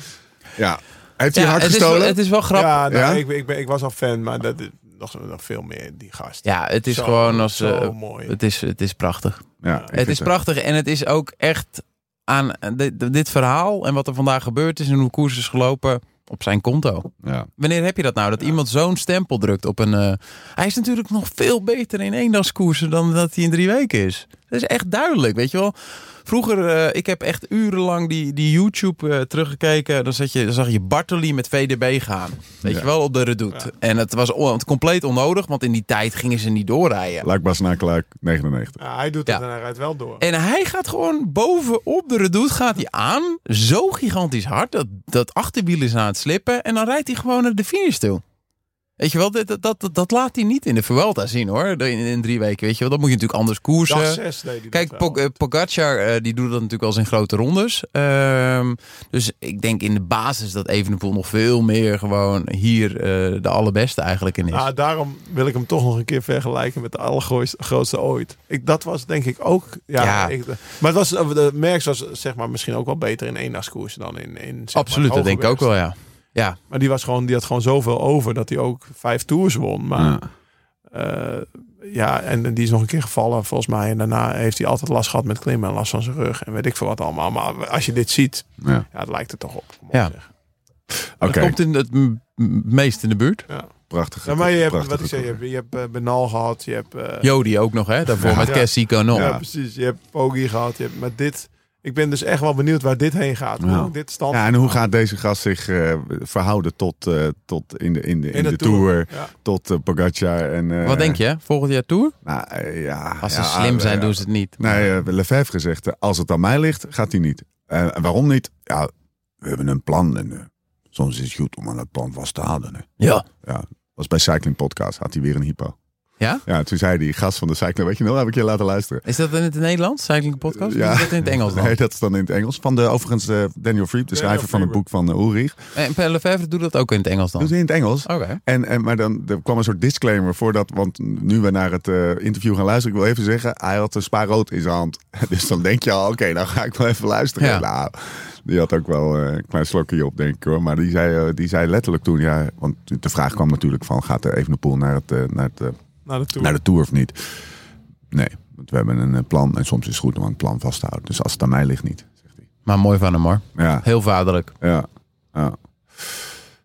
Speaker 1: ja. Heeft hij hard
Speaker 6: het, is wel,
Speaker 1: gestolen?
Speaker 6: het is wel grappig. Ja,
Speaker 4: Ja, nou,
Speaker 1: Ja?
Speaker 4: Ik, ik, ben, ik was al fan, maar dat is nog, nog veel meer die gast.
Speaker 6: het is
Speaker 4: Zo-
Speaker 6: gewoon als...
Speaker 4: zo
Speaker 6: eh,
Speaker 4: mooi.
Speaker 6: het, is, het is prachtig.
Speaker 1: ja, ik
Speaker 6: Het
Speaker 1: vind
Speaker 6: is prachtig en het is ook echt aan dit, dit verhaal en wat er vandaag gebeurd is en hoe de koers is gelopen op zijn konto.
Speaker 1: Ja.
Speaker 6: Wanneer heb je dat nou? Dat iemand zo'n stempel drukt op een... eh, hij is natuurlijk nog veel beter in eendagskoersen dan dat hij in drie weken is. Dat is echt duidelijk, weet je wel. Vroeger, eh, ik heb echt urenlang die, die YouTube eh, teruggekeken. Dan, zat je, dan zag je Bartoli met VDB gaan. Weet
Speaker 1: Ja.
Speaker 6: je wel, op de redoute. En het was on- compleet onnodig, want in die tijd gingen ze niet doorrijden.
Speaker 1: Luik Bas Nakelaar, 99.
Speaker 4: Ja, hij doet het
Speaker 6: Ja.
Speaker 4: en hij rijdt wel door.
Speaker 6: En hij gaat gewoon bovenop de redoute gaat hij aan. Zo gigantisch hard. Dat, dat achterwiel is aan het slippen. En dan rijdt hij gewoon naar de finish toe. Weet je wel, dat, dat, dat, dat laat hij niet in de Vuelta zien hoor. In, in drie weken, weet je wel. Dat moet je natuurlijk anders
Speaker 4: Dag
Speaker 6: koersen.
Speaker 4: zes deed hij
Speaker 6: Kijk,
Speaker 4: dat
Speaker 6: Pog-
Speaker 4: wel.
Speaker 6: eh, Pogacar eh, die doet dat natuurlijk wel eens in grote rondes. Ehm, dus ik denk in de basis dat Evenepoel nog veel meer gewoon hier eh, de allerbeste eigenlijk in is.
Speaker 4: Ah, daarom wil ik hem toch nog een keer vergelijken met de allergrootste ooit. Ik, dat was denk ik ook. Ja,
Speaker 6: Ja.
Speaker 4: Ik, maar het was, de Merckx was zeg maar, misschien ook wel beter in eendagskoers dan in. in zeg maar,
Speaker 6: Absoluut, dat
Speaker 4: hoge
Speaker 6: denk ik ook
Speaker 4: berg.
Speaker 6: wel ja. Ja,
Speaker 4: Maar die, was gewoon, die had gewoon zoveel over dat hij ook vijf tours won. Maar
Speaker 1: Ja.
Speaker 4: ja, ja en, en die is nog een keer gevallen volgens mij. En daarna heeft hij altijd last gehad met klimmen en last van zijn rug. En weet ik veel wat allemaal. Maar als je dit ziet,
Speaker 1: Ja.
Speaker 4: ja, het lijkt er toch op. moet ik
Speaker 6: Ja.
Speaker 4: zeggen.
Speaker 1: Oké,
Speaker 6: dat komt in het m- m- meest in de buurt.
Speaker 1: prachtig.
Speaker 4: Ja, Nou, maar je hebt,
Speaker 1: prachtig
Speaker 4: wat ik zei, je hebt, je hebt eh, Benal gehad. Je hebt... eh,
Speaker 6: Jody ook nog, hè? Daarvoor met
Speaker 4: Ja.
Speaker 6: Cassie Canon.
Speaker 1: Ja.
Speaker 4: Ja, precies. Je hebt Pogi gehad. Je hebt, maar dit, ik ben dus echt wel benieuwd waar dit heen gaat. Hoe
Speaker 1: Ja.
Speaker 4: dit stand
Speaker 1: Ja, en hoe gaat deze gast zich eh, verhouden tot, eh, tot in de, in de, in de, tour,
Speaker 4: Ja.
Speaker 1: tot eh, Pogacar en... eh,
Speaker 6: Wat denk je? hè? Volgend jaar Tour?
Speaker 1: Nou, eh, ja,
Speaker 6: Als
Speaker 1: ja,
Speaker 6: ze slim
Speaker 1: eh,
Speaker 6: zijn, doen ze het niet.
Speaker 1: Nee, eh, Lefebvre zegt, eh, als het aan mij ligt, gaat hij niet. Eh, En waarom niet? Ja, we hebben een plan en eh, soms is het goed om aan dat plan vast te houden. hè.
Speaker 6: Ja.
Speaker 1: Ja, was bij Cycling Podcast, had hij weer een hypo.
Speaker 6: Ja?
Speaker 1: Ja, toen zei die gast van de cycling, weet je nog, heb ik je laten luisteren.
Speaker 6: Is dat in het Nederlands, Cycling Podcast? Of is dat in het Engels dan?
Speaker 1: Nee, dat is dan in het Engels. Van de, overigens eh, Daniel Friep, de schrijver van het boek van eh, Ulrich.
Speaker 6: En Per Lefevre doet dat ook in het Engels dan?
Speaker 1: Dat is in het Engels.
Speaker 6: Oké.
Speaker 1: En, en, maar dan er kwam een soort disclaimer voordat, want nu we naar het eh, interview gaan luisteren, ik wil even zeggen, hij had een spa rood in zijn hand. *laughs* Dus dan denk je al, oké, nou ga ik wel even luisteren.
Speaker 6: Ja.
Speaker 1: Nou, die had ook wel eh, een klein slokje op, denk ik hoor. Maar die zei, eh, die zei letterlijk toen, ja, want de vraag kwam natuurlijk van, gaat er even pool naar het, eh, naar het eh,
Speaker 4: Naar de Tour.
Speaker 1: naar de tour of niet? Nee, want we hebben een eh, plan en soms is het goed om aan het plan vast te houden. Dus als het aan mij ligt, niet. zegt hij.
Speaker 6: Maar mooi van hem hoor.
Speaker 1: Ja,
Speaker 6: Heel vaderlijk.
Speaker 1: ja, ja. Hij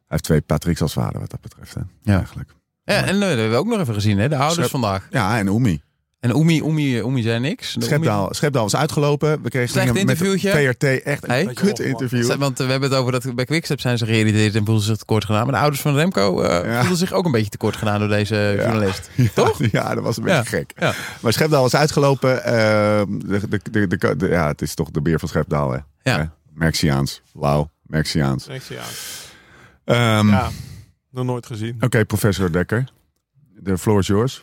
Speaker 1: heeft twee Patricks als vader wat dat betreft, hè?
Speaker 6: Ja.
Speaker 1: eigenlijk.
Speaker 6: Ja, en eh, dat hebben we ook nog even gezien, hè? de ouders
Speaker 1: Schep-
Speaker 6: vandaag.
Speaker 1: Ja, en Oemi.
Speaker 6: En Oemi, Oemi, Oemi zei niks. De Oemi-
Speaker 1: Schepdaal, Schepdaal was uitgelopen. We kregen
Speaker 6: Slecht
Speaker 1: gingen met de
Speaker 6: interviewtje.
Speaker 1: VRT echt een
Speaker 6: Hey?
Speaker 1: kut interview.
Speaker 6: Zij- Want eh, we hebben het over dat bij Quickstep zijn ze geïrriteerd en voelden zich tekort gedaan. Maar de ouders van Remco eh
Speaker 1: Ja.
Speaker 6: voelden zich ook een beetje tekort gedaan door deze journalist. Toch?
Speaker 1: *laughs* Ja, dat was een beetje
Speaker 6: Ja.
Speaker 1: gek.
Speaker 6: Ja.
Speaker 1: Maar Schepdaal was uitgelopen. ehm, de, de, de, de- de- ja, het is toch de beer van Schepdaal, hè?
Speaker 6: Ja.
Speaker 1: Hè? Merxiaans. Lauw. Merxiaans.
Speaker 4: Denk je, ja.
Speaker 1: Ehm,
Speaker 4: Ja, nog nooit gezien.
Speaker 1: Oké, professor Dekker. De floor is yours.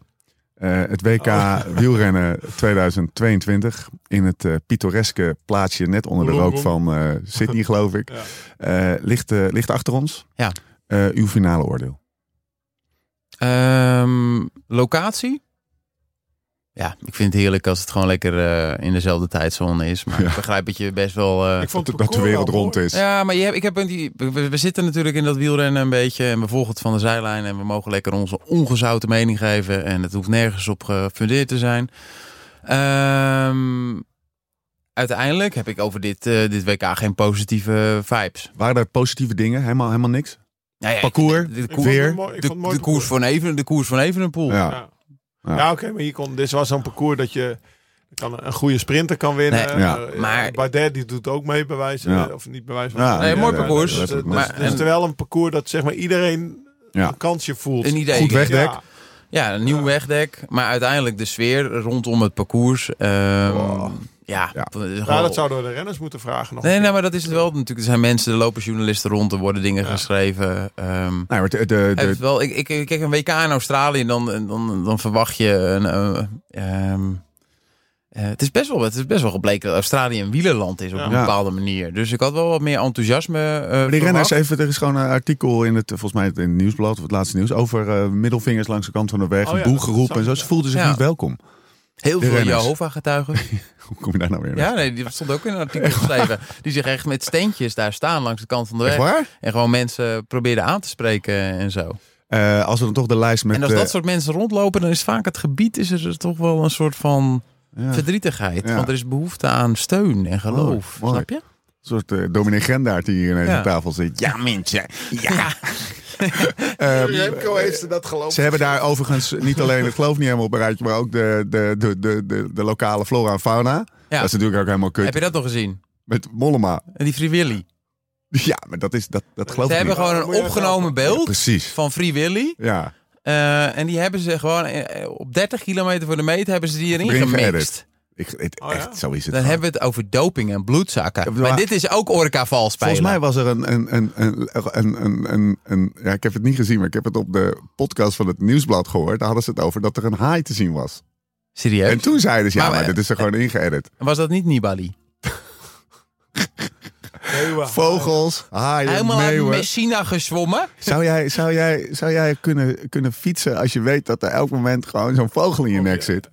Speaker 1: Eh, het WK
Speaker 4: Oh.
Speaker 1: *laughs* wielrennen 2022 in het eh, pittoreske plaatsje net onder de rook
Speaker 4: Wollongong.
Speaker 1: van eh,
Speaker 4: *laughs*
Speaker 1: Sydney, geloof ik,
Speaker 4: Ja.
Speaker 1: Eh, ligt, eh, ligt achter ons.
Speaker 6: Ja.
Speaker 1: Eh, uw finale oordeel.
Speaker 6: Ehm, locatie? Ja, ik vind het heerlijk als het gewoon lekker eh, in dezelfde tijdzone is. Maar ik begrijp dat je best wel... eh,
Speaker 4: Ik vond het
Speaker 1: Dat de
Speaker 4: parcours
Speaker 1: wereld
Speaker 4: wel
Speaker 1: rond
Speaker 4: mooi.
Speaker 1: is.
Speaker 6: Ja, maar je hebt, ik heb een die, we, we zitten natuurlijk in dat wielrennen een beetje. En we volgen het van de zijlijn. En we mogen lekker onze ongezouten mening geven. En het hoeft nergens op gefundeerd te zijn. Ehm, uiteindelijk heb ik over dit, eh, dit WK geen positieve vibes.
Speaker 1: Waren er positieve dingen? Helemaal, helemaal niks?
Speaker 6: Nou ja,
Speaker 1: Parcours?
Speaker 6: de, de
Speaker 4: Ik
Speaker 6: koer-
Speaker 4: vond het
Speaker 1: Weer?
Speaker 4: een mooi- ik
Speaker 6: de-
Speaker 4: vond het mooi
Speaker 6: de koers
Speaker 4: parcours.
Speaker 6: van even, de koers van Evenepoel.
Speaker 1: Ja.
Speaker 4: Ja, ja. oké, maar hier kon, dit was zo'n parcours dat je kan, een goede sprinter kan winnen.
Speaker 6: Nee,
Speaker 1: ja.
Speaker 4: Eh,
Speaker 6: maar-
Speaker 4: Bardet die doet ook mee, bij wijze
Speaker 1: Ja.
Speaker 4: of niet bij wijze van.
Speaker 1: Ja,
Speaker 4: spreken.
Speaker 6: Nee, mooi
Speaker 4: Maar
Speaker 6: parcours.
Speaker 4: Dus, dus,
Speaker 1: Maar-
Speaker 4: dus
Speaker 6: en-
Speaker 4: terwijl een parcours dat zeg maar iedereen
Speaker 1: Ja.
Speaker 4: een kansje voelt.
Speaker 6: Een idee.
Speaker 1: Goed weg.
Speaker 4: Ja.
Speaker 1: Wegdek.
Speaker 6: Ja, een nieuw
Speaker 4: Ja.
Speaker 6: wegdek. Maar uiteindelijk de sfeer rondom het parcours. ehm,
Speaker 1: Wow.
Speaker 6: Ja,
Speaker 1: Ja.
Speaker 6: dat is
Speaker 4: Nou,
Speaker 6: gewoon-
Speaker 4: dat zouden we de renners moeten vragen nog.
Speaker 6: Nee, nee, maar dat is het wel. Natuurlijk, er zijn mensen, er lopen journalisten rond, er worden dingen geschreven. ehm.
Speaker 1: Nou, maar de, de,
Speaker 6: Het
Speaker 1: de-
Speaker 6: wel, ik, ik, ik kijk een WK in Australië, dan, dan, dan verwacht je een. eh, ehm, eh, het, is best wel, het is best wel gebleken dat Australië een wielerland is op
Speaker 4: Ja.
Speaker 6: een
Speaker 1: Ja.
Speaker 6: bepaalde manier. Dus ik had wel wat meer enthousiasme. eh
Speaker 1: die renners,
Speaker 6: verwacht.
Speaker 1: even, er is gewoon een artikel in het, volgens mij in het nieuwsblad, of het laatste nieuws, over eh, middelvingers langs de kant van de weg,
Speaker 4: Oh ja,
Speaker 1: boel
Speaker 4: dat
Speaker 1: geroepen
Speaker 4: zag
Speaker 1: en zo.
Speaker 4: ik,
Speaker 1: Ze
Speaker 4: ja.
Speaker 1: voelden zich
Speaker 6: Ja.
Speaker 1: niet welkom.
Speaker 6: Heel
Speaker 1: de
Speaker 6: veel
Speaker 1: renners.
Speaker 6: Jehovah-getuigen.
Speaker 1: Hoe kom je daar nou weer?
Speaker 6: Ja, nee, die stond ook in een artikel geschreven. Die zich echt met steentjes daar staan langs de kant van de
Speaker 1: Echt
Speaker 6: weg.
Speaker 1: waar?
Speaker 6: En gewoon mensen probeerden aan te spreken en zo.
Speaker 1: Eh, als we dan toch de lijst met...
Speaker 6: en als
Speaker 1: eh,
Speaker 6: dat soort mensen rondlopen, dan is vaak het gebied is er dus toch wel een soort van
Speaker 1: ja, een
Speaker 6: verdrietigheid.
Speaker 1: Ja.
Speaker 6: Want er is behoefte aan steun en geloof.
Speaker 1: Mooi, mooi.
Speaker 6: Snap je?
Speaker 1: soort eh Dominee Grendaert die hier ineens
Speaker 6: Ja.
Speaker 1: aan tafel zit. Ja, mensen. Ja. *laughs* Ehm, eh,
Speaker 4: Remco heeft ze dat geloofd.
Speaker 1: Ze hebben daar overigens niet alleen het geloof niet helemaal op een rijtje, maar ook de, de, de, de, de, de lokale flora en fauna. Dat is natuurlijk ook helemaal kut.
Speaker 6: Heb je dat nog gezien?
Speaker 1: Met Mollema.
Speaker 6: Die Free Willy.
Speaker 1: Ja, maar dat, is, dat, dat geloof
Speaker 6: Ze
Speaker 1: ik
Speaker 6: hebben
Speaker 1: niet. Oh,
Speaker 6: gewoon
Speaker 4: Moet je
Speaker 6: een
Speaker 4: dat
Speaker 6: opgenomen
Speaker 1: Ja,
Speaker 6: beeld
Speaker 1: precies.
Speaker 6: van Free Willy.
Speaker 1: Ja.
Speaker 6: Eh, en die hebben ze gewoon eh, op 30 kilometer voor de meet hebben ze die erin
Speaker 1: Erin
Speaker 6: gemixt.
Speaker 1: geëdit. Ik, het,
Speaker 4: Oh ja?
Speaker 1: Echt, zo is het.
Speaker 6: Dan
Speaker 1: gewoon.
Speaker 6: hebben we het over doping en bloedzakken.
Speaker 1: maar-
Speaker 6: Maar dit is ook Orca vals spelen.
Speaker 1: Volgens mij was er een, een, een, een, een, een, een, een- Ja, ik heb het niet gezien, maar ik heb het op de podcast van het Nieuwsblad gehoord. Daar hadden ze het over dat er een haai te zien was.
Speaker 6: Serieus?
Speaker 1: En toen zeiden ze, ja,
Speaker 6: Maar- eh,
Speaker 1: maar dit is er gewoon ingeëdit.
Speaker 6: Was dat niet Nibali?
Speaker 1: Vogels, haaien,
Speaker 6: Helemaal uit
Speaker 1: meeuwen.
Speaker 6: Messina gezwommen?
Speaker 1: Zou jij, zou jij, zou jij kunnen, kunnen fietsen als je weet dat er elk moment gewoon zo'n vogel in je nek zit?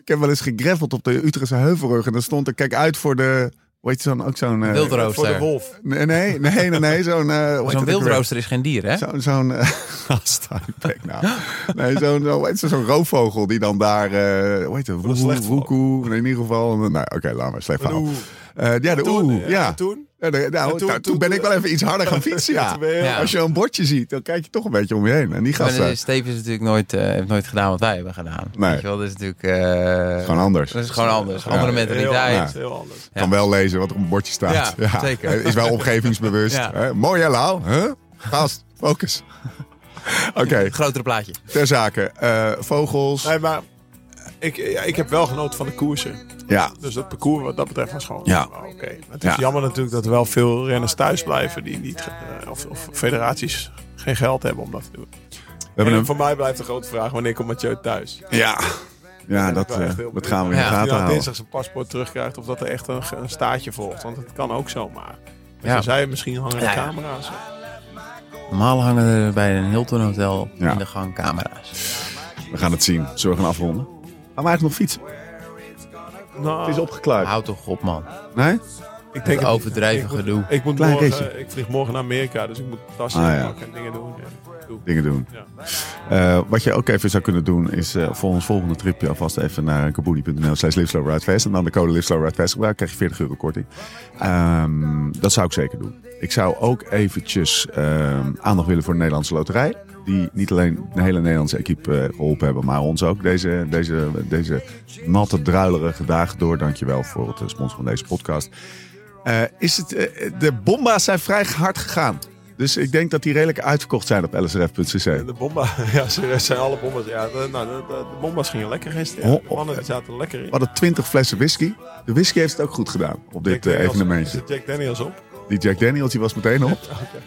Speaker 1: Ik heb wel eens gegreffeld op de Utrechtse Heuvelrug en dan stond er, kijk uit voor de... Weet je zo'n, ook zo'n... eh,
Speaker 4: Voor de
Speaker 6: Wildrooster.
Speaker 4: wolf.
Speaker 1: Nee, nee, nee, nee, nee, zo'n... eh, hoe heet dat
Speaker 6: Zo'n
Speaker 1: ook weer?
Speaker 6: wildrooster is geen dier, hè?
Speaker 1: Zo'n... zo'n eh, *laughs* gast uit de bek nou. Nee, zo'n zo, zo'n roofvogel die dan daar... eh hoe heet het?
Speaker 4: een
Speaker 1: Woekoe,
Speaker 4: slecht verhaal.
Speaker 1: woekoe, in ieder geval... Nou, oké, laat maar, slecht verhaal.
Speaker 4: oeh.
Speaker 1: Eh, ja, de
Speaker 4: Toen,
Speaker 1: oeh,
Speaker 4: eh,
Speaker 1: ja.
Speaker 4: toen?
Speaker 1: Ja, de- nou,
Speaker 4: En toen-
Speaker 1: daar- toen,
Speaker 4: toen-
Speaker 1: ben ik wel even iets harder gaan fietsen, ja.
Speaker 4: *laughs* Toen ben je heel-
Speaker 6: Ja.
Speaker 1: Als je een bordje ziet, dan kijk je toch een beetje om je heen. En die
Speaker 6: Maar
Speaker 1: gasten,
Speaker 6: Steve is natuurlijk nooit, eh, heeft nooit gedaan wat wij hebben gedaan.
Speaker 1: Nee.
Speaker 6: Weet je wel, dat is natuurlijk... eh,
Speaker 1: gewoon anders.
Speaker 6: dat is gewoon anders. Andere
Speaker 4: Heel anders,
Speaker 6: mentaliteit.
Speaker 4: heel anders.
Speaker 1: nou, Kan wel lezen wat er op een bordje *laughs* staat.
Speaker 6: Ja, zeker.
Speaker 1: Is wel omgevingsbewust.
Speaker 6: Ja.
Speaker 1: Hè? Mooi hè, Lau? Huh? Gast, focus. *laughs* Oké,
Speaker 6: Het grotere plaatje.
Speaker 1: ter zake. Eh, vogels.
Speaker 4: Nee, maar ik, ja, ik heb wel genoten van de koersen.
Speaker 1: Ja,
Speaker 4: Dus dat parcours wat dat betreft was gewoon
Speaker 1: Ja.
Speaker 4: ja. oké. Maar Het is
Speaker 1: Ja.
Speaker 4: jammer natuurlijk dat er wel veel renners thuis blijven die niet, eh, of, of federaties geen geld hebben om dat te doen.
Speaker 1: hebben
Speaker 4: En
Speaker 1: hem.
Speaker 4: voor mij blijft de grote vraag, wanneer komt Mathieu thuis?
Speaker 1: Ja, ja dat,
Speaker 4: wel echt
Speaker 1: eh,
Speaker 4: heel
Speaker 1: dat gaan we in de
Speaker 6: benieuwd.
Speaker 4: Of
Speaker 6: Ja,
Speaker 1: gaten
Speaker 4: hij nou
Speaker 1: houden.
Speaker 4: dinsdag zijn paspoort terugkrijgt of dat er echt een, een staartje volgt. Want het kan ook zomaar.
Speaker 6: Ja.
Speaker 4: Ja. Zij misschien hangen de
Speaker 6: Ja, ja.
Speaker 4: camera's.
Speaker 6: Normaal hangen er bij een Hilton hotel
Speaker 1: Ja.
Speaker 6: in de gang camera's.
Speaker 1: We gaan het zien. Zullen we gaan afronden? Gaan we eigenlijk nog fietsen?
Speaker 4: Nou,
Speaker 1: Het is opgeklaard.
Speaker 6: Houd toch op, man.
Speaker 1: Ah, Nee?
Speaker 4: ik
Speaker 6: Dat
Speaker 4: het niet.
Speaker 6: overdrijven
Speaker 4: Ik moet-
Speaker 6: gedoe.
Speaker 4: Ik, moet
Speaker 1: Klein
Speaker 4: morgen,
Speaker 1: ritje.
Speaker 4: ik vlieg morgen naar Amerika, dus ik moet tassen
Speaker 1: Ah, ja.
Speaker 4: inpakken en dingen doen. Ja. Doe.
Speaker 1: Dingen doen.
Speaker 4: Ja.
Speaker 1: Eh, wat je ook even zou kunnen doen is eh, voor ons volgende tripje alvast even naar kaboeni.nl slash livslowridefest. En dan de code livslowridefest gebruiken, krijg je 40 euro korting. Ehm, dat zou ik zeker doen. Ik zou ook eventjes ehm, aandacht willen voor de Nederlandse Loterij. Die niet alleen de hele Nederlandse equipe eh, geholpen hebben, maar ons ook. Deze, deze, deze natte, druilerige dagen door. Dankjewel voor het eh, sponsoren van deze podcast. Eh, is het, eh, de bomba's zijn vrij hard gegaan. Dus ik denk dat die redelijk uitverkocht zijn op lsrf.cc.
Speaker 4: En de bomba, *laughs* ja, serieus zijn alle bomba's. Ja, de, nou, de, de- de bomba's gingen lekker gisteren. Ja,
Speaker 1: Oh,
Speaker 4: de mannen die zaten er lekker in.
Speaker 1: We hadden 20 flessen whisky. De whisky heeft het ook goed gedaan op dit eh,
Speaker 4: Daniels-
Speaker 1: evenementje.
Speaker 4: Jack Daniels op.
Speaker 1: Die Jack Daniels die was meteen
Speaker 4: *laughs*
Speaker 1: op.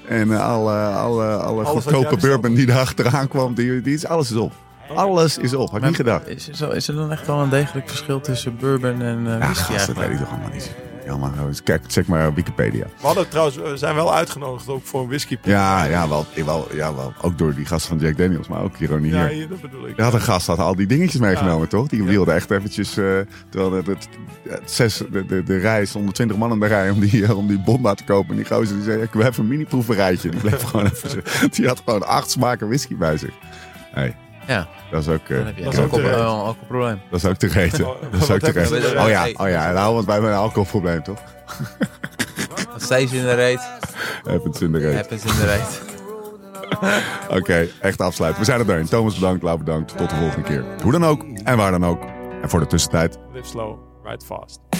Speaker 1: En eh, alle, alle, alle
Speaker 4: wat
Speaker 1: goedkope
Speaker 4: jij bestelde.
Speaker 1: bourbon die erachteraan kwam, die, die is, alles is op. Alles is op, had ik niet gedacht.
Speaker 6: Is, is, is er dan echt wel een degelijk verschil tussen bourbon en
Speaker 1: Ja,
Speaker 6: eh whisky
Speaker 1: gast, dat
Speaker 6: eigenlijk?
Speaker 1: weet ik toch allemaal niet. Ja, maar eh, kijk, zeg maar Wikipedia.
Speaker 4: We hadden trouwens, we zijn wel uitgenodigd ook voor een whisky.
Speaker 1: Ja, ja, wel, wel, ja wel. Ook door die gast van Jack Daniels, maar ook ironie
Speaker 4: Ja,
Speaker 1: hier.
Speaker 4: hier, dat bedoel ik.
Speaker 1: Er had een gast had al die dingetjes meegenomen, toch? Die wilde echt eventjes... eh, terwijl het, het- het zes, de, de, de rij stond 20 man in de rij om die, eh, om die bomba te kopen. En die gozer die zei, ik wil even een mini-proeverijtje. Die, bleef *laughs* gewoon even, zitten. die had gewoon acht smaken whisky bij zich. Hey,
Speaker 6: Ja,
Speaker 1: dat is ook... eh,
Speaker 6: dan heb je
Speaker 4: Dat
Speaker 6: echt
Speaker 4: is ook
Speaker 6: een alcohol-
Speaker 4: terecht.
Speaker 6: eh, alcoholprobleem.
Speaker 1: dat is ook te reten.
Speaker 4: Oh,
Speaker 1: Dat is ook
Speaker 4: wat
Speaker 1: te
Speaker 4: heb je
Speaker 1: reten.
Speaker 6: er-
Speaker 1: Oh ja,
Speaker 6: hey.
Speaker 1: oh ja. Nou, want wij hebben een alcoholprobleem, toch?
Speaker 6: Nog steeds in de reet.
Speaker 1: Happens in de reet.
Speaker 6: Happens in de reet.
Speaker 1: Oké, echt afsluiten. We zijn er doorheen. Thomas bedankt, Lau bedankt. Tot de volgende keer. Hoe dan ook en waar dan ook. En voor de tussentijd...
Speaker 4: Live slow, ride fast.